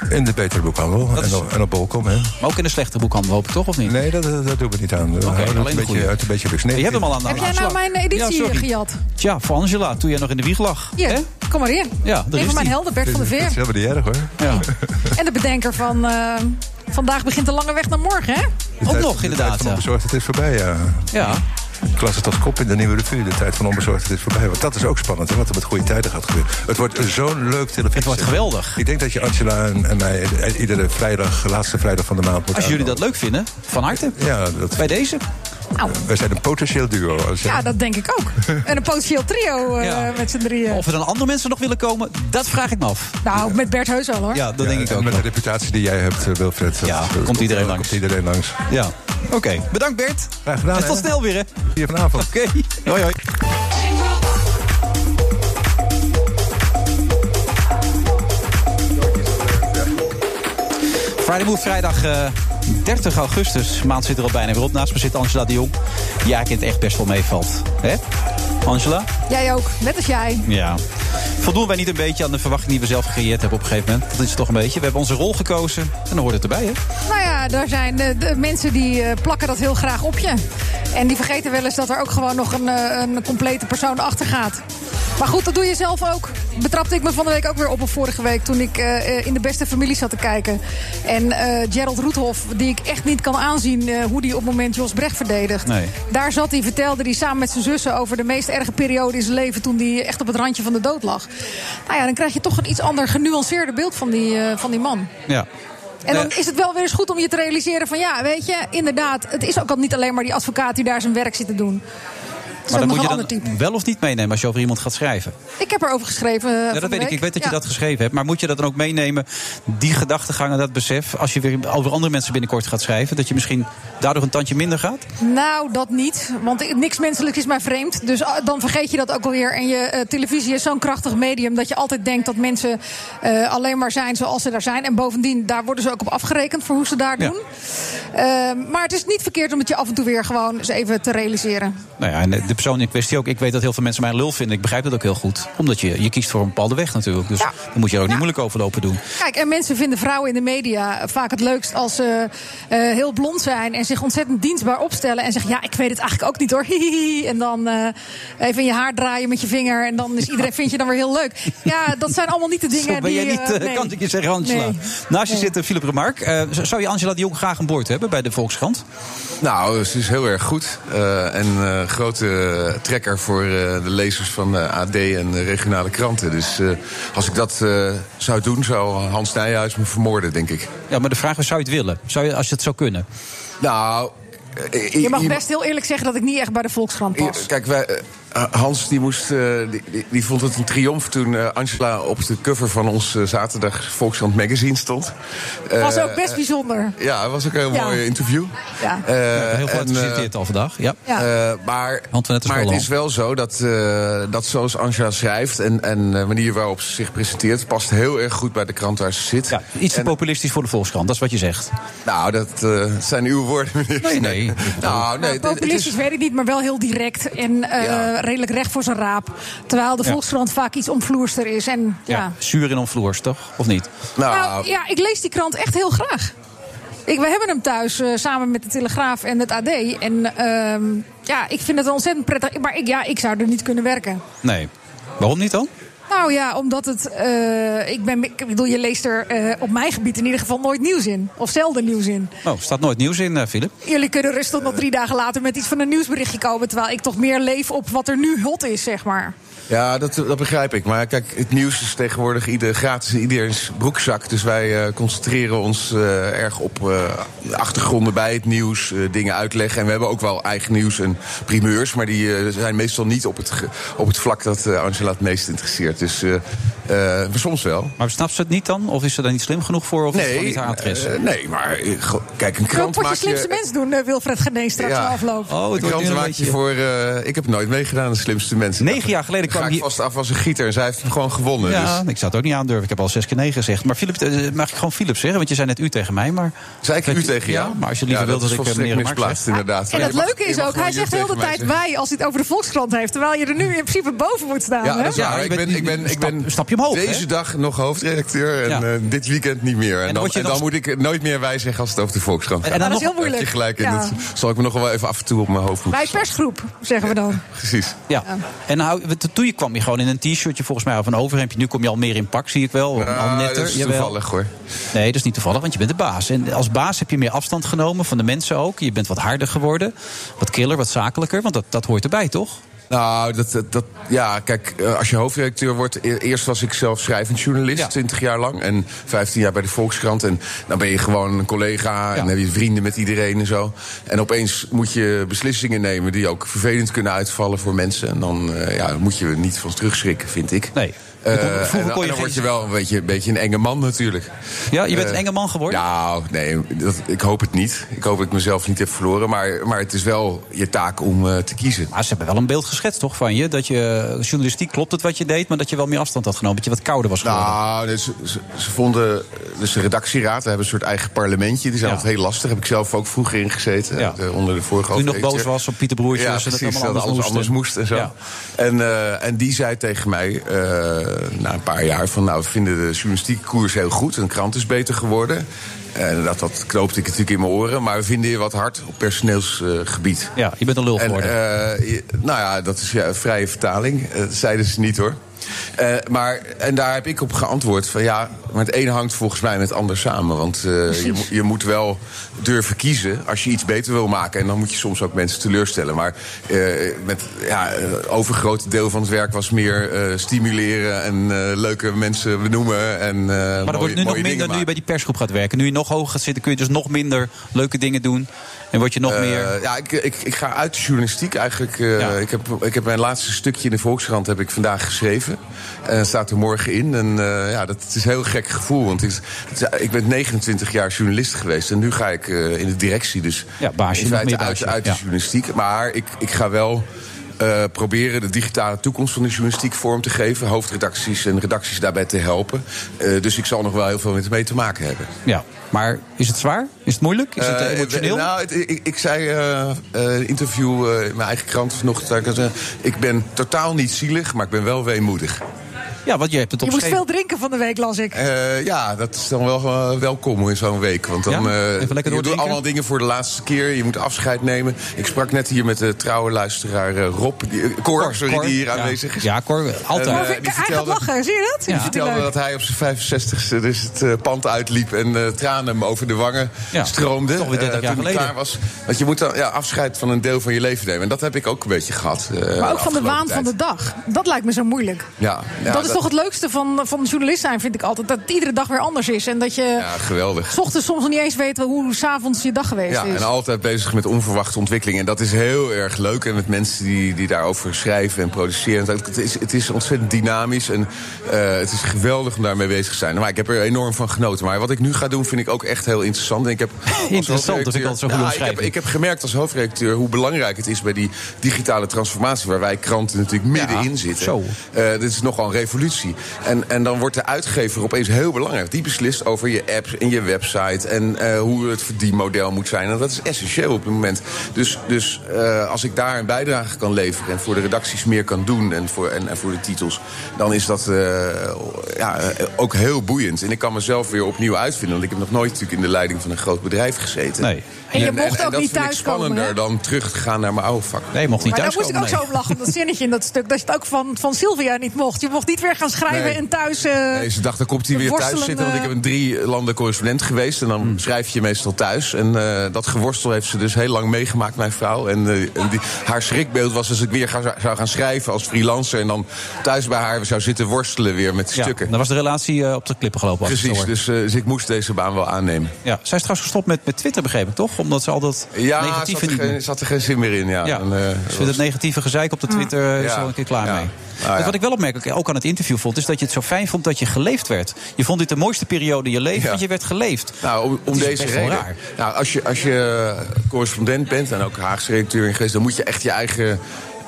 In de betere boekhandel en, op, en op Bolcom, hè. Maar ook in de slechte boekhandel, hoop ik toch, of niet? Nee, dat, dat doen we niet aan. We houden het alleen de een beetje, goeie. uit een beetje luxe. Nee, je hebt hem al aan de Heb jij nou aanslag. mijn editie Ja, sorry. gejat? Tja, voor Angela, toen jij nog in de wieg lag. Hier, kom maar in. Ja, daar Een is van mijn die. helden, Bert van der Dat is Veer. helemaal niet erg, hoor. Ja. En de bedenker van... eh, vandaag begint de lange weg naar morgen, hè? De tijd- De tijd van onbezorgdheid is voorbij, ja. Ja. Ik las het als kop in de nieuwe revue. De tijd van onbezorgdheid is voorbij. Want dat is ook spannend, hè, wat er met goede tijden gaat gebeuren. Het wordt zo'n leuk televisie. Het wordt geweldig. Ik denk dat je Angela en, en mij eh, iedere vrijdag, laatste vrijdag van de maand... moet Als jullie dat aanmelden. leuk vinden, van harte. Ja, dat... Bij deze? Nou, Wij zijn een potentieel duo. als je- ja, dat denk ik ook. En een potentieel trio eh, Ja. met z'n drieën. Of er dan andere mensen nog willen komen, dat vraag ik me af. Nou, met Bert Heus al, hoor. Ja, dat denk ik en ook Met wel. de reputatie die jij hebt, eh, Wilfred. Ja, komt, iedereen langs. Komt iedereen langs. Ja. Oké, bedankt Bert. Graag gedaan, En tot hè. snel weer, hè. Hier vanavond. Oké, hoi hoi. Friday Move, vrijdag eh, 30 augustus. De maand zit er al bijna weer op. Naast me zit Angela de Jong. die eigenlijk in het echt best wel meevalt. Hè? Angela? Jij ook, net als jij. Ja. Voldoen wij niet een beetje aan de verwachting die we zelf gecreëerd hebben op een gegeven moment? Dat is het toch een beetje. We hebben onze rol gekozen en dan hoort het erbij, hè? Nou ja, daar zijn eh, de mensen die eh, plakken dat heel graag op je. En die vergeten wel eens dat er ook gewoon nog een, eh, een complete persoon achter gaat. Maar goed, dat doe je zelf ook. Betrapte ik me van de week ook weer op op vorige week toen ik eh, eh, in de beste familie zat te kijken. En eh, Gerald Roethoff, die ik echt niet kan aanzien eh, hoe die op het moment Jos Brecht verdedigt. Nee. Daar zat hij, vertelde hij samen met zijn zussen over de meest erge periode in zijn leven. toen hij echt op het randje van de dood lag. Nou ja, dan krijg je toch een iets ander genuanceerder beeld van die, eh, van die man. Ja. En dan Eh, is het wel weer eens goed om je te realiseren van ja, weet je, inderdaad, het is ook al niet alleen maar die advocaat die daar zijn werk zit te doen. Maar dan nog moet je een dan ander type. wel of niet meenemen als je over iemand gaat schrijven. Ik heb erover geschreven. eh, Ja, van dat de weet ik. week. Ik weet dat je Ja. dat geschreven hebt. Maar moet je dat dan ook meenemen, die gedachtegang en dat besef... als je weer over andere mensen binnenkort gaat schrijven... dat je misschien daardoor een tandje minder gaat? Nou, dat niet. Want ik- niks menselijks is mij vreemd. Dus ah, dan vergeet je dat ook alweer. En je eh, televisie is zo'n krachtig medium dat je altijd denkt dat mensen eh, alleen maar zijn zoals ze daar zijn. En bovendien, daar worden ze ook op afgerekend voor hoe ze daar Ja. doen. Eh, maar het is niet verkeerd om het je af en toe weer gewoon eens even te realiseren. Nou ja, en de persoon in kwestie ook. Ik weet dat heel veel mensen mij een lul vinden. Ik begrijp dat ook heel goed. Omdat je, je kiest voor een bepaalde weg natuurlijk. Dus daar moet je er ook niet moeilijk over lopen doen. Kijk, en mensen vinden vrouwen in de media vaak het leukst als ze eh, heel blond zijn en zich ontzettend dienstbaar opstellen. En zeggen: Ja, ik weet het eigenlijk ook niet hoor. Hihihi. En dan eh, even in je haar draaien met je vinger. En dan is iedereen, vind je dan weer heel leuk. Ja, dat zijn allemaal niet de dingen Zo ben die. jij niet, eh, eh, nee. kan ik je zeggen, Angela. Nee. Naast je zit eh, Philip Remark. Eh, z- zou je Angela de Jong graag aan boord hebben bij de Volkskrant? Nou, ze is heel erg goed. eh, en eh, grote trekker voor eh, de lezers van eh, AD en de regionale kranten. Dus eh, als ik dat eh, zou doen, zou Hans Nijhuis me vermoorden, denk ik. Ja, maar de vraag is, zou je het willen? Zou je, als je het zou kunnen? Nou... eh, i- Je mag i- best heel eerlijk zeggen dat ik niet echt bij de Volkskrant i- pas. Kijk, wij, eh, Hans die moest, eh, die, die, die vond het een triomf toen eh, Angela op de cover van ons eh, zaterdag Volkskrant magazine stond. was Eh, ook best eh, bijzonder. Ja, het was ook een heel Ja. mooi interview. Ja. heel veel gefeliciteerd al vandaag. Ja. Ja. Eh, maar Antoinette maar het Scholan. is wel zo dat, eh, dat zoals Angela schrijft en, en de manier waarop ze zich presenteert, past heel erg goed bij de krant waar ze zit. Iets te populistisch voor de Volkskrant, dat is wat je zegt. Nou, dat eh, zijn uw woorden, meneer. Nee, nee. nou, nee, het- het Populistisch is, weet ik niet, maar wel heel direct en eh, redelijk recht voor zijn raap. Terwijl de Ja. Volkskrant vaak iets omvloerster is. En, Ja. ja. Zuur in omvloers, toch? Of niet? Ah. Nou, ja, ik lees die krant echt heel graag. Ik, we hebben hem thuis eh, samen met de Telegraaf en het AD. En ehm, ja, ik vind het een ontzettend prettig. Maar ik, ja, ik zou er niet kunnen werken. Nee. Waarom niet dan? Nou ja, omdat het. eh, ik, ben, ik bedoel, je leest er eh, op mijn gebied in ieder geval nooit nieuws in. Of zelden nieuws in. Oh, staat nooit nieuws in, eh, Philip. Jullie kunnen rustig nog drie dagen later met iets van een nieuwsberichtje komen. Terwijl ik toch meer leef op wat er nu hot is, zeg maar. ja, dat, dat begrijp ik. Maar kijk, het nieuws is tegenwoordig ieder, gratis in ieders broekzak. Dus wij eh, concentreren ons eh, erg op eh, de achtergronden bij het nieuws, eh, dingen uitleggen. En we hebben ook wel eigen nieuws en primeurs, maar die eh, zijn meestal niet op het, ge- op het vlak dat eh, Angela het meest interesseert. Dus eh, eh, maar soms wel. Maar snapt ze het niet dan? Of is ze daar niet slim genoeg voor? Of is het gewoon niet haar adres? eh, nee, maar eh, go- kijk, een Zo'n krant potje maak je... slimste mens doen, eh, Wilfred Genee, straks na afloop. een krant maak je voor... eh, ik heb nooit meegedaan aan de slimste mensen. Negen jaar geleden kwam ga ik vast af als een gieter. En zij heeft hem gewoon gewonnen. Ja, dus. ik zou het ook niet aandurven. Ik heb al zes keer nee gezegd. Maar Philip, eh, mag ik gewoon Philip zeggen? Want je zei net u tegen mij, maar... Zei ik u tegen jou? Ja, maar als je liever Ja, wilt dat dat is ik eh, volstrekt meneer Mark misplaatst, inderdaad. En dat leuke is ook, hij zegt de hele tijd wij als hij het over de Volkskrant heeft. Terwijl je er nu in principe boven moet staan. Ja, hè? dat is waar. Ik ben, ik ben, ik ben deze dag nog hoofdredacteur en eh, dit weekend niet meer. En, dan, word je en dan dan- moet ik nooit meer wij zeggen als het over de Volkskrant gaat. En dan Ah, Dat is nog- heel Daar heb je moeilijk. gelijk in. Ja. Dat zal ik me nog wel even af en toe op mijn hoofd moeten Bij persgroep, zeggen we dan. Precies. Ja. En nou, toen je kwam je gewoon in een t-shirtje volgens mij of een overhemdje. Nu kom je al meer in pak, zie ik wel. al netter. Ah, dat is jawel. toevallig, hoor. Nee, dat is niet toevallig, want je bent de baas. En als baas heb je meer afstand genomen van de mensen ook. Je bent wat harder geworden. Wat killer, wat zakelijker. Want dat, dat hoort erbij, toch? Nou, dat, dat, dat- ja, kijk, eh, als je hoofdredacteur wordt... e- eerst was ik zelf schrijvend journalist, 20 jaar lang. En 15 jaar bij de Volkskrant. En dan ben je gewoon een collega en heb je vrienden met iedereen en zo. En opeens moet je beslissingen nemen... die ook vervelend kunnen uitvallen voor mensen. En dan eh, ja, moet je er niet van terugschrikken, vind ik. Nee. Eh, Vroeger en kon je dan, en dan geen- word je wel een beetje, een beetje een enge man natuurlijk. Ja, je bent Eh, een enge man geworden? Nou, nee, dat, ik hoop het niet. Ik hoop dat ik mezelf niet heb verloren. Maar, maar het is wel je taak om eh, te kiezen. Maar ze hebben wel een beeld geschetst, toch, van je? Dat je eh, journalistiek klopt het wat je deed, maar dat je wel meer afstand had genomen. Dat je wat kouder was geworden. Nou, dus, ze, ze vonden. Dus de redactieraad, we hebben een soort eigen parlementje. Die zijn altijd heel lastig. Heb ik zelf ook vroeger ingezeten. gezeten. eh, onder de vorige Toen je nog boos hoofdredacteur. was op Pieter Broertjes Ja, en dat precies, allemaal dat anders alles moest. anders moest en zo. Ja. En, eh, en die zei tegen mij eh, na een paar jaar van... nou, we vinden de journalistieke koers heel goed. Een krant is beter geworden. En dat, dat knoopte ik natuurlijk in mijn oren. Maar we vinden je wat hard op personeelsgebied. ja, je bent een lul En, geworden. eh, je- nou ja, dat is ja, een vrije vertaling. Eh, Dat zeiden ze niet hoor. Eh, maar, en daar heb ik op geantwoord van ja, Maar het een hangt volgens mij met het ander samen. Want eh, je, mo- je moet wel durven kiezen als je iets beter wil maken. En dan moet je soms ook mensen teleurstellen. Maar eh, met, ja, eh, overgrote deel van het werk was meer eh, stimuleren en eh, leuke mensen benoemen. En, eh, Maar dat mooie- wordt nu nog mooie minder dingen nu je bij die persgroep gaat werken. Nu je nog hoger gaat zitten, kun je dus nog minder leuke dingen doen. En word je nog meer. Eh, Ja, ik, ik, ik ga uit de journalistiek eigenlijk. eh, ik, heb, ik heb mijn laatste stukje in de Volkskrant heb ik vandaag geschreven. En dat staat er morgen in. En eh, ja, dat is een heel gek gevoel. Want het is, het is- ik ben 29 jaar journalist geweest. En nu ga ik eh, in de directie. Dus Ja, baasje, in nog feite meer baasje, uit, uit de ja. journalistiek. Maar ik, ik ga wel... eh, proberen de digitale toekomst van de journalistiek vorm te geven, hoofdredacties en redacties daarbij te helpen. Eh, dus ik zal nog wel heel veel met mee te maken hebben. Ja, maar is het zwaar? Is het moeilijk? Is het eh, Eh, emotioneel? eh, nou, het- ik, ik zei eh, eh, een interview eh, in mijn eigen krant vanochtend. dat ik dat, eh, ik ben totaal niet zielig, maar ik ben wel weemoedig. Ja, want je hebt het Je moest veel drinken van de week, las ik. Eh, ja, dat is dan wel eh, welkom in zo'n week. Want dan, Ja? eh, Even lekker je doet doordrinken? allemaal dingen voor de laatste keer. Je moet afscheid nemen. Ik sprak net hier met de trouwe luisteraar eh, Rob. Die, eh, Cor, Cor, sorry, Cor, die hier ja. aanwezig is. Ja, Cor, altijd. En, eh, Cor Hij gaat lachen, zie je dat? Die Ja. vertelde dat hij op zijn 65ste dus het eh, pand uitliep en eh, tranen hem over de wangen Ja, stroomden. toch weer 30 eh, jaar toen hij geleden. klaar was. Want je moet dan ja, afscheid van een deel van je leven nemen. En dat heb ik ook een beetje gehad. eh, Maar ook van de afgelopen waan van tijd. de dag. Dat lijkt me zo moeilijk. Ja, ja, dat is toch het leukste van, van journalist zijn, vind ik altijd. Dat het iedere dag weer anders is. En dat je Ja, geweldig. s ochtends soms nog niet eens weet hoe s'avonds je dag geweest Ja, is. en altijd bezig met onverwachte ontwikkelingen. En dat is heel erg leuk. En met mensen die, die daarover schrijven en produceren. Het is, het is ontzettend dynamisch. En eh, het is geweldig om daarmee bezig te zijn. Maar ik heb er enorm van genoten. Maar wat ik nu ga doen, vind ik ook echt heel interessant. En ik heb als Interessant, dat vind ik hoofdredacteur- altijd zo'n goede Nou, ik, omschrijving. heb, ik heb gemerkt als hoofdredacteur hoe belangrijk het is bij die digitale transformatie. Waar wij kranten natuurlijk middenin zitten. zo. Eh, dit is nogal een revolutie. En, en dan wordt de uitgever opeens heel belangrijk. Die beslist over je apps en je website en eh, hoe het verdienmodel moet zijn. En dat is essentieel op het moment. Dus, dus eh, als ik daar een bijdrage kan leveren en voor de redacties meer kan doen en voor, en, en voor de titels, dan is dat eh, ja, eh, ook heel boeiend. En ik kan mezelf weer opnieuw uitvinden, want ik heb nog nooit natuurlijk in de leiding van een groot bedrijf gezeten. Nee. En je mocht dat ook niet vind ik thuiskomen, spannender hè? dan terug te gaan naar mijn oude vak. Nee, mocht maar daar moest ik ook zo om lachen, dat zinnetje in dat stuk. Dat je het ook van, van Sylvia niet mocht. Je mocht niet weer gaan schrijven Nee. en thuis... eh, Nee, ze dacht, dan komt hij weer thuis worstelende- zitten. Want ik heb een drie landen correspondent geweest. En dan Hmm. schrijf je meestal thuis. En eh, dat geworstel heeft ze dus heel lang meegemaakt, mijn vrouw. En, eh, en die, haar schrikbeeld was als ik weer ga- zou gaan schrijven als freelancer. En dan thuis bij haar zou zitten worstelen weer met Ja, stukken. dan was de relatie eh, op de klippen gelopen. als ik Precies, zo hoor. dus, eh, dus ik moest deze baan wel aannemen. Ja, zij is trouwens gestopt met, met Twitter, begreep ik toch? Omdat ze al dat Ja, negatieve zat er, niet meer- geen, zat er geen zin meer in. Ja. Ja. En, eh, Dus was- met het negatieve gezeik op de Twitter is Ja. Nou er wel een keer klaar mee. ja. Dus wat ik wel opmerkelijk ook aan het interview vond, is dat je het zo fijn vond dat je geleefd werd. Je vond dit de mooiste periode in je leven, Ja. want je werd geleefd. Nou, om, Dat om is deze best wel reden. raar. Nou, als je, als je correspondent bent en ook Haagse redacteur in geweest, dan moet je echt je eigen.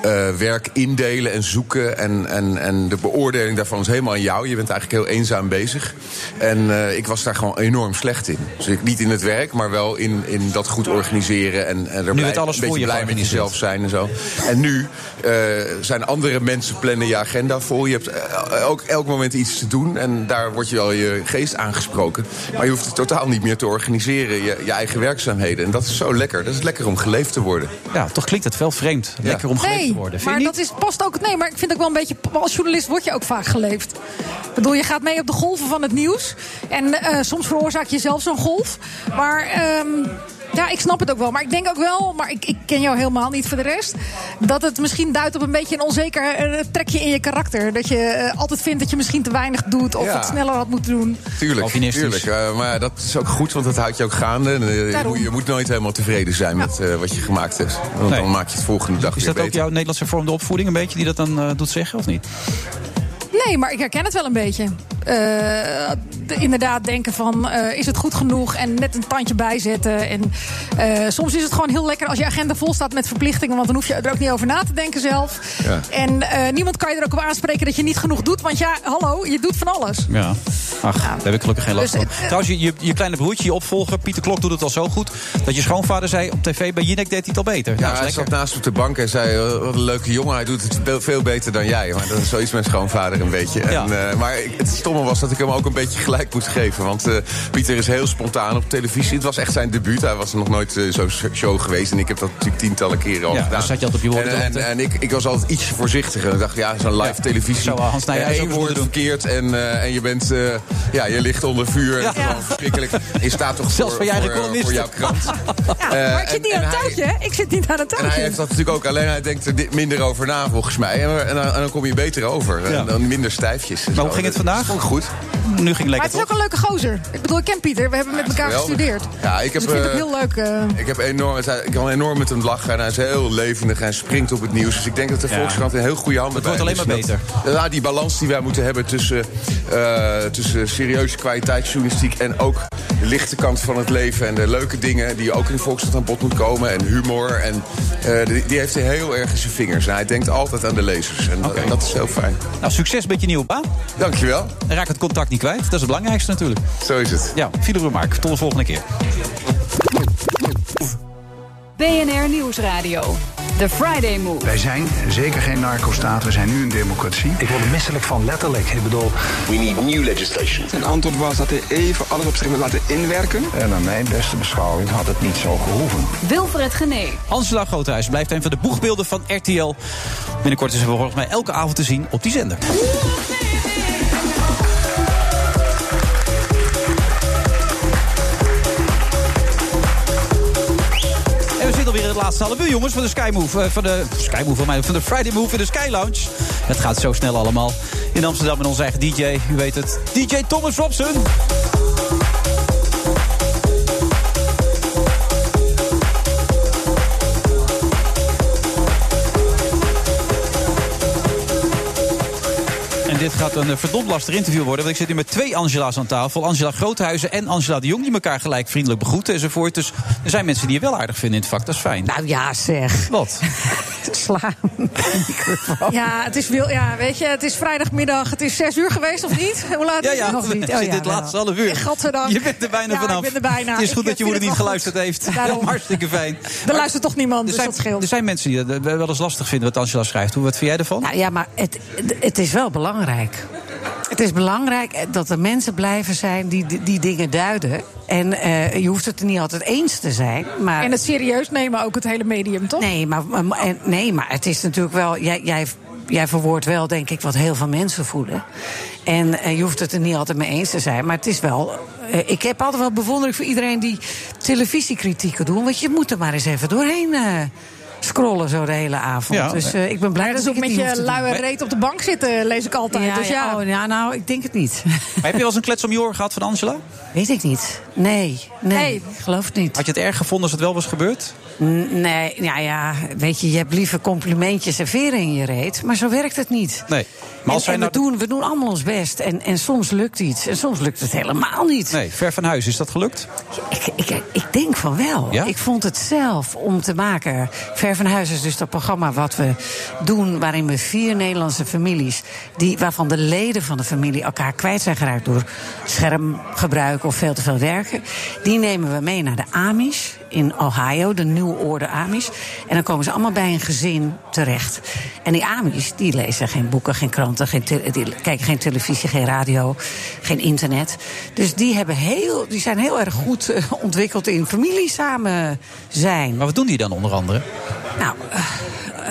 eh, werk indelen en zoeken. En, en, en de beoordeling daarvan is helemaal aan jou. Je bent eigenlijk heel eenzaam bezig. En eh, ik was daar gewoon enorm slecht in. Dus ik, niet in het werk, maar wel in, in dat goed organiseren. En, en er blij- werd alles een voor beetje je blij met georganiseerd. jezelf zijn en zo. En nu eh, zijn andere mensen plannen je agenda vol. Je hebt eh, ook elk moment iets te doen. En daar wordt je wel je geest aangesproken. Maar je hoeft het totaal niet meer te organiseren. Je, je eigen werkzaamheden. En dat is zo lekker. Dat is lekker om geleefd te worden. Ja, toch klinkt het wel vreemd. Lekker om geleefd Nee, te worden. Vind maar je dat is, past ook. Nee, maar ik vind ook wel een beetje. Als journalist word je ook vaak geleefd. Ik bedoel, je gaat mee op de golven van het nieuws. En eh, soms veroorzaak je zelf zo'n golf. Maar. ehm, ja, ik snap het ook wel. Maar ik denk ook wel, maar ik, ik ken jou helemaal niet voor de rest. Dat het misschien duidt op een beetje een onzeker eh, trekje in je karakter. Dat je eh, altijd vindt dat je misschien te weinig doet of Ja. het sneller had moeten doen. Tuurlijk, Calvinistisch. tuurlijk. Eh, maar dat is ook goed, want dat houdt je ook gaande. En, eh, je, Daarom. moet, je moet nooit helemaal tevreden zijn met eh, wat je gemaakt hebt. Want Nee. dan maak je het volgende Is dag weer dat ook beter. jouw Nederlandse vormde opvoeding een beetje die dat dan eh, doet zeggen, of niet? Nee, maar ik herken het wel een beetje. Eh, de- inderdaad, denken van eh, is het goed genoeg en net een tandje bijzetten. En eh, soms is het gewoon heel lekker als je agenda vol staat met verplichtingen, want dan hoef je er ook niet over na te denken zelf. Ja. En eh, niemand kan je er ook op aanspreken dat je niet genoeg doet, want ja, hallo, je doet van alles. Ja. Ach, daar heb ik gelukkig geen last Dus van. het- Trouwens, je, je, je kleine broertje, je opvolger, Pieter Klok doet het al zo goed... dat je schoonvader zei op tv, bij Jinek deed hij het al beter. Ja, Nou, is hij lekker. zat naast op de bank en zei: eh, Wat een leuke jongen, hij doet het be- veel beter dan jij. Maar dat is zoiets met schoonvader een beetje. En, eh, maar ik- het stomme was dat ik hem ook een beetje gelijk moest geven. Want eh, Pieter is heel spontaan op televisie. Het was echt zijn debuut. Hij was nog nooit eh, zo'n show geweest. En ik heb dat natuurlijk tientallen keren al Ja, gedaan. dan zat je altijd op je En, woorden te en, en ik, ik was altijd ietsje voorzichtiger. Ik dacht, ja, zo'n live televisie. Zo, Hans Nijhuis Eh, ook één moeten woord verkeerd en, eh, en je bent eh, Ja, je ligt onder vuur. Ja. Gewoon verschrikkelijk. Je staat toch Zelfs voor, van jij voor, columnist. voor jouw krant. Ja, Eh, maar ik zit niet aan het touwtje, hè? Ik zit niet aan het En hij touwtje. heeft dat natuurlijk ook, alleen hij denkt er di- minder over na, volgens mij. En, en, dan- en dan kom je beter over. En dan minder stijfjes. Maar hoe ging het vandaag? Vond ik goed. Nu ging Maar het is ook een leuke gozer. Ik bedoel, ik ken Pieter. We hebben met elkaar geweldig. gestudeerd. Ja, ik heb, dus ik vind het eh, ook heel leuk. eh, Ik, heb enorm, ik kan enorm met hem lachen en hij is heel levendig en springt op het nieuws. Dus ik denk dat de Ja. Volkskrant een heel goede handen Het wordt bij alleen is. maar Dat- Ja, die balans die wij moeten hebben tussen, eh, tussen serieuze kwaliteitsjournalistiek... en ook de lichte kant van het leven en de leuke dingen... die ook in de Volkskrant aan bod moeten komen en humor. En, eh, die, die heeft hij heel erg in zijn vingers. En hij denkt altijd aan de lezers en dat- dat is heel fijn. Nou, succes met je nieuwe baan. Dankjewel. En raak het contact niet kwijt. Dat is het belangrijkste natuurlijk. Zo is het. Ja, Philip Mark. Tot de volgende keer. BNR Nieuwsradio. The Friday Move. Wij zijn zeker geen narco-staat, we zijn nu een democratie. Ik word er misselijk van, letterlijk. Ik bedoel, We need new legislation. Zijn antwoord was dat hij even alles op zich wil laten inwerken. En naar mijn beste beschouwing had het niet zo gehoeven. Wilfred Genee. Angela Groothuis blijft een van de boegbeelden van RTL. Binnenkort is ze volgens mij elke avond te zien op die zender. En we zitten alweer in het laatste half uur, jongens, van de Sky Move. eh, van de Sky Move van mij, van de Friday Move in de Sky Lounge. Het gaat zo snel allemaal. In Amsterdam met onze eigen DJ, u weet het, DJ Thomas Robson. En dit gaat een eh, verdomd lastig interview worden. Want ik zit hier met twee Angela's aan tafel. Angela Groothuizen en Angela de Jong. Die elkaar gelijk vriendelijk begroeten enzovoort. Dus er zijn mensen die je wel aardig vinden in het vak. Dat is fijn. Nou ja, zeg. Wat? Sla hem. Oh. Ja, het is, wil, ja, weet je, het is vrijdagmiddag. Het is zes uur geweest, of niet? Hoe laat Ja, is ja, het? Nog we niet. Oh zitten in het laatste half uur. Godverdank. Je bent er bijna Ja, vanaf. ik ben er bijna. Het is goed Ik eh, dat je vind moeder het niet wel geluisterd goed. heeft. Daarom. Hartstikke fijn. Er luistert toch niemand, Er dus zijn, dat scheelt. er zijn mensen die dat eh, wel eens lastig vinden wat Angela schrijft. Hoe, wat vind jij ervan? Nou ja, maar het, het is wel belangrijk. Het is belangrijk dat er mensen blijven zijn die die, die dingen duiden. En eh, je hoeft het er niet altijd eens te zijn. Maar... En het serieus nemen ook het hele medium, toch? Nee, maar, maar- maar- en- nee, maar het is natuurlijk wel. Jij, jij, jij verwoordt wel, denk ik, wat heel veel mensen voelen. En eh, je hoeft het er niet altijd mee eens te zijn. Maar het is wel. eh, ik heb altijd wel bewondering voor iedereen die televisiekritieken doen. Want je moet er maar eens even doorheen. eh, Scrollen zo de hele avond. Ja. dus eh, ik ben blij Maar dat, dat is ik ook het met niet hoef je te luie doen. reet op de bank zitten, lees ik altijd. Ja, dus ja. ja, oh, ja, nou, ik denk het niet. Maar heb je wel eens een klets om je oren gehad van Angela? Weet ik niet. Nee, nee, ik geloof het niet. Had je het erg gevonden als het wel was gebeurd? N- Nee, nou ja, weet je, je hebt liever complimentjes en veren in je reet. Maar zo werkt het niet. Nee. Maar als en, zij en we, nou... doen, we doen allemaal ons best. En, en soms lukt iets. En soms lukt het helemaal niet. Nee, ver van huis. Is dat gelukt? Ik, ik, ik denk van wel. Ja? Ik vond het zelf om te maken. Ver van huis is dus dat programma wat we doen. waarin we vier Nederlandse families. Die, waarvan de leden van de familie elkaar kwijt zijn geraakt. door schermgebruik of veel te veel werken. Die nemen we mee naar de Amish in Ohio, de nieuwe orde Amish. En dan komen ze allemaal bij een gezin terecht. En die Amish, die lezen geen boeken, geen kranten, geen te- die kijken geen televisie, geen radio, geen internet. Dus die, hebben heel, die zijn heel erg goed eh, ontwikkeld in familie samen zijn. Maar wat doen die dan onder andere? Nou, eh,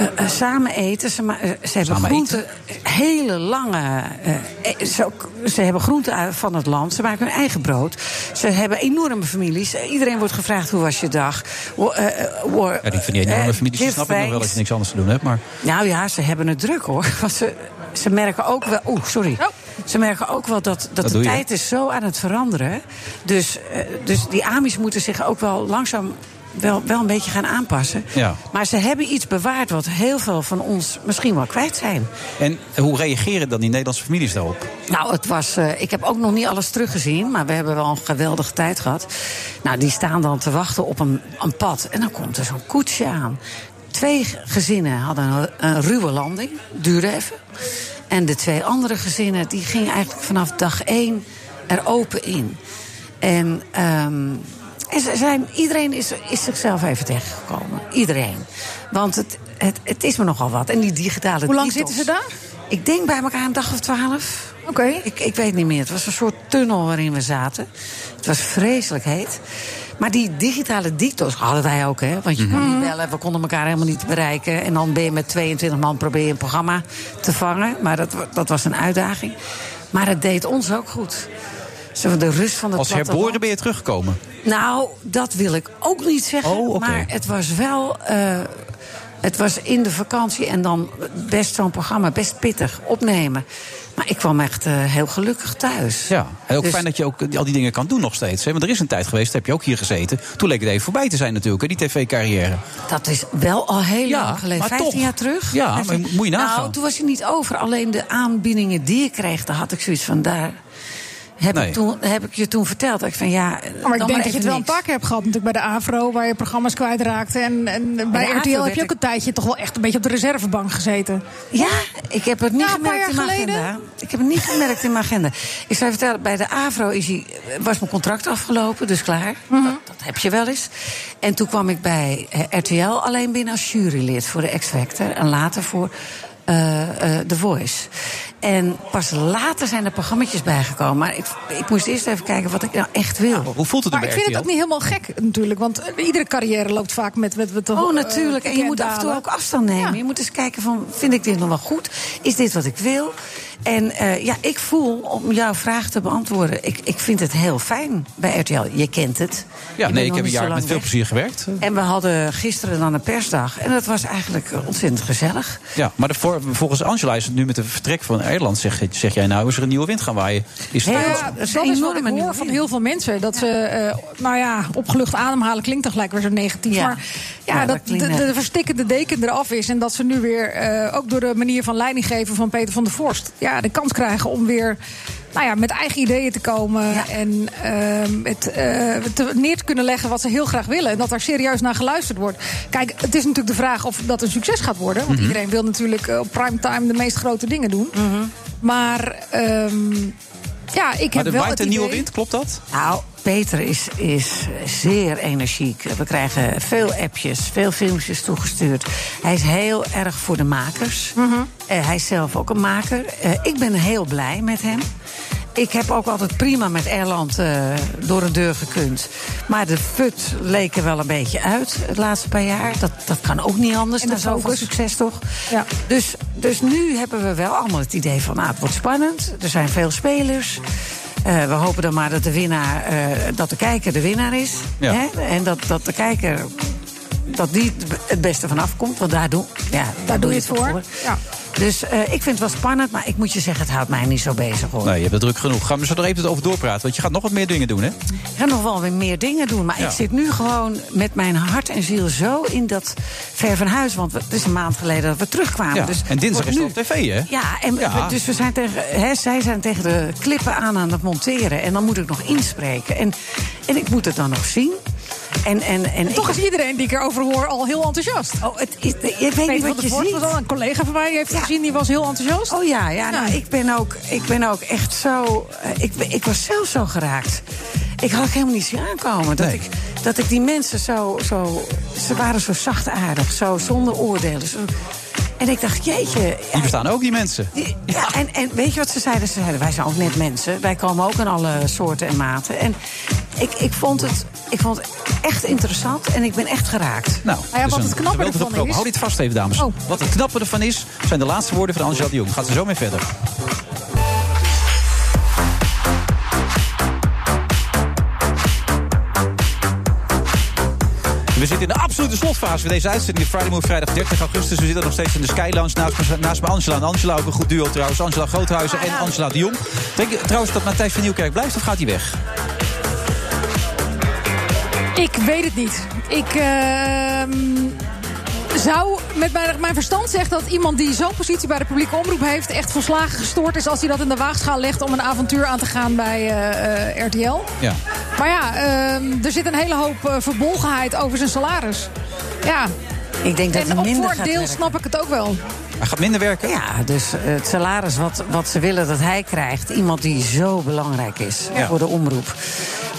eh, eh, samen eten. Ze, ma- eh, ze hebben Samen groenten, hele lange... eh, eh, ze, ook- ze hebben groenten uit- van het land. Ze maken hun eigen brood. Ze hebben enorme families. Eh, Iedereen wordt gevraagd, hoe was je dag? Wo- eh, eh, wo- Ja, die van die enorme eh, families die give snap ik nog wel als thanks. je niks anders te doen hebt. Maar Nou ja, ze hebben het druk hoor. Want ze, ze merken ook wel. Oeh, sorry. Ze merken ook wel dat, dat, Dat de doe je. tijd is zo aan het veranderen. Dus, eh, dus die Amis moeten zich ook wel langzaam. Wel, wel een beetje gaan aanpassen. Ja. Maar ze hebben iets bewaard wat heel veel van ons misschien wel kwijt zijn. En hoe reageren dan die Nederlandse families daarop? Nou, het was. eh, ik heb ook nog niet alles teruggezien, maar we hebben wel een geweldige tijd gehad. Nou, die staan dan te wachten op een, een pad. En dan komt er zo'n koetsje aan. Twee g- gezinnen hadden een, een ruwe landing, duurde even. En de twee andere gezinnen, die gingen eigenlijk vanaf dag één er open in. En, ehm, en ze zijn, iedereen is, is zichzelf even tegengekomen. Iedereen. Want het, het, het is me nogal wat. En die digitale Hoe lang titels. zitten ze daar? Ik denk bij elkaar een dag of twaalf. Oké. Ik, ik weet niet meer. Het was een soort tunnel waarin we zaten. Het was vreselijk heet. Maar die digitale dictos hadden wij ook, hè? Want je Mhm. kon niet bellen, we konden elkaar helemaal niet bereiken. En dan ben je met 22 man probeer je een programma te vangen. Maar dat, wa- dat was een uitdaging. Maar het deed ons ook goed. Zo van De rust van het Als platteland. herboren ben je teruggekomen. Nou, dat wil ik ook niet zeggen. Oh, oké. Maar het was wel. eh, het was in de vakantie en dan best zo'n programma, best pittig opnemen. Maar ik kwam echt eh, heel gelukkig thuis. Ja, heel Dus- fijn dat je ook eh, al die dingen kan doen nog steeds. Hè? Want er is een tijd geweest, heb je ook hier gezeten. Toen leek het even voorbij te zijn natuurlijk, hè, die tv-carrière. Dat is wel al heel lang geleden. maar 15 toch. jaar terug? Ja, maar 15 moet je nagaan. Nou, toen was hij niet over. Alleen de aanbiedingen die ik kreeg, daar had ik zoiets van. Daar heb, Nee. ik, toen, heb ik je toen verteld. Ik van, ja, Maar ik denk dat je het wel een niks. paar keer hebt gehad. Natuurlijk bij de AVRO, waar je programma's kwijtraakte. En, en bij de AVRO RTL heb werd je ook ik- een tijdje toch wel echt een beetje op de reservebank gezeten. Ja, ik heb het niet Nou, een paar gemerkt in jaar mijn geleden. agenda. Ik heb het niet gemerkt in mijn agenda. Ik zou je vertellen, bij de AVRO is hij, was mijn contract afgelopen, dus klaar. Mhm. dat, dat heb je wel eens. En toen kwam ik bij eh, RTL alleen binnen als jurylid voor de X-Factor. En later voor eh, eh, The Voice. En pas later zijn er programma's bijgekomen. Maar ik, ik moest eerst even kijken wat ik nou echt wil. Hoe voelt het Maar bij ik vind het RTL? ook niet helemaal gek natuurlijk. Want eh, iedere carrière loopt vaak met... met, eh, met Eh, Oh, natuurlijk. En je moet af en toe ook afstand nemen. Je moet eens kijken van, vind ik dit nog wel goed? Is dit wat ik wil? En eh, ja, ik voel, om jouw vraag te beantwoorden... ik, ik vind het heel fijn bij RTL. Je kent het. Je Ja, bent nee, ik heb nog een niet zo jaar lang met veel weg. plezier gewerkt. En we hadden gisteren dan een persdag. En dat was eigenlijk eh, ontzettend gezellig. Ja, maar de voor- volgens Angela is het nu met het vertrek van Nederland... zeg, zeg jij nou, is er een nieuwe wind gaan waaien. Is het Ja, Nederlands? dat is wat ik hoor van heel veel mensen. Dat ze, eh, nou ja, opgelucht ademhalen klinkt dan gelijk weer zo negatief. Ja. Maar ja, Ja, dat dat, klinkt de, net. de verstikkende deken eraf is. En dat ze nu weer, eh, ook door de manier van leidinggeven van Peter van der Vorst... ja, de kans krijgen om weer... Nou ja, met eigen ideeën te komen en ehm, het eh, te, neer te kunnen leggen wat ze heel graag willen. En dat daar serieus naar geluisterd wordt. Kijk, het is natuurlijk de vraag of dat een succes gaat worden. Want Mhm. iedereen wil natuurlijk eh, op primetime de meest grote dingen doen. Maar ehm, ja, maar ik heb er wel waait het een nieuwe idee- wind, klopt dat? Nou, Peter is, is zeer energiek. We krijgen veel appjes, veel filmpjes toegestuurd. Hij is heel erg voor de makers. Eh, hij is zelf ook een maker. Eh, ik ben heel blij met hem. Ik heb ook altijd prima met Erland eh, door een deur gekund. Maar de fut leek er wel een beetje uit het laatste paar jaar. Dat, dat kan ook niet anders En de na zoveel focus. succes, toch? Ja. Dus, dus nu hebben we wel allemaal het idee van... Nou, het wordt spannend, er zijn veel spelers... Eh, we hopen dan maar dat de winnaar, eh, dat de kijker de winnaar is. Ja. Hè? En dat, dat de kijker, dat die het b- het beste van afkomt. Want daar doe, ja, daar doe je het voor. Dus eh, ik vind het wel spannend, maar ik moet je zeggen, het houdt mij niet zo bezig hoor. Nee, je hebt het druk genoeg. Gaan we zo nog even over doorpraten, want je gaat nog wat meer dingen doen, hè? Ik ga nog wel weer meer dingen doen. Maar Ja. ik zit nu gewoon met mijn hart en ziel zo in dat ver van huis. Want we- het is een maand geleden dat we terugkwamen. Ja, dus en dinsdag wordt is nu- het op tv, hè? Ja, en Ja. we- dus we zijn tegen, hè, zij zijn tegen de klippen aan aan het monteren. En dan moet ik nog inspreken. En, en ik moet het dan nog zien. En, en, en Toch ik- is iedereen die ik erover hoor al heel enthousiast. Oh, het is, ik weet niet wat je Vorst ziet. was al een collega van mij, die heeft gezien, die was heel enthousiast. Oh ja, ja, nou, ik, ben ook, ik ben ook echt zo. eh, Ik, ben- ik was zelf zo geraakt. Ik had ook helemaal niet zien aankomen. Dat, Nee. ik, dat ik die mensen zo, zo. Ze waren zo zachtaardig, zo zonder oordelen. zo- en ik dacht, jeetje. Die bestaan ook, die mensen. Ja, en, en weet je wat ze zeiden? Ze zeiden, wij zijn ook net mensen. Wij komen ook in alle soorten en maten. En ik, ik, vond, het, ik vond het echt interessant en ik ben echt geraakt. Nou, Ah ja, dus wat een het knappe geweldige ervan promo. is- Hou dit vast even, dames. Oh. Wat het knappe ervan is, zijn de laatste woorden van Angela de Jong. Gaat ze zo mee verder. We zitten in de absolute slotfase van deze uitzending. Friday Move, vrijdag 30 augustus. We zitten nog steeds in de Sky Lounge naast, me- naast me Angela. En Angela ook een goed duo trouwens. Angela Ah, Groothuizen en Angela de Jong. Denk je trouwens dat Matthijs van Nieuwkerk blijft of gaat hij weg? Ik weet het niet. Ik ehm, zou met mijn, mijn verstand zeggen dat iemand die zo'n positie bij de publieke omroep heeft... echt volslagen gestoord is als hij dat in de waagschaal legt... om een avontuur aan te gaan bij eh, eh, RTL. Ja. Maar ja, ehm, er zit een hele hoop eh, verbolgenheid over zijn salaris. Ja. Ik denk dat en hij op minder voor gaat een deel werken. snap ik het ook wel. Hij gaat minder werken? Ja, dus eh, het salaris wat, wat ze willen dat hij krijgt... iemand die zo belangrijk is Ja. voor de omroep...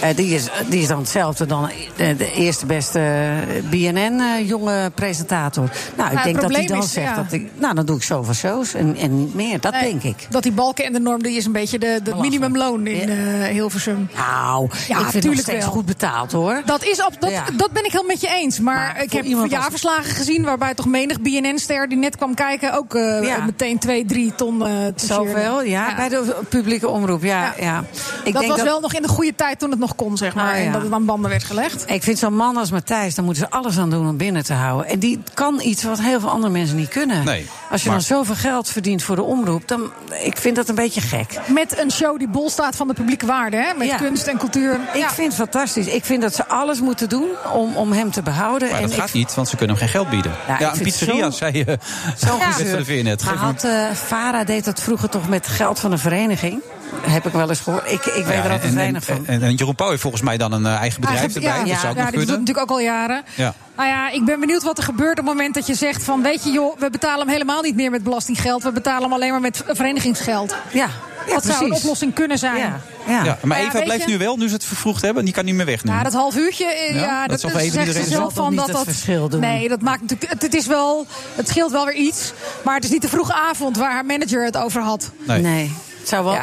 Eh, die, is, die is dan hetzelfde dan eh, de eerste beste eh, BNN-jonge eh, presentator. Nou, ik het denk dat hij probleem dan is, zegt ja. dat ik... Nou, dan doe ik zoveel shows en, en niet meer. Dat denk ik. Dat die balken en de norm, die is een beetje de, de minimumloon in eh Hilversum. Nou, ik vind het nog tuurlijk steeds wel. goed betaald, hoor. Dat, is op, dat, Ja. dat ben ik heel met je eens. Maar, ik heb iemand als- jaarverslagen gezien waarbij toch menig BNN-ster die net kwam kijken ook eh, Ja. meteen twee, drie ton eh te Zoveel, sjeren. ja, Bij de publieke omroep, ja. ja. Ik dat denk was wel nog in de goede tijd toen het nog kon, zeg maar. Ah, ja. En dat het aan banden werd gelegd. Ik vind zo'n man als Matthijs, daar moeten ze alles aan doen om binnen te houden. En die kan iets wat heel veel andere mensen niet kunnen. Nee, Als je maar- dan zoveel geld verdient voor de omroep, dan ik vind dat een beetje gek. Met een show die bol staat van de publieke waarde, hè? Met kunst en cultuur. Ik vind het fantastisch. Ik vind dat ze alles moeten doen om, om hem te behouden. Maar en dat ik gaat niet, want ze kunnen hem geen geld bieden. Ja, ik een vind het pizzeria, zo- zei je. Zo Zo gezeur. van de veernet. Maar Geef hem- had eh Farah deed dat vroeger toch met geld van een vereniging? Heb ik wel eens gehoord. Ik, ik weet Ja, er en- altijd en, weinig van. Ah, en, en Jeroen Pauw heeft volgens mij dan een eh, eigen bedrijf Eigen- erbij. ja, dat zou ook ja, nog die doet het kunnen. natuurlijk ook al jaren. Ja. Nou ja, ik ben benieuwd wat er gebeurt op het moment dat je zegt van... weet je joh, we betalen hem helemaal niet meer met belastinggeld. We betalen hem alleen maar met verenigingsgeld. Ja, Dat zou een precies. oplossing kunnen zijn. Ja, Ja. maar Nou ja, Eva weet blijft je- nu wel, nu ze het vervroegd hebben. Die kan niet meer weg nu. Ja, dat half uurtje, eh, Ja, ja, dat dat, zal dat voor even zegt ze iedereen zelf zelf van niet dat het dat... verschil doen. Nee, dat maakt natuurlijk... Het, het is wel, het scheelt wel weer iets, maar het is niet de vroege avond... waar haar manager het over had. Nee. Het zou wel...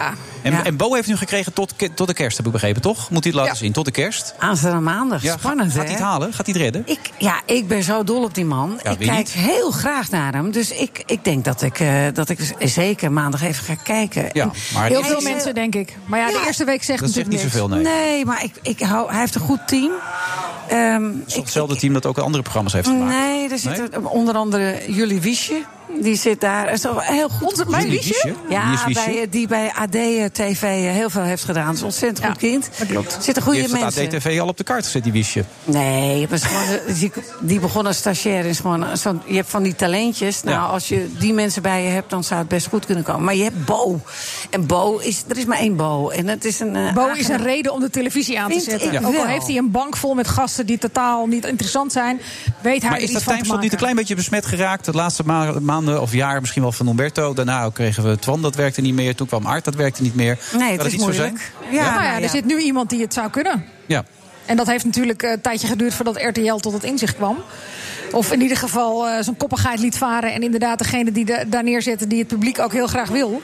En, en Bo heeft nu gekregen tot, ke- tot de kerst, heb ik begrepen, toch? Moet hij het laten zien, tot de kerst? Aanstaande maandag. Ja, Spannend, gaat hè? hij het halen? Gaat hij het redden? Ik, ja, ik ben zo dol op die man. Ja, ik wie kijk niet? heel graag naar hem. Dus ik, ik denk dat ik, eh, dat ik zeker maandag even ga kijken. Ja, En maar- Heel hij veel is- mensen, denk ik. Maar ja, de eerste week zegt Dat zegt natuurlijk niet zoveel, nee. Nee, maar ik, ik hou, hij heeft een goed team. Ehm, Het is toch hetzelfde team dat ook andere programma's heeft gemaakt. nee, er zit een- onder andere Jullie Wiesje. Die zit daar. Is toch heel goed. Onze- mijn Jullie Wiesje? Wiesje? Ja, Wie is Wiesje? Bij, eh, die bij AD eh, TV heel veel heeft gedaan. Is een ontzettend goed kind. Dat klopt. Zitten goede die heeft mensen. het ADTV al op de kaart gezet, die wiesje. Nee, het was gewoon, eh, die, die begon als stagiair. Is gewoon zo'n- je hebt van die talentjes. Nou, Ja. als je die mensen bij je hebt, dan zou het best goed kunnen komen. Maar je hebt Bo. En Bo is, er is maar één Bo. En het is een. eh, Bo is aangenaam- een reden om de televisie aan te Vind zetten. ik Ook al wel. heeft hij een bank vol met gasten die totaal niet interessant zijn, weet hij Maar is er iets dat van te timeslot niet een maken. klein beetje besmet geraakt? De laatste ma- maanden of jaar misschien wel van Umberto. Daarna ook kregen we Twan, dat werkte niet meer. Toen kwam Art, dat werkte niet meer. Zou Nee, dat iets zo zijn? Ja, Ja. nou ja, Nou ja. er zit nu iemand die het zou kunnen. Ja. En dat heeft natuurlijk eh, een tijdje geduurd voordat RTL tot het inzicht kwam. Of in ieder geval eh zijn koppigheid liet varen. En inderdaad degene die de, daar neerzetten die het publiek ook heel graag wil.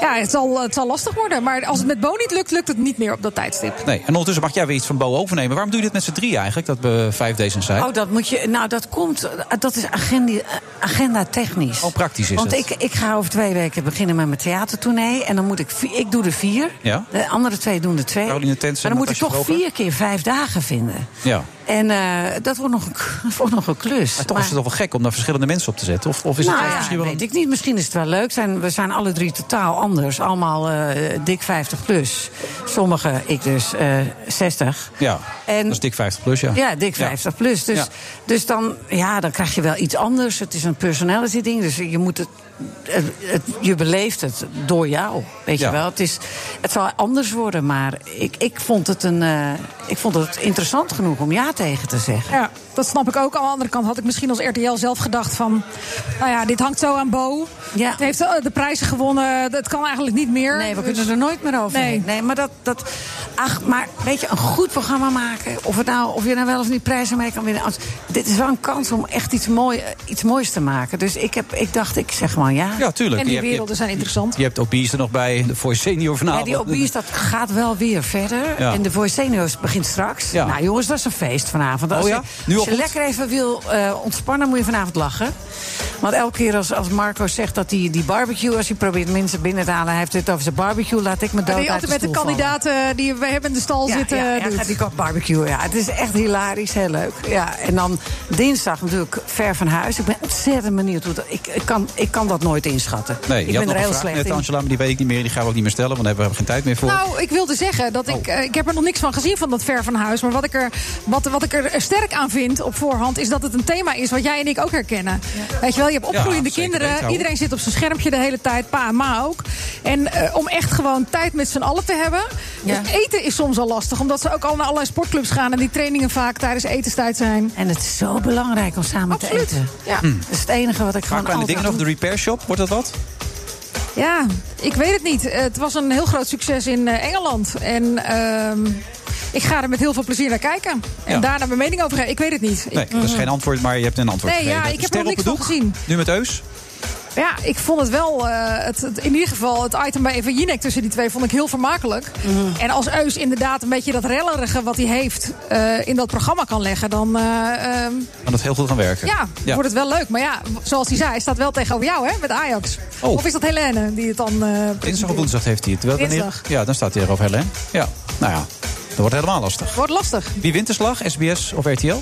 Ja, het zal, het zal lastig worden. Maar als het met Bo niet lukt, lukt het niet meer op dat tijdstip. Nee, en ondertussen mag jij weer iets van Bo overnemen. Waarom doe je dit met z'n drie eigenlijk, dat we vijf D's en zij? Oh, dat moet je. Nou, dat komt. Dat is agendi- eh, agenda technisch. Oh, praktisch is Want het. ik, ik ga over twee weken beginnen met mijn theatertournee. En dan moet ik. vi- Ik doe er vier. Ja. De andere twee doen er twee. Caroline Tensen, maar dan moet ik toch Natasja Vroger. vier keer vijf dagen vinden. Ja. En eh, dat wordt nog een, k- dat wordt nog een klus. Maar toch is het toch wel gek om daar verschillende mensen op te zetten? Of, of is nou het ja, misschien wel... weet ik niet. Misschien is het wel leuk. Zijn, we zijn alle drie totaal anders. Allemaal eh, dik 50 plus. Sommigen, ik dus, eh 60. Ja, En- dat is dik 50 plus, ja. Ja, dik 50 plus. Dus, Ja. dus dan, ja, dan krijg je wel iets anders. Het is een personality ding. Dus je moet het. het- het- je beleeft het door jou. Weet Ja. je wel. Het, is, het zal anders worden, maar ik, ik, vond het een, eh, ik vond het interessant genoeg om ja tegen te zeggen. Ja, dat snap ik ook. Aan de andere kant had ik misschien als RTL zelf gedacht van... nou ja, dit hangt zo aan Bo. Het heeft eh, de prijzen gewonnen. Dat kan eigenlijk niet meer. Nee, we kunnen er nooit meer over. Nee, nee maar dat, dat. Ach, maar weet je, een goed programma maken. Of, het nou, of je nou wel of niet prijzen mee kan winnen. als- Dit is wel een kans om echt iets, mooi, eh, iets moois te maken. Dus ik, heb, ik dacht, ik zeg gewoon ja. Ja, tuurlijk. Je hebt- je hebt- Je hebt Obies er nog bij, de Voice Senior Ja, vanavond. die Obies, dat gaat wel weer verder. Ja. En de Voice Seniors begint straks. Ja. Nou jongens, dat is een feest vanavond. Als Oh ja? je, Nu al als je goed? lekker even wil eh, ontspannen, moet je vanavond lachen. Want elke keer als, als Marco zegt dat hij die barbecue... als hij probeert mensen binnen te halen... hij heeft het over zijn barbecue, laat ik me dood Maar die uit de altijd met de stoel vallen. kandidaten die we hebben in de stal Ja, zitten. ja, ja, doet. gaat die kant barbecue, ja. Het is echt hilarisch, heel leuk. Ja, en dan dinsdag natuurlijk ver van huis. Ik ben ontzettend benieuwd hoe dat... Ik, ik, kan, ik kan dat nooit inschatten. Nee, ik je had ben nog er een heel vraag slecht net, in. Angela, maar die weet ik niet meer. Die gaan we ook niet meer stellen, want daar hebben we geen tijd meer voor. Oh. Nou, ik wilde zeggen dat ik. eh, ik heb er nog niks van gezien van dat ver van huis. Maar wat ik, er, wat, wat ik er sterk aan vind op voorhand. is dat het een thema is wat jij en ik ook herkennen. Weet je wel, je hebt Ja, opgroeiende zeker kinderen. weten, hoor. iedereen zit op zijn schermpje de hele tijd. Pa en ma ook. En eh, om echt gewoon tijd met z'n allen te hebben. Ja. Dus eten is soms al lastig. Omdat ze ook al naar allerlei sportclubs gaan. en die trainingen vaak tijdens etenstijd zijn. En het is zo belangrijk om samen te eten. Ja. Dat is het enige wat ik maar gewoon Hm. kleine dingen altijd nog, doe. de repair shop, wordt dat wat? Ja, ik weet het niet. Het was een heel groot succes in eh, Engeland. En ehm, Ik ga er met heel veel plezier naar kijken. En Ja. daarna mijn mening over geven. Ik weet het niet. Nee, Ik- dat is geen antwoord, maar je hebt een antwoord Mm. Nee, ja, gegeven. ik heb er Ster nog op het niks doek. van gezien. Nu met Eus. Ja, ik vond het wel, eh, het, het- in ieder geval het item bij Eva Jinek tussen die twee vond ik heel vermakelijk. En als Eus inderdaad een beetje dat rellerige wat hij heeft eh, in dat programma kan leggen, dan eh, ehm, Kan dat heel goed gaan werken. ja, wordt het wel leuk. Maar ja, w- zoals hij zei, hij staat wel tegenover jou hè, met Ajax. Oh. Of is dat Helene die het dan... eh, Dinsdag of woensdag heeft hij het. Terwijl wanneer- Dinsdag. Ja, dan staat hij erover Helen. Ja, nou ja, dat wordt helemaal lastig. wordt lastig. Wie wint de slag, SBS of RTL?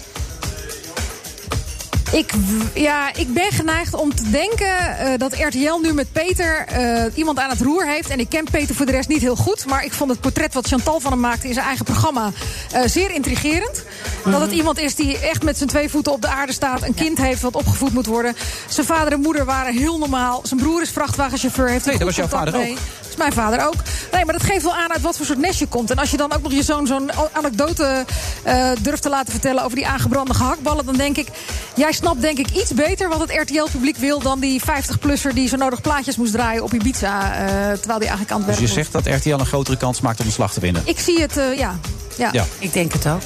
Ik, w- ja, ik ben geneigd om te denken eh, dat RTL nu met Peter eh, iemand aan het roer heeft. En ik ken Peter voor de rest niet heel goed. Maar ik vond het portret wat Chantal van hem maakte in zijn eigen programma eh, zeer intrigerend. Mhm. Dat het iemand is die echt met zijn twee voeten op de aarde staat. Een kind heeft wat opgevoed moet worden. Zijn vader en moeder waren heel normaal. Zijn broer is vrachtwagenchauffeur. Heeft Nee, een dat goed was jouw contact vader mee. ook. Dat is mijn vader ook. Nee, maar dat geeft wel aan uit wat voor soort nest je komt. En als je dan ook nog je zoon zo'n o- anekdote eh, durft te laten vertellen over die aangebrande gehaktballen, dan denk ik, jij snapt denk ik iets beter wat het RTL-publiek wil dan die 50-plusser die zo nodig plaatjes moest draaien op Ibiza, eh terwijl die eigenlijk aan het Dus werk je was. zegt dat RTL een grotere kans maakt om de slag te winnen. Ik zie het, eh, ja. Ja. Ja. Ik denk het ook.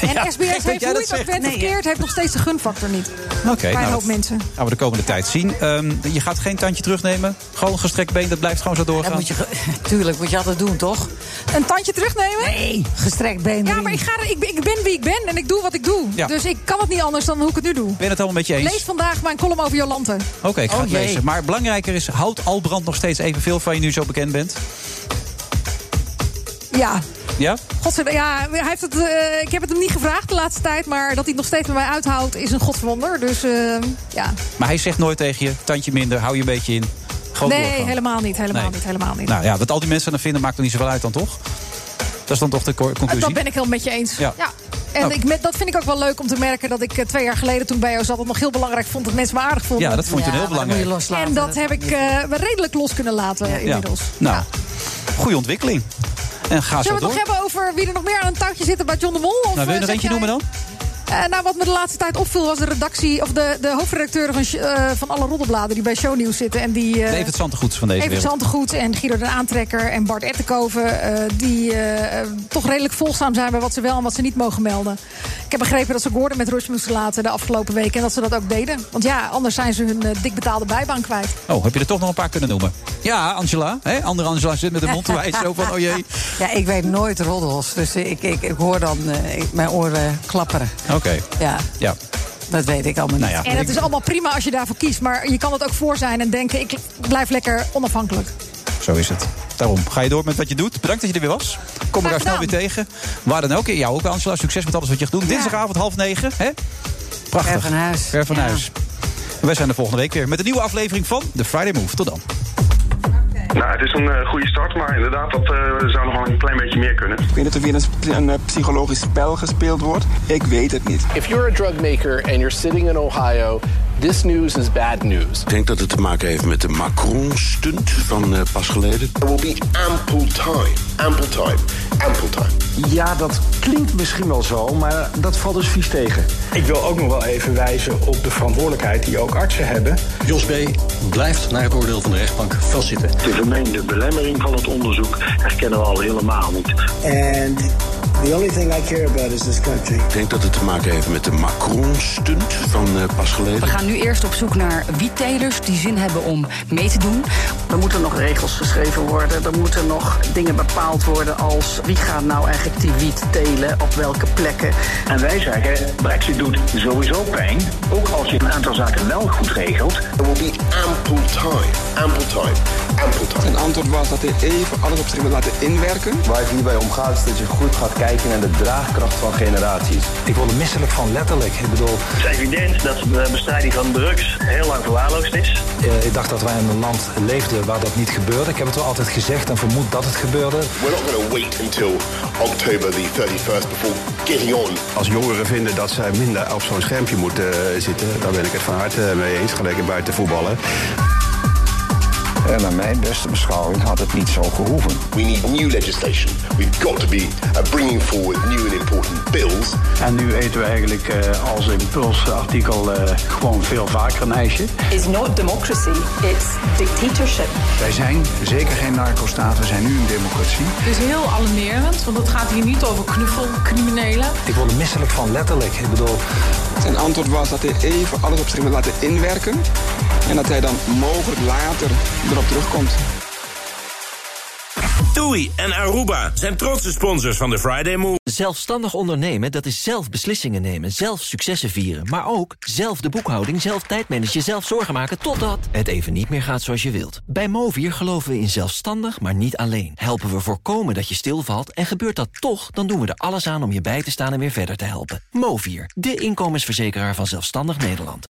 En Ja, SBS gek dat heeft, jij hoe je dat het ook zegt. bent verkeerd, heeft nog steeds de gunfactor niet. Oké, Bij een nou, hoop dat mensen. gaan we de komende tijd zien. Ehm, je gaat geen tandje terugnemen. Gewoon gestrekt been, dat blijft gewoon zo doorgaan. moet je ge- Tuurlijk moet je altijd doen, toch? Een tandje terugnemen? Nee, gestrekt been. Ja, maar ik, ga er, ik, ben- ik ben wie ik ben en ik doe wat ik doe. Ja. Dus ik kan het niet anders dan hoe ik het nu doe. Ik ben het helemaal met je eens. Lees vandaag mijn column over Jolante. Oké, ik ga Oh het jee. lezen. Maar belangrijker is, houdt Albrand nog steeds evenveel van je nu zo bekend bent? Ja. Ja? Godzijdank, ja, hij heeft het, eh, ik heb het hem niet gevraagd de laatste tijd. Maar dat hij het nog steeds bij mij uithoudt is een godswonder. Dus eh, ja. Maar hij zegt nooit tegen je, tandje minder, hou je een beetje in. Gewoon nee, doorgaan. helemaal niet. Helemaal Nee. niet. Helemaal niet. Nou ja, wat al die mensen dan vinden maakt er niet zoveel uit dan toch? Dat is dan toch de co- conclusie? Ah, Dat ben ik helemaal met je eens. Ja. En Nou. ik, met- dat vind ik ook wel leuk om te merken. Dat ik eh, twee jaar geleden toen ik bij jou zat het nog heel belangrijk vond. Dat mensen me aardig vonden. Ja, dat vond je Ja, heel maar dat belangrijk. moet je loslaten. En dat heb ik eh, redelijk los kunnen laten eh, inmiddels. Nou, goede ontwikkeling. En ga zo Zullen we door. het nog hebben over wie er nog meer aan een touwtje zitten bij John de Mol? Of nou, wil je eh, nog zeg eentje jij- noemen dan? Eh, nou, wat me de laatste tijd opviel was de redactie... of de, de hoofdredacteuren van, sh- eh, van alle roddelbladen die bij Shownieuws zitten. En die, eh, De Evert Zantegoeds van deze Evert wereld. Zantegoed en Guido de Aantrekker en Bart Ettenkoven... eh, die eh, eh, toch redelijk volgzaam zijn bij wat ze wel en wat ze niet mogen melden. Ik heb begrepen dat ze Gordon met rust moesten laten de afgelopen weken... en dat ze dat ook deden. Want ja, anders zijn ze hun eh, dik betaalde bijbaan kwijt. Oh, heb je er toch nog een paar kunnen noemen? Ja, Angela. Hè? Andere Angela zit met de mond te wijzen. Zo van, oh jee. Ja, ik weet nooit roddels. Dus ik, ik, ik hoor dan eh, ik- mijn oren klapperen. Oké. Ja, Ja. dat weet ik allemaal Nou niet. ja. En het is allemaal prima als je daarvoor kiest. Maar je kan het ook voor zijn en denken... ik blijf lekker onafhankelijk. Zo is het. Daarom. Ga je door met wat je doet. Bedankt dat je er weer was. Kom elkaar snel weer tegen. Waar dan ook. En jou ook, Angela. Succes met alles wat je gaat doen. Dinsdagavond half negen. Hè? Prachtig. Ver van huis. Ver van Ja. huis. En wij zijn er volgende week weer met een nieuwe aflevering van The Friday Move. Tot dan. Nou, het is een eh, goede start, maar inderdaad, dat eh, zou nog wel een klein beetje meer kunnen. Ik weet niet of hier een, sp- een eh, psychologisch spel gespeeld wordt. Ik weet het niet. If you're a drug maker and you're sitting in Ohio, this news is bad news. Ik denk dat het te maken heeft met de Macron-stunt van eh, pas geleden. There will be ample time. Ample time. Ample time. Ja, dat klinkt misschien wel zo, maar dat valt dus vies tegen. Ik wil ook nog wel even wijzen op de verantwoordelijkheid die ook artsen hebben. Jos B. blijft naar het oordeel van de rechtbank vastzitten. De vermeende belemmering van het onderzoek herkennen we al helemaal niet. And the only thing I care about is this country. Ik denk dat het te maken heeft met de Macron-stunt van eh, pas geleden. We gaan nu eerst op zoek naar wiettelers die zin hebben om mee te doen. Er moeten nog regels geschreven worden. Er moeten nog dingen bepaald worden als wie gaat nou eigenlijk die wiet telen op welke plekken. En wij zeggen, Brexit doet sowieso pijn, ook als je een aantal zaken wel goed regelt. There will be ample time. Ample time. Ample time. Zijn antwoord was dat hij even alles op zich wil laten inwerken. Waar het hierbij om gaat is dat je goed gaat kijken naar de draagkracht van generaties. Ik word er misselijk van, letterlijk. Ik bedoel, Het is evident dat de bestrijding van drugs heel lang verwaarloosd is. eh, ik dacht dat wij in een land leefden waar dat niet gebeurde. Ik heb het wel altijd gezegd en vermoed dat het gebeurde. We're not going to wait until October the 31st before getting on. Als jongeren vinden dat zij minder op zo'n schermpje eh, moeten eh, zitten, daar ben ik het van harte mee eens, gelijk en buiten voetballen. En naar mijn beste beschouwing had het niet zo gehoeven. We need new legislation. We've got to be uh, bringing forward new and important bills. En nu eten we eigenlijk eh, als impulsartikel eh, gewoon veel vaker een ijsje. is not democracy, it's dictatorship. Wij zijn zeker geen narcostaat, we zijn nu een democratie. Het is heel alarmerend, want het gaat hier niet over knuffelcriminelen. Ik word er misselijk van, letterlijk. Ik bedoel... Zijn antwoord was dat hij even alles op zich wil laten inwerken. En dat hij dan mogelijk later erop terugkomt. TUI en Aruba zijn trotse sponsors van de Friday Move. Zelfstandig ondernemen, dat is zelf beslissingen nemen, zelf successen vieren... maar ook zelf de boekhouding, zelf tijdmanagen, zelf zorgen maken... totdat het even niet meer gaat zoals je wilt. Bij Movier geloven we in zelfstandig, maar niet alleen. Helpen we voorkomen dat je stilvalt en gebeurt dat toch... dan doen we er alles aan om je bij te staan en weer verder te helpen. Movier, de inkomensverzekeraar van Zelfstandig Nederland.